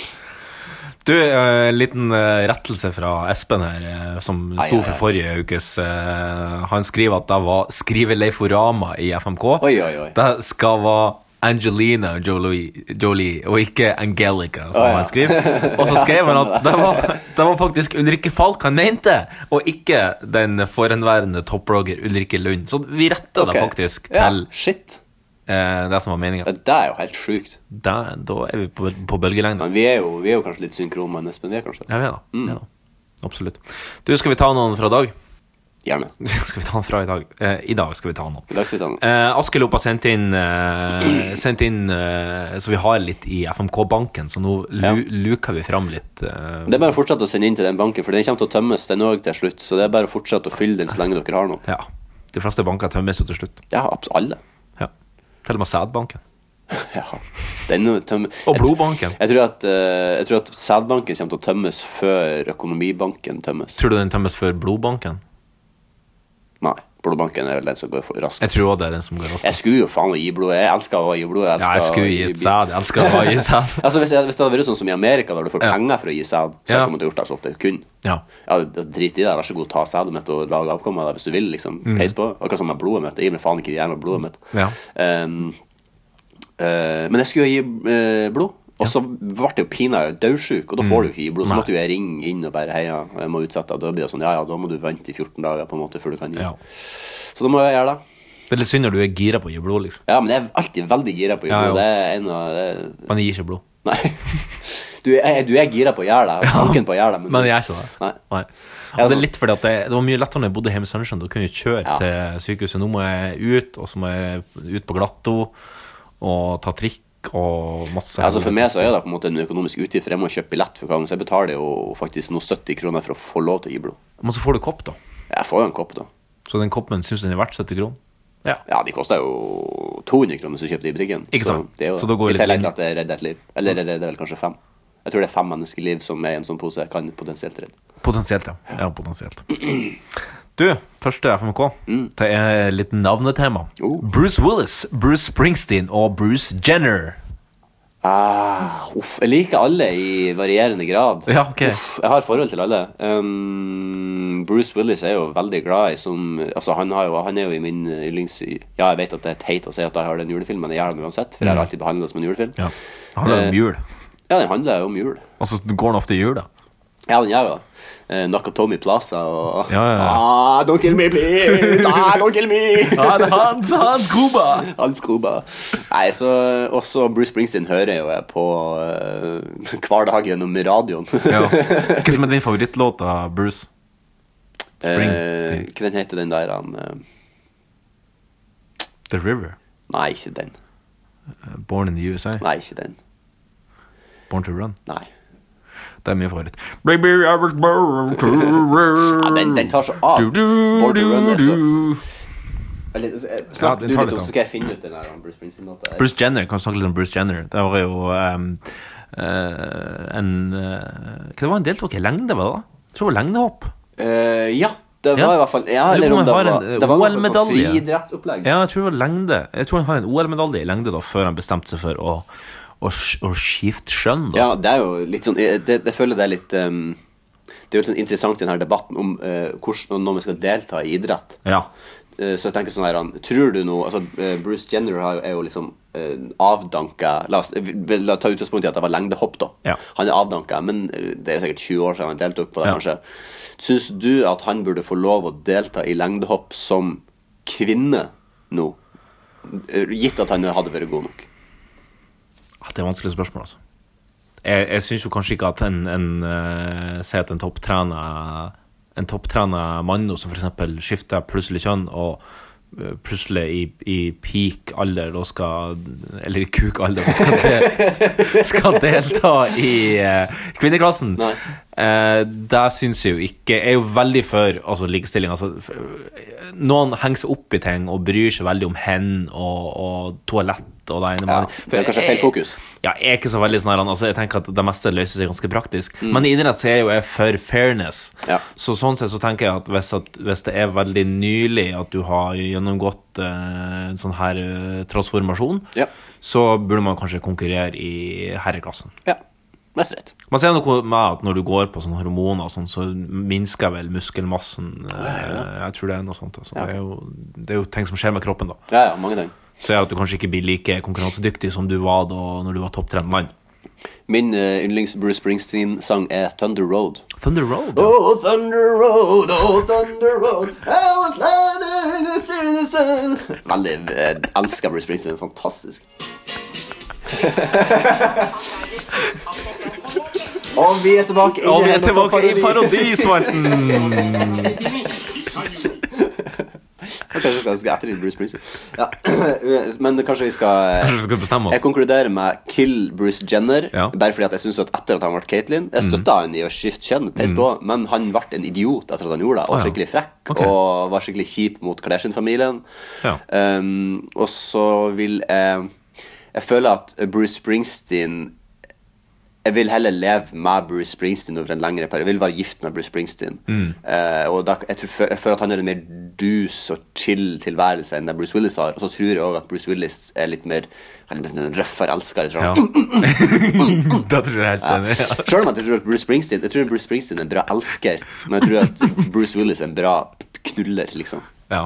[SPEAKER 2] Du, eh, en liten eh, rettelse fra Espen her, eh, som
[SPEAKER 3] Ai,
[SPEAKER 2] sto
[SPEAKER 3] ai,
[SPEAKER 2] for
[SPEAKER 3] ai.
[SPEAKER 2] forrige ukes. eh, Han skriver at det var skriveleiforama i FMK.
[SPEAKER 3] Oi, oi, oi.
[SPEAKER 2] Det skal være Angelina Jolie, Jolie og ikke Angelica, som
[SPEAKER 3] Å, ja.
[SPEAKER 2] han skriver. Og så skrev han at det var, det var faktisk Ulrikke Falk han mente, og ikke den forhenværende topplogger Ulrikke Lund. Så vi retta
[SPEAKER 3] Ok.
[SPEAKER 2] det faktisk
[SPEAKER 3] Ja,
[SPEAKER 2] til
[SPEAKER 3] shit.
[SPEAKER 2] eh, det som var meninga.
[SPEAKER 3] Ja, Det er jo helt sjukt.
[SPEAKER 2] Da, da er vi på, på bølgelengde.
[SPEAKER 3] Men vi er jo, vi er jo kanskje litt synkron med Espen. Vi er kanskje det.
[SPEAKER 2] Ja, vi er da. Vi
[SPEAKER 3] Mm.
[SPEAKER 2] er da. Absolutt. Du, skal vi ta noen fra i dag?
[SPEAKER 3] Gjerne.
[SPEAKER 2] skal vi ta noen fra i dag? Eh, I dag skal vi ta noen.
[SPEAKER 3] I dag skal vi ta noen.
[SPEAKER 2] Eh, Askelopp har sendt inn, eh, sendt inn eh, så vi har litt i FMK-banken, så nå lu luker vi fram litt. Eh,
[SPEAKER 3] Det er bare å fortsette å sende inn til den banken, for den kommer til å tømmes den òg til slutt. Så det er bare å fortsette å fylle den så lenge dere har noe.
[SPEAKER 2] ja. De fleste banker tømmes jo til slutt.
[SPEAKER 3] Ja, abs- alle.
[SPEAKER 2] Ja. Til og med sædbanken.
[SPEAKER 3] Ja. Den er jo tømme.
[SPEAKER 2] Og
[SPEAKER 3] Jeg-
[SPEAKER 2] blodbanken.
[SPEAKER 3] Jeg tror at, eh, jeg tror at sædbanken kommer til å tømmes før økonomibanken tømmes.
[SPEAKER 2] Tror du den tømmes før blodbanken?
[SPEAKER 3] Nei, blodbanken er vel den som går for raskt.
[SPEAKER 2] Jeg tror også det er den som går
[SPEAKER 3] Jeg
[SPEAKER 2] raskest.
[SPEAKER 3] skulle jo faen å gi blod. Jeg elsker å gi blod.
[SPEAKER 2] Ja, jeg
[SPEAKER 3] elsker å
[SPEAKER 2] skulle gi et
[SPEAKER 3] bi-
[SPEAKER 2] sæd. Jeg elsker å gi sæd.
[SPEAKER 3] Altså, hvis, jeg, hvis det hadde vært sånn som i Amerika, der du får
[SPEAKER 2] Ja.
[SPEAKER 3] penger for å gi sæd, så
[SPEAKER 2] Ja.
[SPEAKER 3] hadde man ikke gjort det så ofte. Kun.
[SPEAKER 2] Ja.
[SPEAKER 3] Ja, drit i det. Vær så god, ta sædet mitt og lag avkommet av det hvis du vil. liksom. Peis på. Akkurat som med blodet mitt. Jeg gir meg faen ikke i det her med blodet mitt.
[SPEAKER 2] Mm. Ja.
[SPEAKER 3] Ehm, eh, men jeg skulle jo gi eh, blod, og så ble jeg jo pinadø daudsjuk, og da
[SPEAKER 2] Mm.
[SPEAKER 3] får du jo ikke gi blod. Så måtte jo jeg ringe inn og bare heia, jeg må utsette deg. Da blir det sånn, ja ja, da må du vente i 14 dager på en måte før du kan gi.
[SPEAKER 2] Ja.
[SPEAKER 3] Så da må jeg gjøre det.
[SPEAKER 2] Det er litt synd når du er gira på å gi blod, liksom.
[SPEAKER 3] Ja, men jeg er alltid veldig gira på å gi
[SPEAKER 2] Ja,
[SPEAKER 3] blod.
[SPEAKER 2] jo.
[SPEAKER 3] Det er en av det,
[SPEAKER 2] Men jeg gir ikke blod.
[SPEAKER 3] Nei. Du er, du er gira på å gjøre det. Tanken på å gjøre det.
[SPEAKER 2] Men jeg er ikke det.
[SPEAKER 3] Nei.
[SPEAKER 2] Nei.
[SPEAKER 3] Ja,
[SPEAKER 2] Og det
[SPEAKER 3] så-
[SPEAKER 2] er litt fordi at det, det var mye lettere når jeg bodde hjemme i Sandnessjøen. Da kunne jeg kjøre
[SPEAKER 3] Ja.
[SPEAKER 2] til sykehuset. Nå må jeg ut, og så må jeg ut på Glatto og ta trikk og masse
[SPEAKER 3] Altså For meg så er det på en måte en økonomisk utgift, for jeg må kjøpe billett for hver gang. Så jeg betaler jo faktisk nå 70 kroner for å få lov til å gi blod.
[SPEAKER 2] Men så får du kopp, da.
[SPEAKER 3] Jeg får jo en kopp, da.
[SPEAKER 2] Så den koppen syns den er verdt 70 kroner. Ja.
[SPEAKER 3] Ja, de koster jo 200 kroner hvis du kjøper de i butikken.
[SPEAKER 2] Ikke sant.
[SPEAKER 3] Så det er jo
[SPEAKER 2] Så da går
[SPEAKER 3] I
[SPEAKER 2] det litt inn.
[SPEAKER 3] tillegg til at det redder et liv. Eller det redder vel kanskje fem. Jeg tror det er fem menneskeliv som er i en sånn pose, kan potensielt redde.
[SPEAKER 2] Potensielt, ja. ja potensielt. Du, første FMK. Det er litt navnetema.
[SPEAKER 3] Mm. Oh.
[SPEAKER 2] Bruce Willis, Bruce Springsteen og Bruce Jenner.
[SPEAKER 3] Ah, uff, jeg liker alle i varierende grad.
[SPEAKER 2] Ja, ok.
[SPEAKER 3] Uff, jeg har forhold til alle. Um, Bruce Willis er jo veldig glad i som Altså, han, har jo, han er jo i min eh, yndlings... Ja, jeg vet at det er teit å si at jeg har den julefilmen, men jeg gjør den uansett, for jeg har alltid behandlet det som en julefilm.
[SPEAKER 2] Mm. Ja. Det handler
[SPEAKER 3] Eh.
[SPEAKER 2] om jul.
[SPEAKER 3] Ja, den handler jo om jul.
[SPEAKER 2] Og så Altså, går han ofte i jul, da.
[SPEAKER 3] Ja, den gjør jo det. Eh, Nakatomi Plaza og
[SPEAKER 2] Ja, ja, ja.
[SPEAKER 3] Ah, don't kill me, please! Ah, don't kill me!
[SPEAKER 2] Ja, det er Hans, Hans Kuba!
[SPEAKER 3] Hans Gruber. Nei, så også Bruce Springsteen hører jo jeg på eh, hver dag gjennom radioen.
[SPEAKER 2] Ja. Hva som er din favorittlåt av Bruce?
[SPEAKER 3] Eh,
[SPEAKER 2] Springsteen.
[SPEAKER 3] Hva den heter den der han eh,
[SPEAKER 2] The River.
[SPEAKER 3] Nei, ikke den.
[SPEAKER 2] Born in the USA.
[SPEAKER 3] Nei, ikke den.
[SPEAKER 2] Born to Run.
[SPEAKER 3] Nei.
[SPEAKER 2] Det er min favoritt. Baby, I was born to run.
[SPEAKER 3] Ja, den, den tar så av.
[SPEAKER 2] Du, du,
[SPEAKER 3] Born to Run
[SPEAKER 2] du,
[SPEAKER 3] altså. er så
[SPEAKER 2] du.
[SPEAKER 3] Eller,
[SPEAKER 2] Ja,
[SPEAKER 3] eh, Snakk
[SPEAKER 2] den
[SPEAKER 3] du
[SPEAKER 2] tar
[SPEAKER 3] litt
[SPEAKER 2] litt
[SPEAKER 3] om,
[SPEAKER 2] av.
[SPEAKER 3] så skal jeg finne ut den der han Bruce Springsteen-låta.
[SPEAKER 2] Bruce Jenner, kan vi snakke litt om Bruce Jenner? Det var jo ehm, eh, en eh, Hva det var han deltok i? Lengde, var det? da? Jeg tror det var lengdehopp.
[SPEAKER 3] Eh, ja, det var
[SPEAKER 2] Ja.
[SPEAKER 3] i hvert fall Ja,
[SPEAKER 2] Jeg
[SPEAKER 3] eller
[SPEAKER 2] lurer på
[SPEAKER 3] om
[SPEAKER 2] om
[SPEAKER 3] det
[SPEAKER 2] jeg
[SPEAKER 3] var
[SPEAKER 2] har en,
[SPEAKER 3] Det var noe sånn
[SPEAKER 2] OL-medalje.
[SPEAKER 3] friidrettsopplegg.
[SPEAKER 2] Ja, jeg tror det var lengde. Jeg tror han har en OL-medalje i lengde da, før han bestemte seg for å, å, sk- å skifte skjønn. da.
[SPEAKER 3] Ja, det er jo litt sånn Jeg, det, jeg føler det er litt ehm, Det er jo litt sånn interessant i denne debatten om eh, hvordan når vi skal delta i idrett.
[SPEAKER 2] Ja.
[SPEAKER 3] Eh, så jeg tenker sånn her han, Tror du nå altså, eh, Bruce Jenner har jo- er jo liksom eh, avdanka La oss eh, vi- la oss ta utgangspunkt i at det var lengdehopp, da.
[SPEAKER 2] Ja.
[SPEAKER 3] Han er avdanka, men eh, det er sikkert 20 år siden han deltok på det,
[SPEAKER 2] Ja.
[SPEAKER 3] kanskje. Syns du at han burde få lov å delta i lengdehopp som kvinne nå? Eh, Gitt at han hadde vært god nok.
[SPEAKER 2] Ah, Det er vanskelige spørsmål, altså. Jeg, jeg syns jo kanskje ikke at en, en eh, Si at en topptrena En topptrena mann nå som f.eks. skifter plutselig kjønn og eh, plutselig i, i peak alder da skal Eller i kuk alder da skal, de, skal delta i eh, kvinneklassen.
[SPEAKER 3] Nei.
[SPEAKER 2] Eh, det syns jeg jo ikke. Jeg er jo veldig for altså, likestilling. Altså, f- noen henger seg opp i ting og bryr seg veldig om hen og, og toalett og det ene med
[SPEAKER 3] Ja,
[SPEAKER 2] det andre.
[SPEAKER 3] det er kanskje feil
[SPEAKER 2] Jeg-
[SPEAKER 3] fokus.
[SPEAKER 2] Ja, jeg er ikke så veldig sånn her, altså, Jeg tenker at det meste løser seg ganske praktisk. Men i idrett så er jeg jo jeg for fairness.
[SPEAKER 3] Mm. Ja.
[SPEAKER 2] Så sånn sett så tenker jeg at hvis, at hvis det er veldig nylig at du har gjennomgått eh, en sånn her eh, transformasjon,
[SPEAKER 3] Ja.
[SPEAKER 2] så burde man kanskje konkurrere i herreklassen.
[SPEAKER 3] Ja, mest rett.
[SPEAKER 2] Man ser noe med at når du går på sånne hormoner og sånn, så minsker vel muskelmassen. eh, Jeg tror det er noe sånt. Altså. Det, er jo, det er jo ting som skjer med kroppen, da.
[SPEAKER 3] Ja, ja, mange ting.
[SPEAKER 2] Så er det at du kanskje ikke blir like konkurransedyktig som du var da når du var topp 13 mann.
[SPEAKER 3] Min eh, yndlings Bruce Springsteen-sang er Thunder Road.
[SPEAKER 2] Thunder Road. ja.
[SPEAKER 3] Oh, Thunder Road, oh, Thunder Road I was landing in the city in the sun Veldig, jeg elsker Bruce Springsteen, fantastisk Og vi er tilbake i
[SPEAKER 2] Og vi er
[SPEAKER 3] det her med
[SPEAKER 2] tilbake i
[SPEAKER 3] parodi.
[SPEAKER 2] parodispalten!
[SPEAKER 3] Kanskje vi skal- skal etterligne Bruce Springsteen ja. Men kanskje vi skal eh,
[SPEAKER 2] Kanskje vi skal bestemme
[SPEAKER 3] Jeg
[SPEAKER 2] oss?
[SPEAKER 3] konkluderer med Kill Bruce Jenner
[SPEAKER 2] Ja. Mhm.
[SPEAKER 3] Bare fordi at jeg synes at etter at han ble Caitlyn Jeg støtta han i å skifte kjønn peis på Men han ble en idiot etter at han gjorde
[SPEAKER 2] Ah,
[SPEAKER 3] det
[SPEAKER 2] Mhm.
[SPEAKER 3] Og
[SPEAKER 2] ja.
[SPEAKER 3] skikkelig frekk
[SPEAKER 2] Ok.
[SPEAKER 3] Og var skikkelig kjip mot Kardashian-familien
[SPEAKER 2] Ja.
[SPEAKER 3] um, Og så vil jeg Jeg føler at Bruce Springsteen jeg vil heller leve med Bruce Springsteen over en lengre periode. Jeg vil være gift med Bruce Springsteen.
[SPEAKER 2] Mm.
[SPEAKER 3] Eh, og da, jeg, tror, jeg føler at han har en mer dus og chill tilværelse enn det Bruce Willis har. Og så tror jeg også at Bruce Willis er litt mer han er litt mer røffere elsker.
[SPEAKER 2] Ja.
[SPEAKER 3] Ja.
[SPEAKER 2] da tror jeg helt enig. Ja.
[SPEAKER 3] Selv om jeg tror at Bruce Springsteen Jeg tror Bruce Springsteen er en bra elsker, men jeg tror at Bruce Willis er en bra knuller, liksom.
[SPEAKER 2] Ja.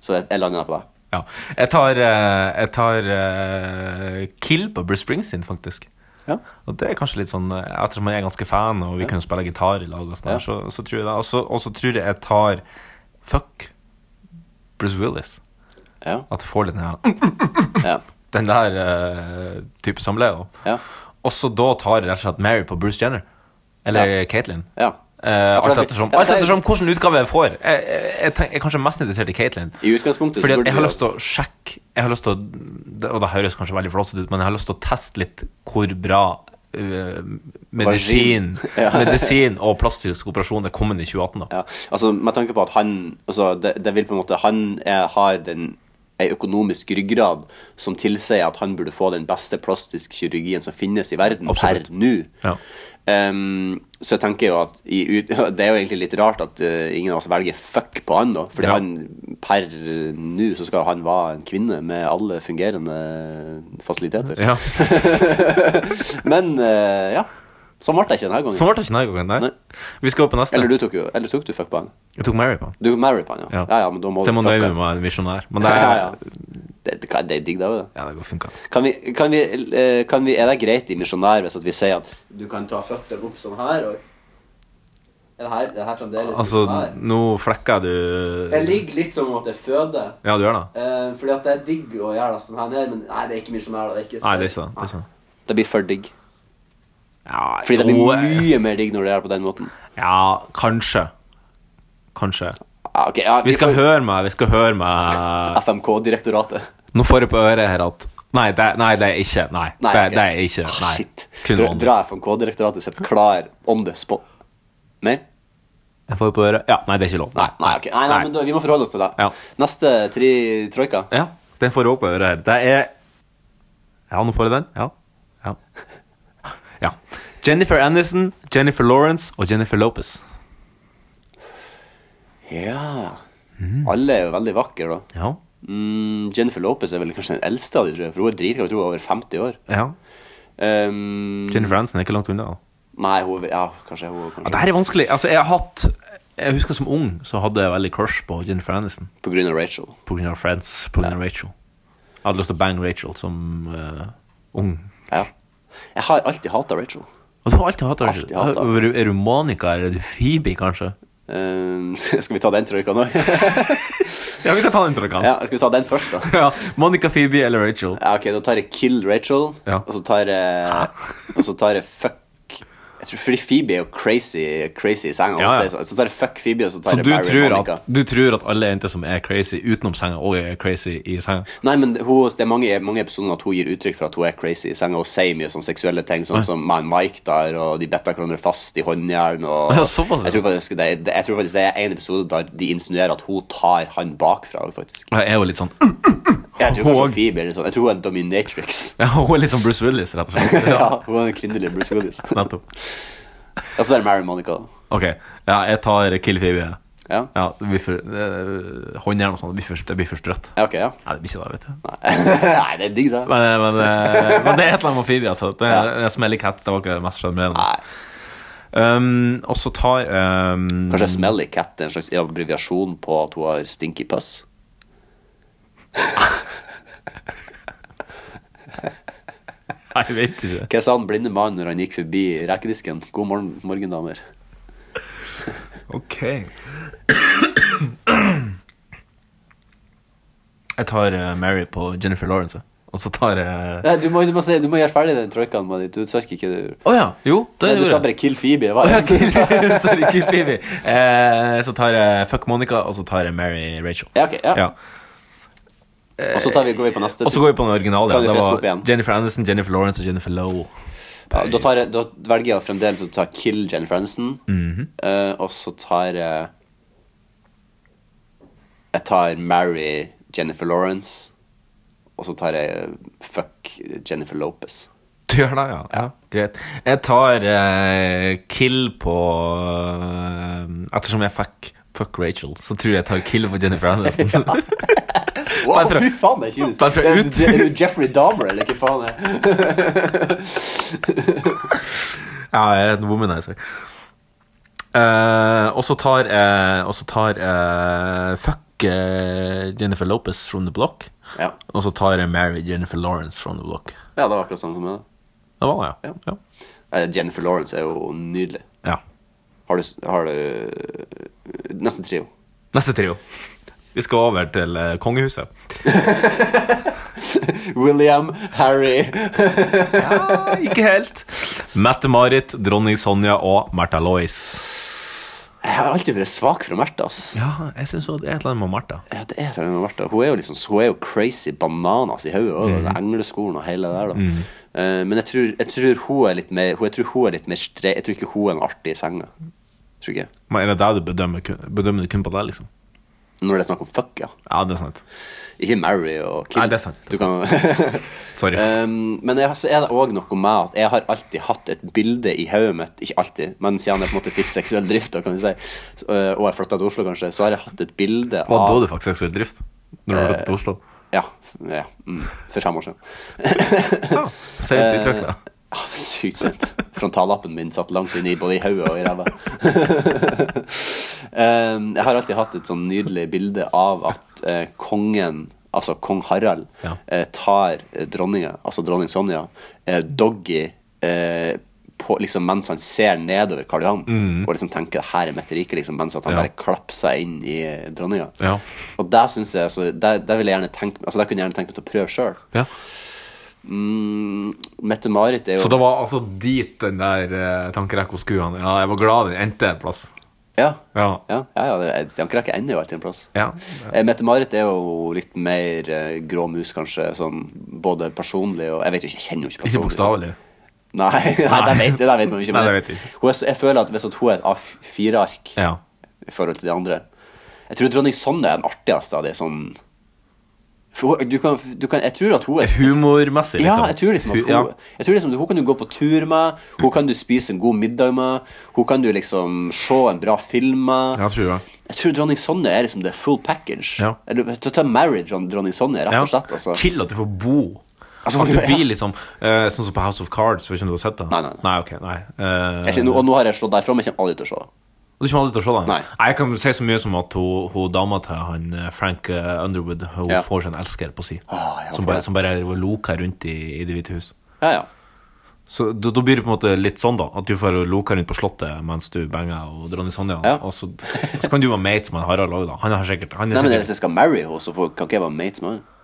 [SPEAKER 3] Så jeg- jeg lander på det.
[SPEAKER 2] ja. Jeg tar, eh, jeg tar eh, Kill på Bruce Springsteen, faktisk.
[SPEAKER 3] Ja.
[SPEAKER 2] Og det er kanskje litt sånn eh, Ettersom jeg er ganske fan, og vi kan jo spille gitar i lag, og sånn, der, så, så tror jeg det. Og så- Og så tror jeg jeg tar Fuck Bruce Willis.
[SPEAKER 3] Ja.
[SPEAKER 2] At jeg får litt den her, mm,
[SPEAKER 3] Ja.
[SPEAKER 2] den der eh, type samleie. da.
[SPEAKER 3] Ja.
[SPEAKER 2] Og så da tar jeg rett og slett Mary på Bruce Jenner. Eller Caitlyn.
[SPEAKER 3] ja.
[SPEAKER 2] Eh,
[SPEAKER 3] for
[SPEAKER 2] alt
[SPEAKER 3] det-
[SPEAKER 2] ettersom,
[SPEAKER 3] ja,
[SPEAKER 2] alt
[SPEAKER 3] det-
[SPEAKER 2] ettersom hvilken utgave jeg får. Jeg, jeg, jeg, tenk- jeg er kanskje mest interessert i Caitlyn.
[SPEAKER 3] I utgangspunktet så
[SPEAKER 2] Fordi at
[SPEAKER 3] burde
[SPEAKER 2] jeg har
[SPEAKER 3] du-
[SPEAKER 2] lyst til å sjekke Jeg har lyst til å det- Og det høres kanskje veldig flåsete ut, men jeg har lyst til å teste litt hvor bra eh, medisin, medisin og plastisk operasjon er kommet i 2018. da
[SPEAKER 3] Ja, altså med tanke på at han altså, det, det vil på en måte, Han er, har den ei økonomisk ryggrad som tilsier at han burde få den beste plastisk kirurgien som finnes i verden
[SPEAKER 2] Absolutt.
[SPEAKER 3] per nå.
[SPEAKER 2] Ja.
[SPEAKER 3] Ehm, så jeg tenker jo at i, ut, Det er jo egentlig litt rart at eh, ingen av oss velger fuck på han, da. Fordi
[SPEAKER 2] Ja.
[SPEAKER 3] han per nå så skal han være en kvinne med alle fungerende fasiliteter.
[SPEAKER 2] Ja.
[SPEAKER 3] Men eh, ja. Sånn ble det ikke denne gangen.
[SPEAKER 2] Sånn ble det ikke denne gangen. Nei.
[SPEAKER 3] Nei.
[SPEAKER 2] Vi skal over på neste.
[SPEAKER 3] Eller du tok jo Eller tok du fuck på han?
[SPEAKER 2] Jeg tok Mary på den.
[SPEAKER 3] Du marry på han, ja.
[SPEAKER 2] Ja.
[SPEAKER 3] ja. ja, men da må
[SPEAKER 2] Så jeg må
[SPEAKER 3] du fucke
[SPEAKER 2] nøye meg
[SPEAKER 3] han.
[SPEAKER 2] med å være en visjonær. Men det
[SPEAKER 3] Det,
[SPEAKER 2] er,
[SPEAKER 3] ja,
[SPEAKER 2] ja,
[SPEAKER 3] ja. det, det, det er digg, det. er jo det.
[SPEAKER 2] det går funka.
[SPEAKER 3] Kan vi, kan vi, eh, kan vi, er det greit i misjonær hvis at vi sier at du kan ta føttene opp sånn her og Er det her, er det her fremdeles
[SPEAKER 2] Altså,
[SPEAKER 3] sånn her?
[SPEAKER 2] nå flekker du
[SPEAKER 3] Jeg ligger litt som om at jeg føder.
[SPEAKER 2] Ja, du gjør det?
[SPEAKER 3] eh, fordi at det er digg å gjøre det sånn her ned, men nei, det er ikke misjonær. da, Det er ikke
[SPEAKER 2] Nei, det er ikke det. Det, er ikke det.
[SPEAKER 3] Det blir for digg.
[SPEAKER 2] Ja,
[SPEAKER 3] Fordi det blir
[SPEAKER 2] jo, eh. jeg-
[SPEAKER 3] mye mer digg når det er på den måten.
[SPEAKER 2] Ja, kanskje. Kanskje.
[SPEAKER 3] Ja, ok, ja,
[SPEAKER 2] Vi skal
[SPEAKER 3] får-
[SPEAKER 2] høre meg, vi skal høre meg
[SPEAKER 3] FMK-direktoratet.
[SPEAKER 2] Nå får jeg på øret her at Nei, det, nei, det er ikke. Nei,
[SPEAKER 3] Nei,
[SPEAKER 2] det,
[SPEAKER 3] ok.
[SPEAKER 2] det er ikke.
[SPEAKER 3] Ah,
[SPEAKER 2] Nei.
[SPEAKER 3] Shit.
[SPEAKER 2] Kun
[SPEAKER 3] Dra,
[SPEAKER 2] vanlig.
[SPEAKER 3] dra FMK-direktoratet sitt klar on the spot. Mer?
[SPEAKER 2] Jeg får på øret Ja, nei, det er ikke lov.
[SPEAKER 3] Nei, nei, ok. nei, nei,
[SPEAKER 2] Nei.
[SPEAKER 3] men da, vi må forholde oss til det.
[SPEAKER 2] Ja.
[SPEAKER 3] Neste tri troika.
[SPEAKER 2] Ja, den får jeg også på øret her. Det er Ja, nå får jeg den. Ja. Ja. ja. Jennifer Aniston, Jennifer Lawrence og Jennifer Lopez.
[SPEAKER 3] Ja. Alle er jo veldig vakre, da.
[SPEAKER 2] Ja.
[SPEAKER 3] Mm, Jennifer Lopez er vel kanskje den eldste av de, tror jeg. For hun er dritgammel, jeg tror hun er over 50 år.
[SPEAKER 2] ja.
[SPEAKER 3] Um,
[SPEAKER 2] Jennifer Aniston er ikke langt unna. da.
[SPEAKER 3] Nei, hun er- Ja, kanskje hun
[SPEAKER 2] Ja,
[SPEAKER 3] kanskje.
[SPEAKER 2] det her er vanskelig. Altså, jeg har hatt Jeg husker som ung så hadde jeg veldig crush på Jennifer Aniston.
[SPEAKER 3] På grunn av Rachel.
[SPEAKER 2] På grunn av Friends, på grunn av Rachel. Jeg hadde lyst til å bange Rachel som eh, ung.
[SPEAKER 3] Ja. Jeg har alltid hata Rachel.
[SPEAKER 2] Og du har alltid hatt Rachel.
[SPEAKER 3] Alltid hatt henne.
[SPEAKER 2] er, du, er du Monica eller er du Phoebe, kanskje?
[SPEAKER 3] Um, skal vi ta den troika nå?
[SPEAKER 2] Ja, vi kan ta den til dere. Ja.
[SPEAKER 3] ja, skal vi ta den først, da?
[SPEAKER 2] Monica, Phoebe eller Rachel.
[SPEAKER 3] Ja, ok, da tar jeg Kill Rachel,
[SPEAKER 2] Ja.
[SPEAKER 3] og så tar jeg Og så tar jeg Fuck Jeg tror fordi Phoebe er jo crazy, crazy i senga.
[SPEAKER 2] Ja, ja.
[SPEAKER 3] Så, jeg- så tar jeg fuck Phoebe, og så tar
[SPEAKER 2] Så
[SPEAKER 3] jeg
[SPEAKER 2] du
[SPEAKER 3] Barry
[SPEAKER 2] tror,
[SPEAKER 3] og Monica.
[SPEAKER 2] at, du tror at alle jenter som er crazy utenom senga, også er crazy i senga?
[SPEAKER 3] Nei, men hun, det er mange, mange episoder at hun gir uttrykk for at hun er crazy i senga. Hun sier mye sånn seksuelle ting,
[SPEAKER 2] Nei.
[SPEAKER 3] sånn som meg og Mike der, og de betta hverandre fast i håndjern. Og,
[SPEAKER 2] Ja, såpass, ja.
[SPEAKER 3] jeg, tror faktisk det, er- jeg tror faktisk det er en episode der de insinuerer at hun tar han bakfra, faktisk.
[SPEAKER 2] Jeg er jo litt sånn
[SPEAKER 3] Jeg tror kanskje
[SPEAKER 2] Og-
[SPEAKER 3] Phoebe er litt sånn. Jeg tror hun er en dominatrix.
[SPEAKER 2] ja, Hun er litt sånn Bruce Willis, rett og slett.
[SPEAKER 3] ja, hun er en kvinnelig Bruce Willis.
[SPEAKER 2] Nettopp.
[SPEAKER 3] Ja, så det er Mary Monica.
[SPEAKER 2] Ok, ja, jeg tar Kill Phoebe. jeg.
[SPEAKER 3] Ja.
[SPEAKER 2] Ja, det blir for, eh, håndjern og sånn, det blir for- det blir for sprøtt.
[SPEAKER 3] Ja, ok, ja.
[SPEAKER 2] Nei, det blir ikke det, vet du.
[SPEAKER 3] Nei, det er digg, det.
[SPEAKER 2] Men, eh, men, eh, men det er et eller annet med Phoebe, altså. Det, det smeller i katt, det var ikke det mest sjarmerende.
[SPEAKER 3] Nei.
[SPEAKER 2] Um, og så tar um,
[SPEAKER 3] Kanskje Smelly Cat er en slags abbreviasjon på at hun har stinky puss?
[SPEAKER 2] Nei, jeg vet ikke.
[SPEAKER 3] Hva sa han blinde mannen når han gikk forbi rekedisken? God morgen, morgen damer.
[SPEAKER 2] Ok. Jeg tar eh, Mary på Jennifer Lawrence, jeg. og så tar eh, jeg Å
[SPEAKER 3] Nei, du, må, du, må si, du må gjøre ferdig den troikaen, Mani. Du tørker ikke du.
[SPEAKER 2] ja, jo, det
[SPEAKER 3] Nei, du
[SPEAKER 2] gjorde
[SPEAKER 3] sa
[SPEAKER 2] jeg.
[SPEAKER 3] bare 'kill Phoebe'. Hva?
[SPEAKER 2] Å, ja, sorry, sorry, ikke Phoebe. Eh, så tar jeg Fuck Monica, og så tar jeg Mary Rachel.
[SPEAKER 3] ja, ok, ja.
[SPEAKER 2] Ja.
[SPEAKER 3] Og så tar vi, går vi på neste.
[SPEAKER 2] Og så går vi på den originale.
[SPEAKER 3] Kan
[SPEAKER 2] Ja.
[SPEAKER 3] vi
[SPEAKER 2] Det
[SPEAKER 3] friske opp
[SPEAKER 2] var
[SPEAKER 3] igjen?
[SPEAKER 2] Jennifer Aniston, Jennifer Lawrence og Jennifer Lowe.
[SPEAKER 3] ja, da, tar, jeg- da velger jeg fremdeles å ta 'kill Jennifer Aniston'.
[SPEAKER 2] Mhm.
[SPEAKER 3] Eh, og så tar jeg Jeg tar 'marry Jennifer Lawrence'. Og så tar jeg eh, 'fuck Jennifer Lopez'.
[SPEAKER 2] Du gjør det, ja. ja. Greit. Jeg tar eh, kill på eh, Ettersom jeg fikk fuck Rachel, så tror jeg jeg tar kill på Jennifer Aniston.
[SPEAKER 3] Wow,
[SPEAKER 2] Bare for å-
[SPEAKER 3] fy faen, det er kynisk.
[SPEAKER 2] Bare for å
[SPEAKER 3] Er
[SPEAKER 2] ut-
[SPEAKER 3] du- Er du Jeffrey Dahmer, eller hva faen er
[SPEAKER 2] ja, jeg er en womanizer. Eh, og så tar eh, Og så tar eh, fuck eh, Jennifer Lopez from the block.
[SPEAKER 3] Ja.
[SPEAKER 2] Og så tar jeg Mary Jennifer Lawrence from the block.
[SPEAKER 3] ja, det var akkurat sånn som jeg
[SPEAKER 2] Det var det, ja. ja.
[SPEAKER 3] Eh, Jennifer Lawrence er jo nydelig.
[SPEAKER 2] ja.
[SPEAKER 3] Har du, har du eh, Nesten trio.
[SPEAKER 2] Neste trio. Vi skal over til eh, kongehuset.
[SPEAKER 3] William, Harry
[SPEAKER 2] Ja, ikke helt. Mette-Marit, dronning Sonja og Märtha Lois.
[SPEAKER 3] Jeg har alltid vært svak for Märtha. ass.
[SPEAKER 2] Ja, jeg syns det er et eller annet med Märtha.
[SPEAKER 3] Ja, det er det med Märtha. Hun er jo liksom Hun er jo crazy bananas i hodet.
[SPEAKER 2] Mm.
[SPEAKER 3] og den Engleskolen og hele det der. da Eh, Men jeg tror, jeg tror hun er litt mer hun- Jeg tror hun er litt mer stre... Jeg tror ikke hun er en artig i senga. Tror ikke jeg.
[SPEAKER 2] Men er det der du bedømmer, kun- bedømmer det kun på deg, liksom?
[SPEAKER 3] Når det er snakk om fuck, ja.
[SPEAKER 2] Ja, det er sant.
[SPEAKER 3] Ikke marry og kill.
[SPEAKER 2] Nei, det er sant,
[SPEAKER 3] Du
[SPEAKER 2] det
[SPEAKER 3] kan
[SPEAKER 2] Sorry.
[SPEAKER 3] Um, men jeg, så er det òg noe med at jeg har alltid hatt et bilde i hodet mitt Ikke alltid, men siden jeg på en måte fikk seksuell drift, da, kan vi si, så, øh, og jeg flytta til Oslo, kanskje, så har jeg hatt et bilde
[SPEAKER 2] Hva da
[SPEAKER 3] av
[SPEAKER 2] du faktisk seksuell drift? Når du
[SPEAKER 3] Eh.
[SPEAKER 2] har flyttet til Oslo?
[SPEAKER 3] Ja, f- ja mm, For fem år siden.
[SPEAKER 2] Ja, Si det til trykk, da.
[SPEAKER 3] Ah, sykt sent. Frontallappen min satt langt inn i både i hodet og i ræva. um, jeg har alltid hatt et sånn nydelig bilde av at eh, kongen, altså kong Harald,
[SPEAKER 2] Ja.
[SPEAKER 3] eh, tar eh, dronninga, altså dronning Sonja, eh, doggy eh, på, liksom, mens han ser nedover Karl Johan og liksom tenker 'her er mitt rike', liksom, mens at han
[SPEAKER 2] Mm. Ja.
[SPEAKER 3] bare klapper seg inn i eh, dronninga.
[SPEAKER 2] Ja.
[SPEAKER 3] Og det syns jeg altså, det, det vil jeg gjerne tenke Altså, det kunne jeg gjerne tenkt meg til å prøve sjøl.
[SPEAKER 2] Ja.
[SPEAKER 3] Mm, Mette-Marit er jo
[SPEAKER 2] Så det var altså dit den der uh, tankerekka skulle han. Ja, jeg var glad den endte en plass.
[SPEAKER 3] Ja.
[SPEAKER 2] Ja.
[SPEAKER 3] Ja, ja, ja det er- Ankerrekke ender jo alltid en plass.
[SPEAKER 2] Ja.
[SPEAKER 3] Eh, Mette-Marit er jo litt mer eh, grå mus, kanskje, sånn både personlig og Jeg vet jo ikke, jeg kjenner jo ikke
[SPEAKER 2] Ikke
[SPEAKER 3] personlig.
[SPEAKER 2] bokstavelig.
[SPEAKER 3] Nei, nei, det vet, det der vet man jo ikke.
[SPEAKER 2] Nei,
[SPEAKER 3] Men
[SPEAKER 2] det vet
[SPEAKER 3] jeg,
[SPEAKER 2] jeg ikke.
[SPEAKER 3] hun er, så- jeg føler at hvis at hun er et A4-ark
[SPEAKER 2] Ja.
[SPEAKER 3] i forhold til de andre Jeg tror dronning Sonja er den artigste av de sånn for hun, du kan, du kan, Jeg tror at hun er
[SPEAKER 2] Humormessig, liksom.
[SPEAKER 3] ja, jeg tror liksom at
[SPEAKER 2] Hu-
[SPEAKER 3] hun,
[SPEAKER 2] ja.
[SPEAKER 3] jeg tror liksom, at hun kan du gå på tur med, hun kan du spise en god middag med, hun kan du liksom se en bra film med.
[SPEAKER 2] Ja, jeg tror det.
[SPEAKER 3] Jeg tror dronning Sonja er liksom the full package.
[SPEAKER 2] Ja.
[SPEAKER 3] Eller ta- ta marriage av dronning Sonja, rett
[SPEAKER 2] Ja.
[SPEAKER 3] og slett. Altså.
[SPEAKER 2] Chill at du får bo.
[SPEAKER 3] Altså,
[SPEAKER 2] at du
[SPEAKER 3] ja.
[SPEAKER 2] blir liksom eh, sånn som på House of Cards. Vet ikke om du har sett det?
[SPEAKER 3] Nei, nei, nei.
[SPEAKER 2] ok, nei. Eh,
[SPEAKER 3] Jeg, kjenner- og nå har jeg slått deg fra, men jeg kommer aldri til å se det.
[SPEAKER 2] Du kommer aldri til å se den?
[SPEAKER 3] Nei.
[SPEAKER 2] Jeg kan si så mye som at hun, hun dama til han eh, Frank eh, Underwood Hun
[SPEAKER 3] Ja.
[SPEAKER 2] får seg en elsker på si,
[SPEAKER 3] Åh, ja,
[SPEAKER 2] som,
[SPEAKER 3] for
[SPEAKER 2] bare,
[SPEAKER 3] det.
[SPEAKER 2] som bare loker rundt i, i Det hvite hus.
[SPEAKER 3] Ja, ja.
[SPEAKER 2] Så da, da blir det på en måte litt sånn, da. At du får loka rundt på Slottet mens du banger og dronning Sonja.
[SPEAKER 3] Ja.
[SPEAKER 2] Og så, så kan du være mate med Harald òg, da. Han har sikkert han er
[SPEAKER 3] Nei, men
[SPEAKER 2] sikkert-
[SPEAKER 3] Hvis jeg skal marry henne, så får, kan ikke jeg være mate med henne.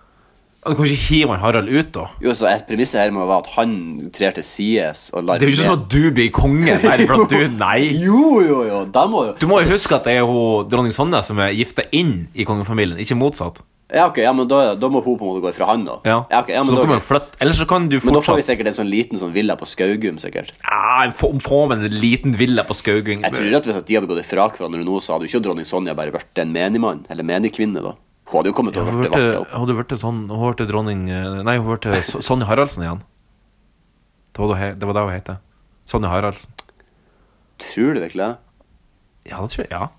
[SPEAKER 2] Ja, Du kan ikke hive han Harald ut, da.
[SPEAKER 3] Jo, så et Premisset her må være at han trer til sides og lar
[SPEAKER 2] Det er jo ikke sånn at du blir konge bare for at du Nei.
[SPEAKER 3] Jo, jo, jo. Da må
[SPEAKER 2] Du må jo huske at det er hun dronning Sonja som er gifta inn i kongefamilien, ikke motsatt.
[SPEAKER 3] Ja, ok, ja, men da, da må hun på en måte gå fra han, da.
[SPEAKER 2] Ja.
[SPEAKER 3] ok, ja,
[SPEAKER 2] så
[SPEAKER 3] men,
[SPEAKER 2] da kan
[SPEAKER 3] da,
[SPEAKER 2] man flytte Eller så kan du
[SPEAKER 3] men da får vi
[SPEAKER 2] fortsatt
[SPEAKER 3] sikkert en sånn liten sånn villa på Skaugum, sikkert.
[SPEAKER 2] Ja, få få med en liten villa på Skaugung.
[SPEAKER 3] Jeg tror at hvis at de hadde gått ifra hverandre nå, så hadde jo ikke dronning Sonja bare vært en menigmann, eller menigkvinne, da. Hun hadde jo kommet til å
[SPEAKER 2] Hun
[SPEAKER 3] vært vakre
[SPEAKER 2] hørte,
[SPEAKER 3] opp.
[SPEAKER 2] hun hørte sånn Hun hørte dronning eh, Nei, hun hørte So- Sonja Haraldsen igjen. Det var da he- det var det hun het. Sonja Haraldsen.
[SPEAKER 3] Tror du virkelig det?
[SPEAKER 2] Ja, det tror jeg. Ja.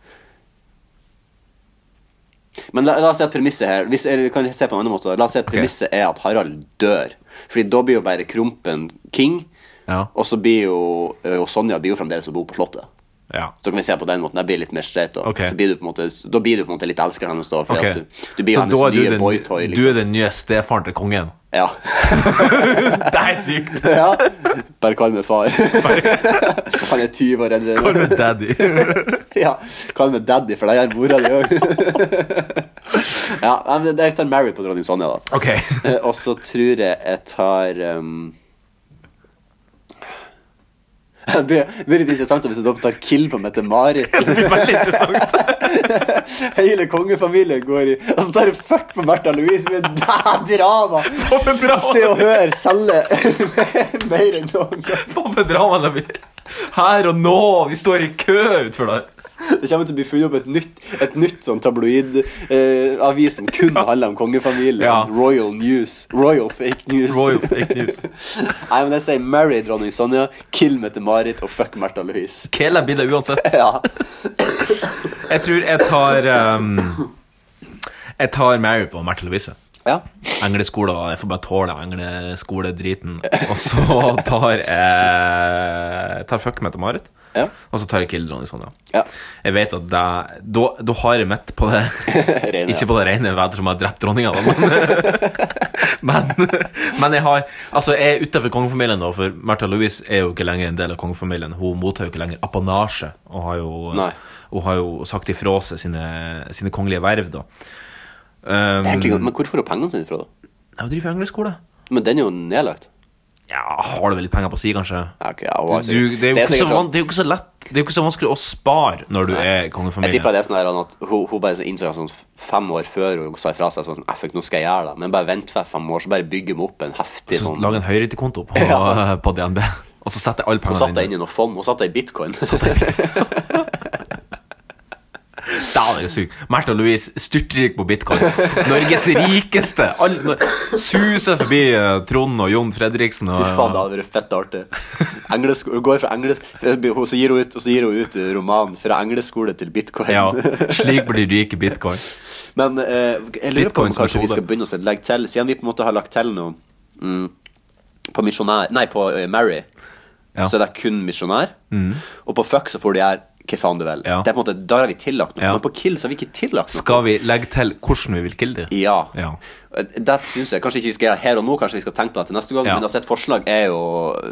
[SPEAKER 3] Men la, la oss si at premisset her hvis, eller, Kan jeg se på en annen måte da? La oss si at premisset er at Harald dør. Fordi da blir jo bare Krompen king,
[SPEAKER 2] Ja.
[SPEAKER 3] og så blir jo eh, og Sonja blir jo fremdeles å bo på Slottet.
[SPEAKER 2] ja.
[SPEAKER 3] Så kan vi se på den måten. Jeg blir litt mer straight. Da,
[SPEAKER 2] Ok.
[SPEAKER 3] så blir du på en måte, da blir du på en måte litt elskeren hennes. da fordi
[SPEAKER 2] Ok.
[SPEAKER 3] at du, du blir
[SPEAKER 2] så da
[SPEAKER 3] hennes
[SPEAKER 2] er du
[SPEAKER 3] nye
[SPEAKER 2] den,
[SPEAKER 3] boytoy.
[SPEAKER 2] du
[SPEAKER 3] Liksom.
[SPEAKER 2] er den nye stefaren til kongen.
[SPEAKER 3] Ja.
[SPEAKER 2] Det er sykt!
[SPEAKER 3] ja. Bare kall meg far. Han er 20 år eldre. enn
[SPEAKER 2] Hvor
[SPEAKER 3] meg.
[SPEAKER 2] er daddy?
[SPEAKER 3] Ja, Kall meg daddy, for det er mora di òg. Ja, nei, men jeg tar Mary på dronning Sonja, da.
[SPEAKER 2] Ok.
[SPEAKER 3] Eh, Og så tror jeg jeg tar um... det, blir, det blir litt interessant hvis jeg da tar kill på Mette-Marit.
[SPEAKER 2] Veldig interessant.
[SPEAKER 3] Hele kongefamilien går i Og så tar jeg fuck på Märtha Louise. Men det er drama!
[SPEAKER 2] For en drama.
[SPEAKER 3] Se og hør selger mer enn noen gang.
[SPEAKER 2] Hva for drama det blir? Her og nå! Vi står i kø utfor der.
[SPEAKER 3] Det kommer til å bli funnet opp et nytt Et nytt sånn tabloid-avis som kun handler om kongefamilien.
[SPEAKER 2] Ja.
[SPEAKER 3] Royal news. Royal fake news.
[SPEAKER 2] Royal fake news.
[SPEAKER 3] Nei, men jeg sier marry dronning Sonja, kill Mette-Marit og fuck Märtha Louise.
[SPEAKER 2] Kela blir det uansett.
[SPEAKER 3] Ja.
[SPEAKER 2] Jeg tror jeg tar ehm, Jeg tar Mary på Märtha Louise.
[SPEAKER 3] ja.
[SPEAKER 2] Engleskolen, jeg får bare tåle engleskoledriten. Og så tar jeg Tar fuck meg til Marit.
[SPEAKER 3] Ja.
[SPEAKER 2] Og så tar jeg kill dronning Sonja.
[SPEAKER 3] Ja.
[SPEAKER 2] Jeg vet at det, da, da har jeg mitt på det.
[SPEAKER 3] Rene,
[SPEAKER 2] Ikke på det rene ved som har drept dronninga, da, men, men Men jeg har Altså, jeg er utenfor kongefamilien, da, for Märtha Louise er jo ikke lenger en del av kongefamilien. Hun mottar jo ikke lenger apanasje, og har jo,
[SPEAKER 3] Nei.
[SPEAKER 2] hun har jo sagt ifra seg sine, sine kongelige verv, da. Um,
[SPEAKER 3] Det er egentlig godt, Men hvor får hun pengene sine fra, da?
[SPEAKER 2] Hun driver engleskole.
[SPEAKER 3] Men den er jo nedlagt.
[SPEAKER 2] Ja, har du vel litt penger på si, kanskje?
[SPEAKER 3] Ja, ok, ja, hun har
[SPEAKER 2] Du,
[SPEAKER 3] sikkert-
[SPEAKER 2] det, er jo ikke så
[SPEAKER 3] sikkert sånn-
[SPEAKER 2] van, det er jo ikke så lett Det er jo ikke så vanskelig å spare når du er
[SPEAKER 3] Jeg tipper
[SPEAKER 2] kongefamilie.
[SPEAKER 3] det er sånn her, at hun, hun bare så innså sånn fem år før hun sa ifra seg sånn «Ah, fuck, nå skal jeg gjøre det. Men bare vent for fem år, så bare bygger vi opp en heftig
[SPEAKER 2] Så
[SPEAKER 3] sånn
[SPEAKER 2] Lag en høyreitekonto på,
[SPEAKER 3] Ja,
[SPEAKER 2] på DNB, og så setter jeg alle
[SPEAKER 3] Hun satte
[SPEAKER 2] pengene
[SPEAKER 3] deg inn i noe fond. Hun satte deg i bitcoin.
[SPEAKER 2] Dæven, det er sykt. Märtha Louise, styrtrik på bitcoin. Norges rikeste. All, no- suser forbi eh, Trond og Jon Fredriksen. Og,
[SPEAKER 3] Fy faen, det hadde vært fett artig. Englesk, hun går fra englesk, hun, så gir hun ut, og så gir hun ut eh, romanen 'Fra engleskole til bitcoin'.
[SPEAKER 2] ja, slik blir de rike bitcoin.
[SPEAKER 3] Men eh, jeg lurer på om
[SPEAKER 2] Bitcoins
[SPEAKER 3] kanskje vi
[SPEAKER 2] metode.
[SPEAKER 3] skal begynne å legge til Siden vi på en måte har lagt til noe mm, på misjonær Nei, på eh, Mary,
[SPEAKER 2] Ja. Mm.
[SPEAKER 3] så er det kun misjonær. Og på fuck så får de gjøre hva faen du vil.
[SPEAKER 2] Ja.
[SPEAKER 3] Det er på en måte, Da har vi tillagt noe.
[SPEAKER 2] Ja.
[SPEAKER 3] Men på kill så har vi ikke tillagt noe.
[SPEAKER 2] Skal vi legge til hvordan vi vil kille dem?
[SPEAKER 3] Ja.
[SPEAKER 2] Ja.
[SPEAKER 3] Det syns jeg kanskje ikke vi skal gjøre her og nå, kanskje vi skal tenke på det til neste gang.
[SPEAKER 2] Ja.
[SPEAKER 3] Men altså, et forslag er jo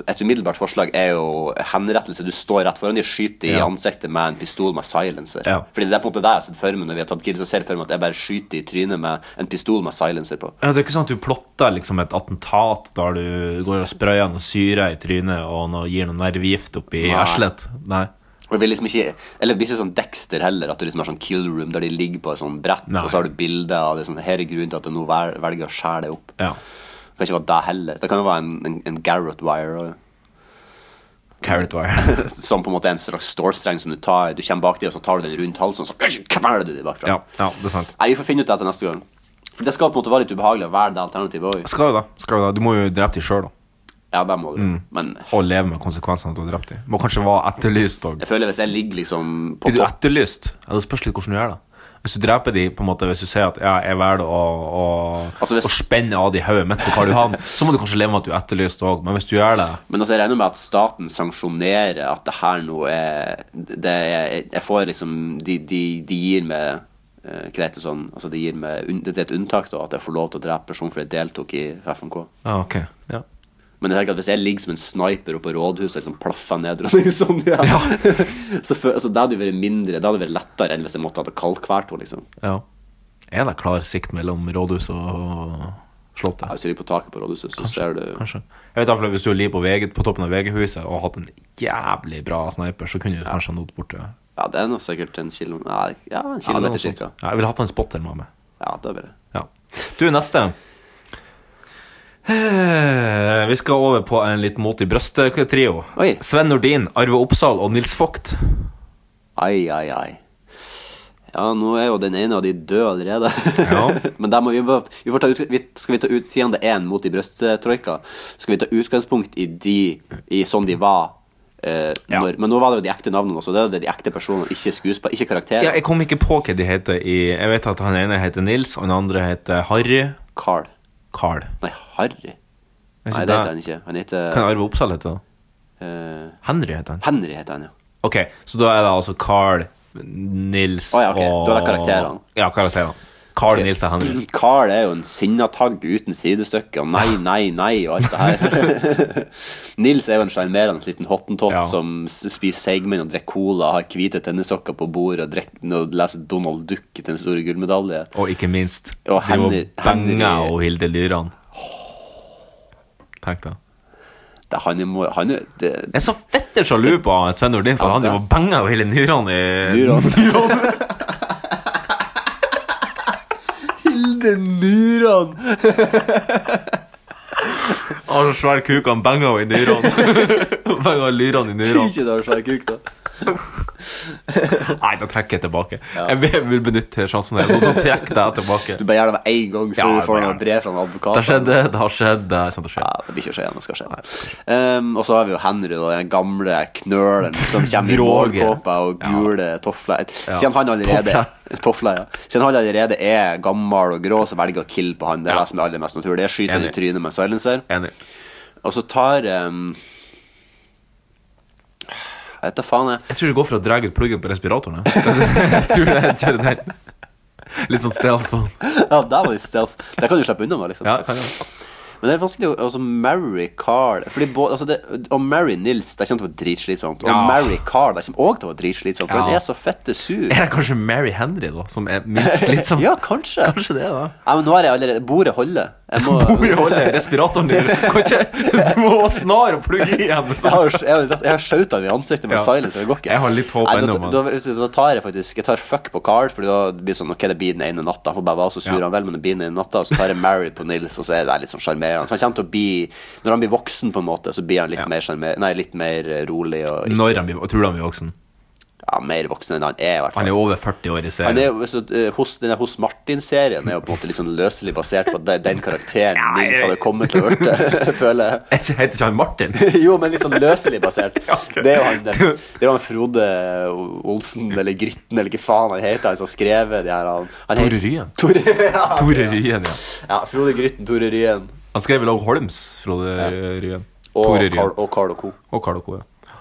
[SPEAKER 3] Et umiddelbart forslag er jo henrettelse. Du står rett foran de skyter i
[SPEAKER 2] Ja.
[SPEAKER 3] ansiktet med en pistol med silencer.
[SPEAKER 2] Ja.
[SPEAKER 3] Fordi det er på en måte det jeg har sett for meg når vi har tatt kill, så ser jeg for meg at jeg bare skyter i trynet med en pistol med silencer på.
[SPEAKER 2] Ja, det er ikke sånn at du plotter liksom et attentat der du går og sprayer noe syre i trynet og noe, gir noe nervegift oppi
[SPEAKER 3] Nei.
[SPEAKER 2] eslet. Nei.
[SPEAKER 3] Og det blir liksom ikke Eller det blir ikke sånn Dexter heller, at du liksom har sånn kill room der de ligger på et sånn brett,
[SPEAKER 2] Nei.
[SPEAKER 3] og så har du bilder av det sånn Her er grunnen til at jeg nå vel- velger å skjære deg opp.
[SPEAKER 2] Ja.
[SPEAKER 3] Det kan ikke være deg heller. Det kan jo være en, en, en Garrett wire. Og,
[SPEAKER 2] Carrot wire.
[SPEAKER 3] som på en måte er en slags stålstreng som du tar Du kommer bak dem, og så tar du den rundt halsen, og så kveler du dem bakfra.
[SPEAKER 2] ja, ja, det er sant.
[SPEAKER 3] Nei, vi får finne ut det til neste gang. For det skal på en måte være litt ubehagelig å være det alternativet òg.
[SPEAKER 2] Skal jo da. Skal jo da. Du må jo drepe dem sjøl, da.
[SPEAKER 3] Ja, det må du.
[SPEAKER 2] Mm.
[SPEAKER 3] Men
[SPEAKER 2] Og leve med konsekvensene av at du har drept dem. Må kanskje være etterlyst òg.
[SPEAKER 3] jeg føler hvis jeg ligger liksom på
[SPEAKER 2] Blir du
[SPEAKER 3] topp
[SPEAKER 2] etterlyst? Ja, det spørs litt hvordan du gjør det. Hvis du dreper de, på en måte, hvis du sier at ja, jeg velger å, å,
[SPEAKER 3] Altså, hvis-
[SPEAKER 2] å spenne av de hodet mitt på Karl Johan, så må du kanskje leve med at du er etterlyst òg. Men hvis du gjør det
[SPEAKER 3] Men altså, jeg regner med at staten sanksjonerer at det her nå er det er, Jeg får liksom De, de, de gir meg eh, Hva det heter sånn altså, de gir meg, unn- Det er et unntak, da, at jeg får lov til å drepe personen fordi jeg deltok i FNK.
[SPEAKER 2] Ja, ok. Ja.
[SPEAKER 3] Men jeg tenker at hvis jeg ligger som en sniper oppe på rådhuset og liksom plaffer ned dronning Sonja
[SPEAKER 2] Ja.
[SPEAKER 3] så fø- altså, Det hadde jo vært mindre Det hadde vært lettere enn hvis jeg måtte ha kaldkvært henne. Liksom.
[SPEAKER 2] ja. Er det klar sikt mellom rådhus og Slottet.
[SPEAKER 3] Ja, Hvis du ligger på taket på rådhuset, så ser du
[SPEAKER 2] Kanskje. Jeg vet i hvert fall at Hvis du ligger på, VG, på toppen av VG-huset og har hatt en jævlig bra sniper, så kunne du kanskje ha nådd borti ja.
[SPEAKER 3] Ja, det er nå sikkert en kilo... Nei, ja, en
[SPEAKER 2] det er noe
[SPEAKER 3] kilometer
[SPEAKER 2] sånt.
[SPEAKER 3] cirka.
[SPEAKER 2] Ja, jeg ville hatt en spotter med meg.
[SPEAKER 3] Ja, det er bare
[SPEAKER 2] Ja. Du, neste. Eh, Vi skal over på en litt mot i brøstet-trio.
[SPEAKER 3] Oi.
[SPEAKER 2] Sven Nordin, Arve Oppsal og Nils Vogt.
[SPEAKER 3] Ai, ai, ai. Ja, nå er jo den ene av de døde allerede.
[SPEAKER 2] Ja.
[SPEAKER 3] Men da må vi, bare- vi får ta ut, vi, skal vi ta ut, siden det er en mot i brysttroika, skal vi ta utgangspunkt i de i sånn de var. Eh,
[SPEAKER 2] Ja.
[SPEAKER 3] når, men nå var det jo de ekte navnene også. Det er jo det de ekte personene, ikke skuespill, ikke karakterer.
[SPEAKER 2] Ja, jeg kom ikke på hva de heter i Jeg vet at han ene heter Nils, og den andre heter Harry.
[SPEAKER 3] Carl.
[SPEAKER 2] Carl.
[SPEAKER 3] Nei, Harry.
[SPEAKER 2] Er
[SPEAKER 3] Nei,
[SPEAKER 2] ikke
[SPEAKER 3] det
[SPEAKER 2] det-
[SPEAKER 3] heter han ikke. Han heter
[SPEAKER 2] Kan Arve Oppsal hete det?
[SPEAKER 3] eh,
[SPEAKER 2] Henry heter han.
[SPEAKER 3] Henry heter han, ja.
[SPEAKER 2] Ok, så da er det altså Carl, Nils
[SPEAKER 3] Å ja, ok.
[SPEAKER 2] og
[SPEAKER 3] Da er det karakterene.
[SPEAKER 2] Ja, karakterene. Carl,
[SPEAKER 3] Ok.
[SPEAKER 2] Nils og Henry.
[SPEAKER 3] Carl er jo en sinnatagg uten sidestykke, og nei, nei, nei, og alt det her. Nils er jo en sjarmerende liten hottentott
[SPEAKER 2] Ja.
[SPEAKER 3] som s- spiser seigmenn og drikker cola, har hvite tennissokker på bordet og, drikker, og leser Donald Duck til den store gullmedalje.
[SPEAKER 2] Og ikke minst det var
[SPEAKER 3] Og Henry- Henry-
[SPEAKER 2] Benga og Hilde Lyran. Tenk deg.
[SPEAKER 3] Det, han er, må- han er, det,
[SPEAKER 2] Jeg er så fette sjalu på Sven Nordin, for
[SPEAKER 3] Ja,
[SPEAKER 2] han driver
[SPEAKER 3] det.
[SPEAKER 2] og banger over hele Nyran i
[SPEAKER 3] Nyran. Hilde Nyran!
[SPEAKER 2] Har så svær kuk, han banger over i Nyran. banger over Lyran i
[SPEAKER 3] Tror
[SPEAKER 2] Nyran.
[SPEAKER 3] ikke det har svær kuk, da.
[SPEAKER 2] Nei, da trekker jeg tilbake. Jeg vil- jeg vil benytte sjansen her. Nå da trekker jeg tilbake.
[SPEAKER 3] Du bare gjør det med en
[SPEAKER 2] Ja,
[SPEAKER 3] gang før du
[SPEAKER 2] bare
[SPEAKER 3] får
[SPEAKER 2] gjør
[SPEAKER 3] noe
[SPEAKER 2] det.
[SPEAKER 3] brev fra en advokat.
[SPEAKER 2] Det har skjedd, det har skjedd, det er sant det skjer.
[SPEAKER 3] Ja, det blir ikke å skje igjen. Det skal skje. Um, og så har vi jo Henry, da, den gamle knølen som kommer i
[SPEAKER 2] Droge.
[SPEAKER 3] målkåpa og gule tofler.
[SPEAKER 2] Ja.
[SPEAKER 3] Siden han allerede
[SPEAKER 2] Tofler.
[SPEAKER 3] Tofler, ja. Siden han allerede er gammel og grå, så velger jeg å kille på han. Det er det som er aller mest naturlig. Jeg skyter han
[SPEAKER 2] Enig.
[SPEAKER 3] i trynet med silencer.
[SPEAKER 2] Enig.
[SPEAKER 3] Og så tar um, Jeg vet da faen, jeg.
[SPEAKER 2] Jeg tror det går for å dra ut pluggen på respiratoren. jeg. Jeg tror jeg kjører den. Litt sånn stealth. sånn.
[SPEAKER 3] Ja, der var det stealth. Der kan du slippe unna med, liksom.
[SPEAKER 2] Ja, kan jeg.
[SPEAKER 3] Men det er vanskelig å altså, marry Carl Fordi både, altså det, Å marry Nils det kommer til å være dritslitsomt. Og
[SPEAKER 2] Ja.
[SPEAKER 3] marry Carl det kommer også til å være dritslitsomt, for
[SPEAKER 2] Ja.
[SPEAKER 3] han er så fette sur.
[SPEAKER 2] Er det kanskje Mary Henry, da, som er minst slitsom?
[SPEAKER 3] Ja, kanskje.
[SPEAKER 2] Kanskje det, da.
[SPEAKER 3] Ja, men nå er jeg allerede Bordet holder. Jeg må
[SPEAKER 2] Bordet holder sånn- respiratoren din. Kan ikke, du må være snar og plugge i igjen.
[SPEAKER 3] Jeg har, jeg har, jeg har skjøtet ham i ansiktet med
[SPEAKER 2] Ja.
[SPEAKER 3] silence. Det går ikke.
[SPEAKER 2] Jeg har litt håp
[SPEAKER 3] Nei, da-
[SPEAKER 2] ennå, men-
[SPEAKER 3] Da, da, da tar jeg faktisk Jeg tar fuck på Carl, Fordi da blir det sånn Ok, det blir den ene natta. Han får bare være så sur
[SPEAKER 2] Ja.
[SPEAKER 3] han vel, men det blir den ene natta. Og så tar jeg married på Nils, og så er det litt sånn sjarmerende. Så han kommer til å bli Når han blir voksen, på en måte, så blir han litt
[SPEAKER 2] Ja.
[SPEAKER 3] mer sjarmer... Nei, litt mer eh, rolig og ikke-
[SPEAKER 2] Når han blir, og tror du han blir voksen?
[SPEAKER 3] Ja, mer voksen enn han er, i hvert fall.
[SPEAKER 2] Han er over 40 år i
[SPEAKER 3] Han er
[SPEAKER 2] serien.
[SPEAKER 3] jo, så, eh, hos, denne Hos Martin-serien er jo på en måte litt sånn løselig basert på den, den karakteren
[SPEAKER 2] Ja, jeg-
[SPEAKER 3] Nils hadde kommet til å bli, føler jeg.
[SPEAKER 2] Jeg Heter ikke han Martin?
[SPEAKER 3] Jo, men litt sånn løselig basert.
[SPEAKER 2] Ja, ok.
[SPEAKER 3] Det er jo han, det er jo han Frode Olsen, eller Grytten, eller hva faen han heter, han som har skrevet de her han, han
[SPEAKER 2] Tore
[SPEAKER 3] heter-
[SPEAKER 2] Ryen.
[SPEAKER 3] Tore, ja,
[SPEAKER 2] Tore Ryen, ja.
[SPEAKER 3] ja, Frode Grytten, Tore Ryen
[SPEAKER 2] Han skrev vel også Holms, Frode Ryen.
[SPEAKER 3] og
[SPEAKER 2] Tore
[SPEAKER 3] Carl,
[SPEAKER 2] Ryen.
[SPEAKER 3] og Carl og Co.
[SPEAKER 2] Og Carl og Co. Ja.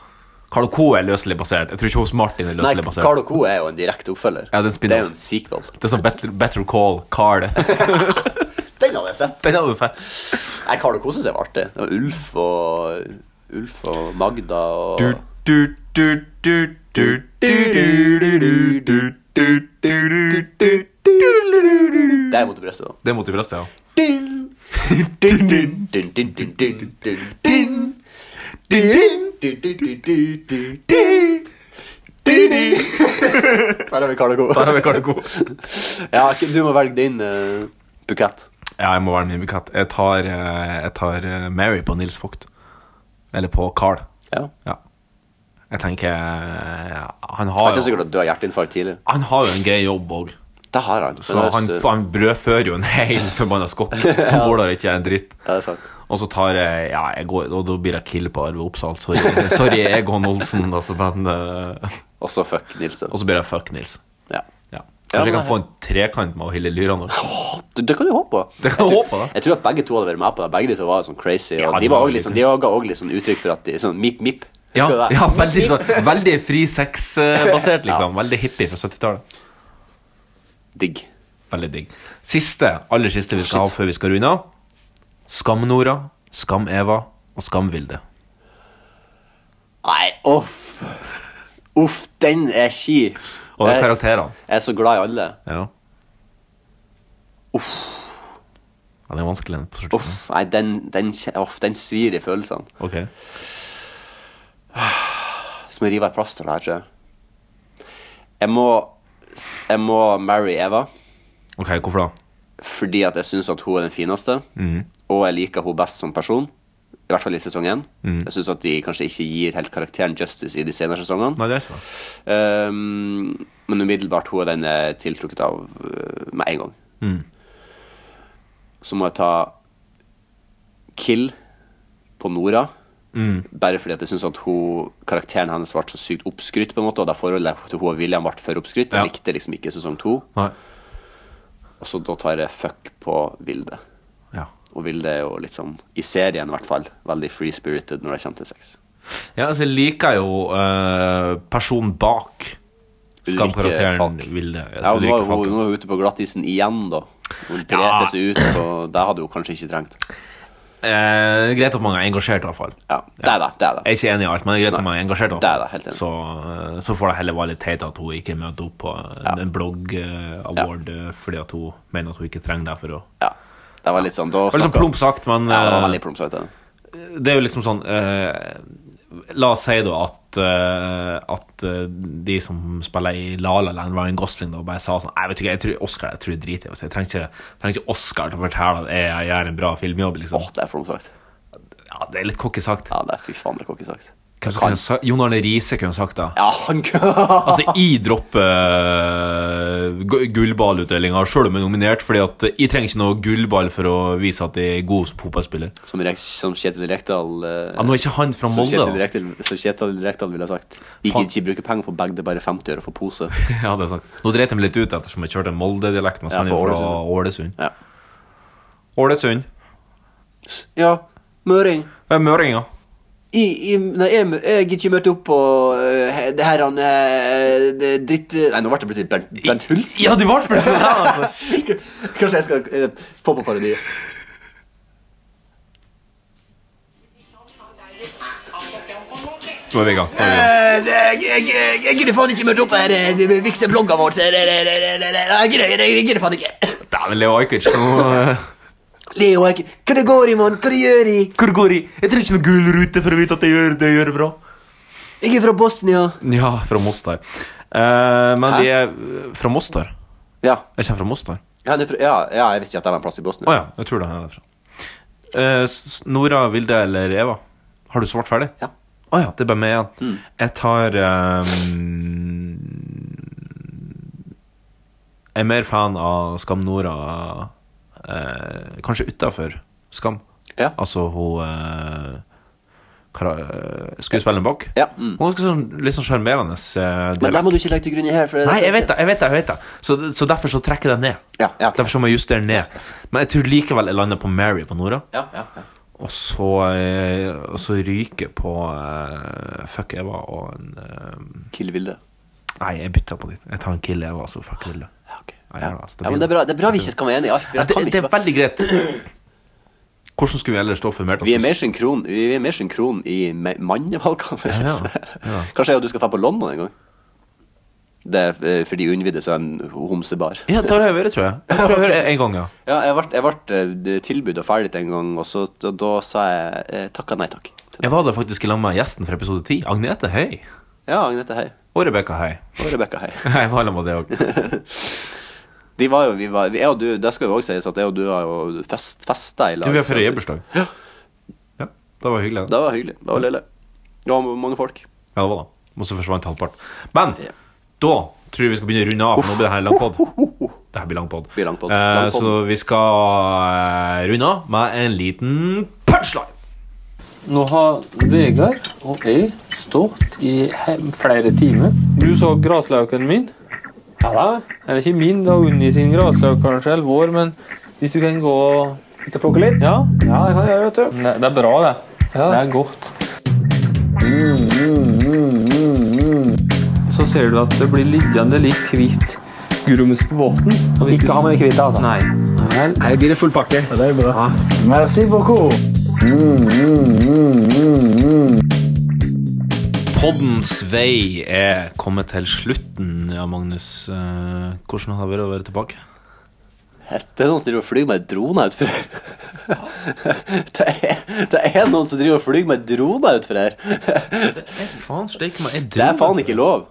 [SPEAKER 2] Carl og Co er løselig basert. Jeg tror ikke hos Martin er
[SPEAKER 3] Nei,
[SPEAKER 2] løselig basert.
[SPEAKER 3] Carl og Co er jo en direkte oppfølger.
[SPEAKER 2] Ja, det er en spin-off.
[SPEAKER 3] det er jo en sequel.
[SPEAKER 2] Det er sånn Better, better Call Carl.
[SPEAKER 3] Den hadde jeg sett.
[SPEAKER 2] Den hadde jeg sett.
[SPEAKER 3] Nei, Carl og Co syns jeg var artig. Det var Ulf og Ulf og Magda og
[SPEAKER 2] Du, du, du, du, du, du, du, du, du, du, du, du, du, du.
[SPEAKER 3] Det er mot i brystet, da.
[SPEAKER 2] Det er mot i brøstet, ja.
[SPEAKER 3] Dun, dun, dun, dun, dun, dun, dun, dun, dun. Dun, dun, dun, dun, dun, dun, dun, dun. Dun, dun. Der har vi Karl og Co.
[SPEAKER 2] Der har vi Carl og Co.
[SPEAKER 3] Ja, ok, du må velge din eh, bukett.
[SPEAKER 2] Ja, jeg må være min katt. Jeg tar, eh, jeg tar eh, Mary på Nils Vogt. Eller på Carl.
[SPEAKER 3] Ja.
[SPEAKER 2] Ah, Ja. Jeg tenker eh, Han
[SPEAKER 3] Jeg
[SPEAKER 2] har
[SPEAKER 3] synes
[SPEAKER 2] jo,
[SPEAKER 3] sikkert at du har hjerteinfarkt tidlig.
[SPEAKER 2] han har jo en grei jobb òg.
[SPEAKER 3] Det har han.
[SPEAKER 2] Så han, han brødfører jo en hel forbanna skokk som går der ikke er en dritt.
[SPEAKER 3] Ja, det er sant.
[SPEAKER 2] Og så tar jeg Ja, jeg går, og da blir jeg kill på Arve Oppsal. Sorry, sorry Egon Olsen. Altså, men, eh,
[SPEAKER 3] Og så fuck Nilsen.
[SPEAKER 2] og så blir jeg fuck Nils.
[SPEAKER 3] Ja.
[SPEAKER 2] Ja.
[SPEAKER 3] Ja,
[SPEAKER 2] Kanskje jeg
[SPEAKER 3] men-
[SPEAKER 2] kan få en trekant med Hilde Lyran òg.
[SPEAKER 3] Det, det kan du håpe på.
[SPEAKER 2] Det kan du
[SPEAKER 3] jeg, tror-
[SPEAKER 2] håpe på, da.
[SPEAKER 3] jeg tror at begge to hadde vært med på det. Begge de to var sånn crazy. Og
[SPEAKER 2] Ja,
[SPEAKER 3] de,
[SPEAKER 2] de
[SPEAKER 3] var
[SPEAKER 2] var
[SPEAKER 3] også
[SPEAKER 2] veldig
[SPEAKER 3] liksom, de ga også litt sånn uttrykk for at de sånn mip-mip.
[SPEAKER 2] Ja, ja, veldig, sånn, veldig fri sex-basert, liksom. Veldig hippie fra 70-tallet.
[SPEAKER 3] Digg.
[SPEAKER 2] Veldig digg. Siste, aller siste vi skal ha før vi skal runde av. Skam-Nora, Skam-Eva og Skam-Vilde.
[SPEAKER 3] Nei, uff. Uff, den er kjip.
[SPEAKER 2] Og det er
[SPEAKER 3] Jeg-
[SPEAKER 2] karakterene.
[SPEAKER 3] Jeg er så glad i alle.
[SPEAKER 2] Ja. Uff. Ja, det er vanskelig. den på
[SPEAKER 3] Uff, nei, den, den, kje- uff, den svir i følelsene.
[SPEAKER 2] Ok.
[SPEAKER 3] Som å rive av et plaster, det her, tror jeg. Jeg må, jeg må marry Eva,
[SPEAKER 2] Ok, hvorfor da?
[SPEAKER 3] fordi at jeg syns at hun er den fineste,
[SPEAKER 2] Mhm.
[SPEAKER 3] og jeg liker hun best som person. I hvert fall i sesong én.
[SPEAKER 2] Mhm.
[SPEAKER 3] Jeg syns at de kanskje ikke gir helt karakteren justice i de senere sesongene.
[SPEAKER 2] Nei, det er ikke det.
[SPEAKER 3] Ehm, men umiddelbart hun er den jeg er tiltrukket av øh, med en gang.
[SPEAKER 2] Mm.
[SPEAKER 3] Så må jeg ta Kill på Nora.
[SPEAKER 2] Mm.
[SPEAKER 3] Bare fordi at jeg synes at hun, karakteren hennes ble så sykt oppskrytt, på en måte, og da forholdet til hun og William ble for oppskrytt. Jeg
[SPEAKER 2] Ja.
[SPEAKER 3] likte liksom ikke sesong to.
[SPEAKER 2] Nei.
[SPEAKER 3] Og så da tar jeg fuck på Vilde.
[SPEAKER 2] Ja.
[SPEAKER 3] Og Vilde er jo litt sånn, i serien i hvert fall, veldig free-spirited når det kommer til sex.
[SPEAKER 2] Ja, altså, jeg liker jo eh, personen bak skamkarakteren
[SPEAKER 3] Falk.
[SPEAKER 2] Vilde.
[SPEAKER 3] Ja, og nå er
[SPEAKER 2] Ulrikke
[SPEAKER 3] hun,
[SPEAKER 2] Falk.
[SPEAKER 3] nå er hun ute på glattisen igjen, da. Hun drete
[SPEAKER 2] Ja.
[SPEAKER 3] seg ut, og det hadde hun kanskje ikke trengt.
[SPEAKER 2] Eh, greit at man er engasjert, i hvert fall.
[SPEAKER 3] Ja, det er det. det, er det.
[SPEAKER 2] Jeg er ikke enig i alt, men det er greit at man er engasjert. i hvert
[SPEAKER 3] Det
[SPEAKER 2] fall.
[SPEAKER 3] er det, helt enig.
[SPEAKER 2] Så, eh, så får det heller være litt teit at hun ikke møter opp på en,
[SPEAKER 3] Ja.
[SPEAKER 2] en blogg-award eh, fordi at hun mener at hun ikke trenger det for å
[SPEAKER 3] Ja. Det var litt sånn, da
[SPEAKER 2] Det var litt sånn
[SPEAKER 3] snakket-
[SPEAKER 2] plump sagt, men
[SPEAKER 3] Ja, det var
[SPEAKER 2] eh,
[SPEAKER 3] veldig plump sagt. det.
[SPEAKER 2] det er jo liksom sånn eh, La oss si da at, eh, at eh, de som spiller i La La Land, Ryan Gosling, da, bare sa sånn Nei, vet du ikke, jeg tror Oscar jeg tror jeg driter i det. Jeg trenger ikke, trenger ikke Oscar til å fortelle at jeg gjør en bra filmjobb, liksom.
[SPEAKER 3] Åh, det er plump sagt.
[SPEAKER 2] Ja, det er litt cocky sagt.
[SPEAKER 3] Ja, det er fy faen, det er ikke sagt.
[SPEAKER 2] Hvem som kunne sa- Jon Arne Riise kunne sagt det.
[SPEAKER 3] Ja, han kunne
[SPEAKER 2] Altså, jeg dropper gu- gullballutdelinga, sjøl om jeg er nominert, fordi at jeg trenger ikke noe gullball for å vise at jeg er god som fotballspiller.
[SPEAKER 3] Som, Rek- som Kjetil Rekdal eh,
[SPEAKER 2] Ja, nå er ikke han fra
[SPEAKER 3] som,
[SPEAKER 2] Molde,
[SPEAKER 3] Kjetil
[SPEAKER 2] da.
[SPEAKER 3] Rekdal som Kjetil Rekdal ville ha sagt. Jeg
[SPEAKER 2] Faen.
[SPEAKER 3] gidder ikke bruke penger på bag, det er bare 50 øre for pose.
[SPEAKER 2] Ja, det er sant. Nå dreit jeg meg litt ut ettersom jeg kjørte en Molde-dialekt, mens
[SPEAKER 3] Ja,
[SPEAKER 2] han er
[SPEAKER 3] på
[SPEAKER 2] fra Ålesund.
[SPEAKER 3] Ja.
[SPEAKER 2] Ålesund.
[SPEAKER 3] Ja, Møring.
[SPEAKER 2] Jeg er møringa.
[SPEAKER 3] I, i, nei, jeg, jeg gidder ikke møte opp på eh, he- det her han eh, det dritt... Nei, nå ble det plutselig Bernt, Bernt Hulsk.
[SPEAKER 2] Ja, du ble plutselig sånn her, altså.
[SPEAKER 3] Kanskje jeg skal eh, få på parodiet.
[SPEAKER 2] Nå er vi i gang. Nå er vi i gang.
[SPEAKER 3] Eh, Jeg gidder faen ikke møte opp her. eh, Vixen-blogga vår. Jeg gidder faen ikke.
[SPEAKER 2] Dæven, Leo Ajkic. nå, eh,
[SPEAKER 3] Leo, hva det går i, mann? Hva det gjør i?
[SPEAKER 2] Hvor går jeg? Jeg trenger ikke noe gullrute for å vite at jeg gjør det jeg gjør bra.
[SPEAKER 3] Jeg er fra Bosnia.
[SPEAKER 2] Ja, fra Mostar. Eh, men
[SPEAKER 3] Hæ?
[SPEAKER 2] de er fra Mostar.
[SPEAKER 3] Ja,
[SPEAKER 2] Jeg kommer fra Mostar.
[SPEAKER 3] ja, det er fra, ja, ja jeg visste ikke at det var en plass i
[SPEAKER 2] Å
[SPEAKER 3] Bosnia.
[SPEAKER 2] ja, jeg tror det er derfra. Eh, s- s- Nora, Vilde eller Eva? Har du svart ferdig?
[SPEAKER 3] Ja. Mm.
[SPEAKER 2] Å ja, det er bare meg igjen. Jeg tar ehm, Jeg er mer fan av Skam Nora eh, Kanskje utafor Skam.
[SPEAKER 3] Ja.
[SPEAKER 2] Altså hun eh, kara- eh, Skuespilleren bak.
[SPEAKER 3] Ja,
[SPEAKER 2] Hun er
[SPEAKER 3] mm.
[SPEAKER 2] ganske sånn, litt sånn sjarmerende. eh,
[SPEAKER 3] Men det
[SPEAKER 2] dialekt.
[SPEAKER 3] må du ikke legge til grunn i her. For det-
[SPEAKER 2] Nei, jeg vet det. jeg vet det, jeg vet det Så, så derfor så trekker jeg den ned.
[SPEAKER 3] Ja, ja, ok.
[SPEAKER 2] Derfor så må jeg justere den ned. Men jeg tror likevel jeg lander på Mary på Nora.
[SPEAKER 3] Ja, ja, ja.
[SPEAKER 2] Og så, eh, og så ryker på eh, Fuck Eva og en eh,
[SPEAKER 3] Kill Vilde.
[SPEAKER 2] Nei, jeg bytter på ditt. Jeg tar en Kill Eva og så fuck Vilde.
[SPEAKER 3] Ja, ok.
[SPEAKER 2] Ja,
[SPEAKER 3] ja.
[SPEAKER 2] ja, altså, det
[SPEAKER 3] ja,
[SPEAKER 2] blir-
[SPEAKER 3] men det er bra, det er bra vi ikke skal være enige i alt. for
[SPEAKER 2] Ja,
[SPEAKER 3] jeg
[SPEAKER 2] det,
[SPEAKER 3] kan
[SPEAKER 2] det
[SPEAKER 3] ikke
[SPEAKER 2] er
[SPEAKER 3] være-
[SPEAKER 2] veldig greit. Hvordan skulle vi ellers stå for mer?
[SPEAKER 3] Vi er mer synkron, vi er mer synkron i me- mannevalgkampen.
[SPEAKER 2] Ja, ja.
[SPEAKER 3] Kanskje jeg og du skal dra på London en gang? Det er eh, fordi unnvidde seg en homsebar.
[SPEAKER 2] Ja, det har jeg vært, tror jeg. Jeg tror jeg har vært en gang, ja.
[SPEAKER 3] Ja, jeg ble, jeg ble eh, tilbud og ferdig en gang, og så, da, da sa jeg eh, takk og nei takk.
[SPEAKER 2] Jeg var der faktisk i lag med gjesten fra episode 10. Agnete, hei.
[SPEAKER 3] Ja, Agnete, hei.
[SPEAKER 2] Og Rebekka, hei.
[SPEAKER 3] Og Rebekka, hei.
[SPEAKER 2] Jeg var i lag med det òg.
[SPEAKER 3] De var jo, vi var, vi- jeg og du, det skal jo også sies at jeg og du har jo fest, festa i lag.
[SPEAKER 2] Du, vi har
[SPEAKER 3] så-
[SPEAKER 2] forrige bursdag. Ja. Det var hyggelig.
[SPEAKER 3] Det var hyggelig. Det var lille. Det var mange folk.
[SPEAKER 2] Ja, det var det. Og så forsvant halvparten. Men
[SPEAKER 3] Ja.
[SPEAKER 2] da tror jeg vi skal begynne å runde av, for nå blir det her lang pod. Det her blir lang pod.
[SPEAKER 3] Blir lang pod.
[SPEAKER 2] Eh,
[SPEAKER 3] Lang pod.
[SPEAKER 2] så vi skal eh, runde av med en liten punchline.
[SPEAKER 11] Nå har Vegard og jeg stått i he- flere timer. Du så graslauken min? Ja da. Eller ikke min, det er Unni sin graslauk kanskje, eller vår, men hvis du kan gå Ut og plukke litt? Ja. det kan jeg gjøre, vet du. Det, er bra, det. Det er godt. Så ser du at det blir liggende litt hvitt grums på båten. Ikke ha med det hvite, altså? Nei. Her blir det full pakke. det er bra. Merci beaucoup.
[SPEAKER 2] Poddens vei er kommet til slutten, ja, Magnus. Eh, hvordan har det vært å være tilbake?
[SPEAKER 3] Det er noen som driver og flyr med droner utfor her. Det er, det er noen som driver og flyr med droner utfor her.
[SPEAKER 2] Faen, steike meg, er
[SPEAKER 3] Det er faen ikke lov.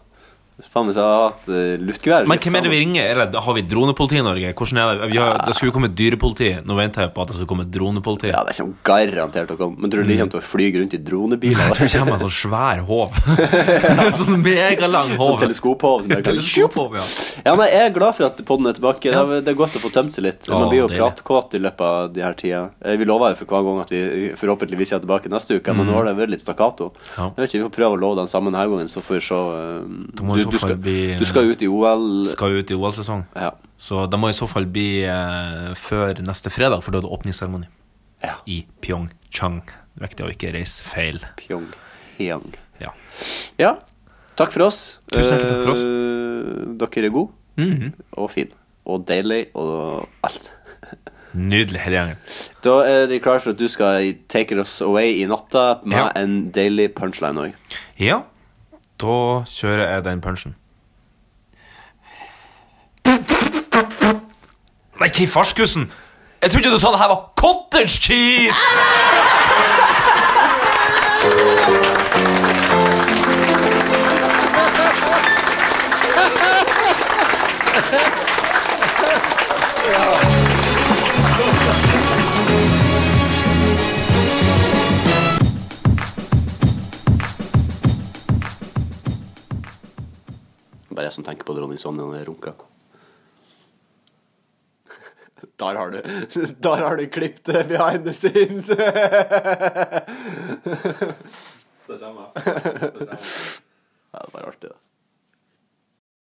[SPEAKER 3] Faen meg så at uh, luftgevær
[SPEAKER 2] Men hvem er det vi ringer? Er det, har vi dronepoliti i Norge? Hvordan er det? Vi har, det skulle jo komme et dyrepoliti. Nå venter jeg på at det skal komme et dronepoliti.
[SPEAKER 3] Ja, det kommer garantert til å komme. Men tror du de kommer til å fly rundt i dronebiler?
[SPEAKER 2] Mm. Jeg tror det kommer en sånn svær håv. sånn megalang
[SPEAKER 3] Sånn
[SPEAKER 2] håv.
[SPEAKER 3] teleskophov. som bare kan-
[SPEAKER 2] Teleskophov, ja.
[SPEAKER 3] Ja, nei, jeg er glad for at podden er tilbake. Det er- Det er godt å få tømt seg litt. Man
[SPEAKER 2] Å,
[SPEAKER 3] blir jo
[SPEAKER 2] deilig.
[SPEAKER 3] pratkåt i løpet av de her tida. Eh, Vi lover jo for hver gang at vi forhåpentligvis er tilbake neste uke,
[SPEAKER 2] Mm.
[SPEAKER 3] men nå har det vært litt stakkato.
[SPEAKER 2] Ja.
[SPEAKER 3] Jeg vet ikke, Vi får prøve å love den sammen denne gangen, så får vi se. eh,
[SPEAKER 2] Da må i
[SPEAKER 3] Du,
[SPEAKER 2] så
[SPEAKER 3] du,
[SPEAKER 2] fall
[SPEAKER 3] skal,
[SPEAKER 2] bli- eh,
[SPEAKER 3] du skal ut i OL.
[SPEAKER 2] Skal jo ut i OL-sesong.
[SPEAKER 3] Ja.
[SPEAKER 2] Så det må i så fall bli eh, før neste fredag, for da er det åpningsseremoni
[SPEAKER 3] Ja.
[SPEAKER 2] i Pyeongchang. Viktig å ikke reise feil.
[SPEAKER 3] Pyeongchang.
[SPEAKER 2] Ja.
[SPEAKER 3] Ja. Takk for oss.
[SPEAKER 2] Tusen hjertelig takk for oss.
[SPEAKER 3] Eh, Dere er gode
[SPEAKER 2] Mhm.
[SPEAKER 3] og fine og deilige og alt.
[SPEAKER 2] Nydelig, hele gjengen.
[SPEAKER 3] Da er de klare for at du skal take us away i natta med
[SPEAKER 2] Ja.
[SPEAKER 3] en deilig punchline òg.
[SPEAKER 2] Ja, da kjører jeg den punchen. Nei, hva i farskussen? Jeg trodde du sa det her var cottage cheese!
[SPEAKER 3] Bare jeg som tenker på dronning Sonja når jeg runker. Der har du Der har du klippet det behind the scenes! Det
[SPEAKER 11] samme.
[SPEAKER 3] er bare artig, det.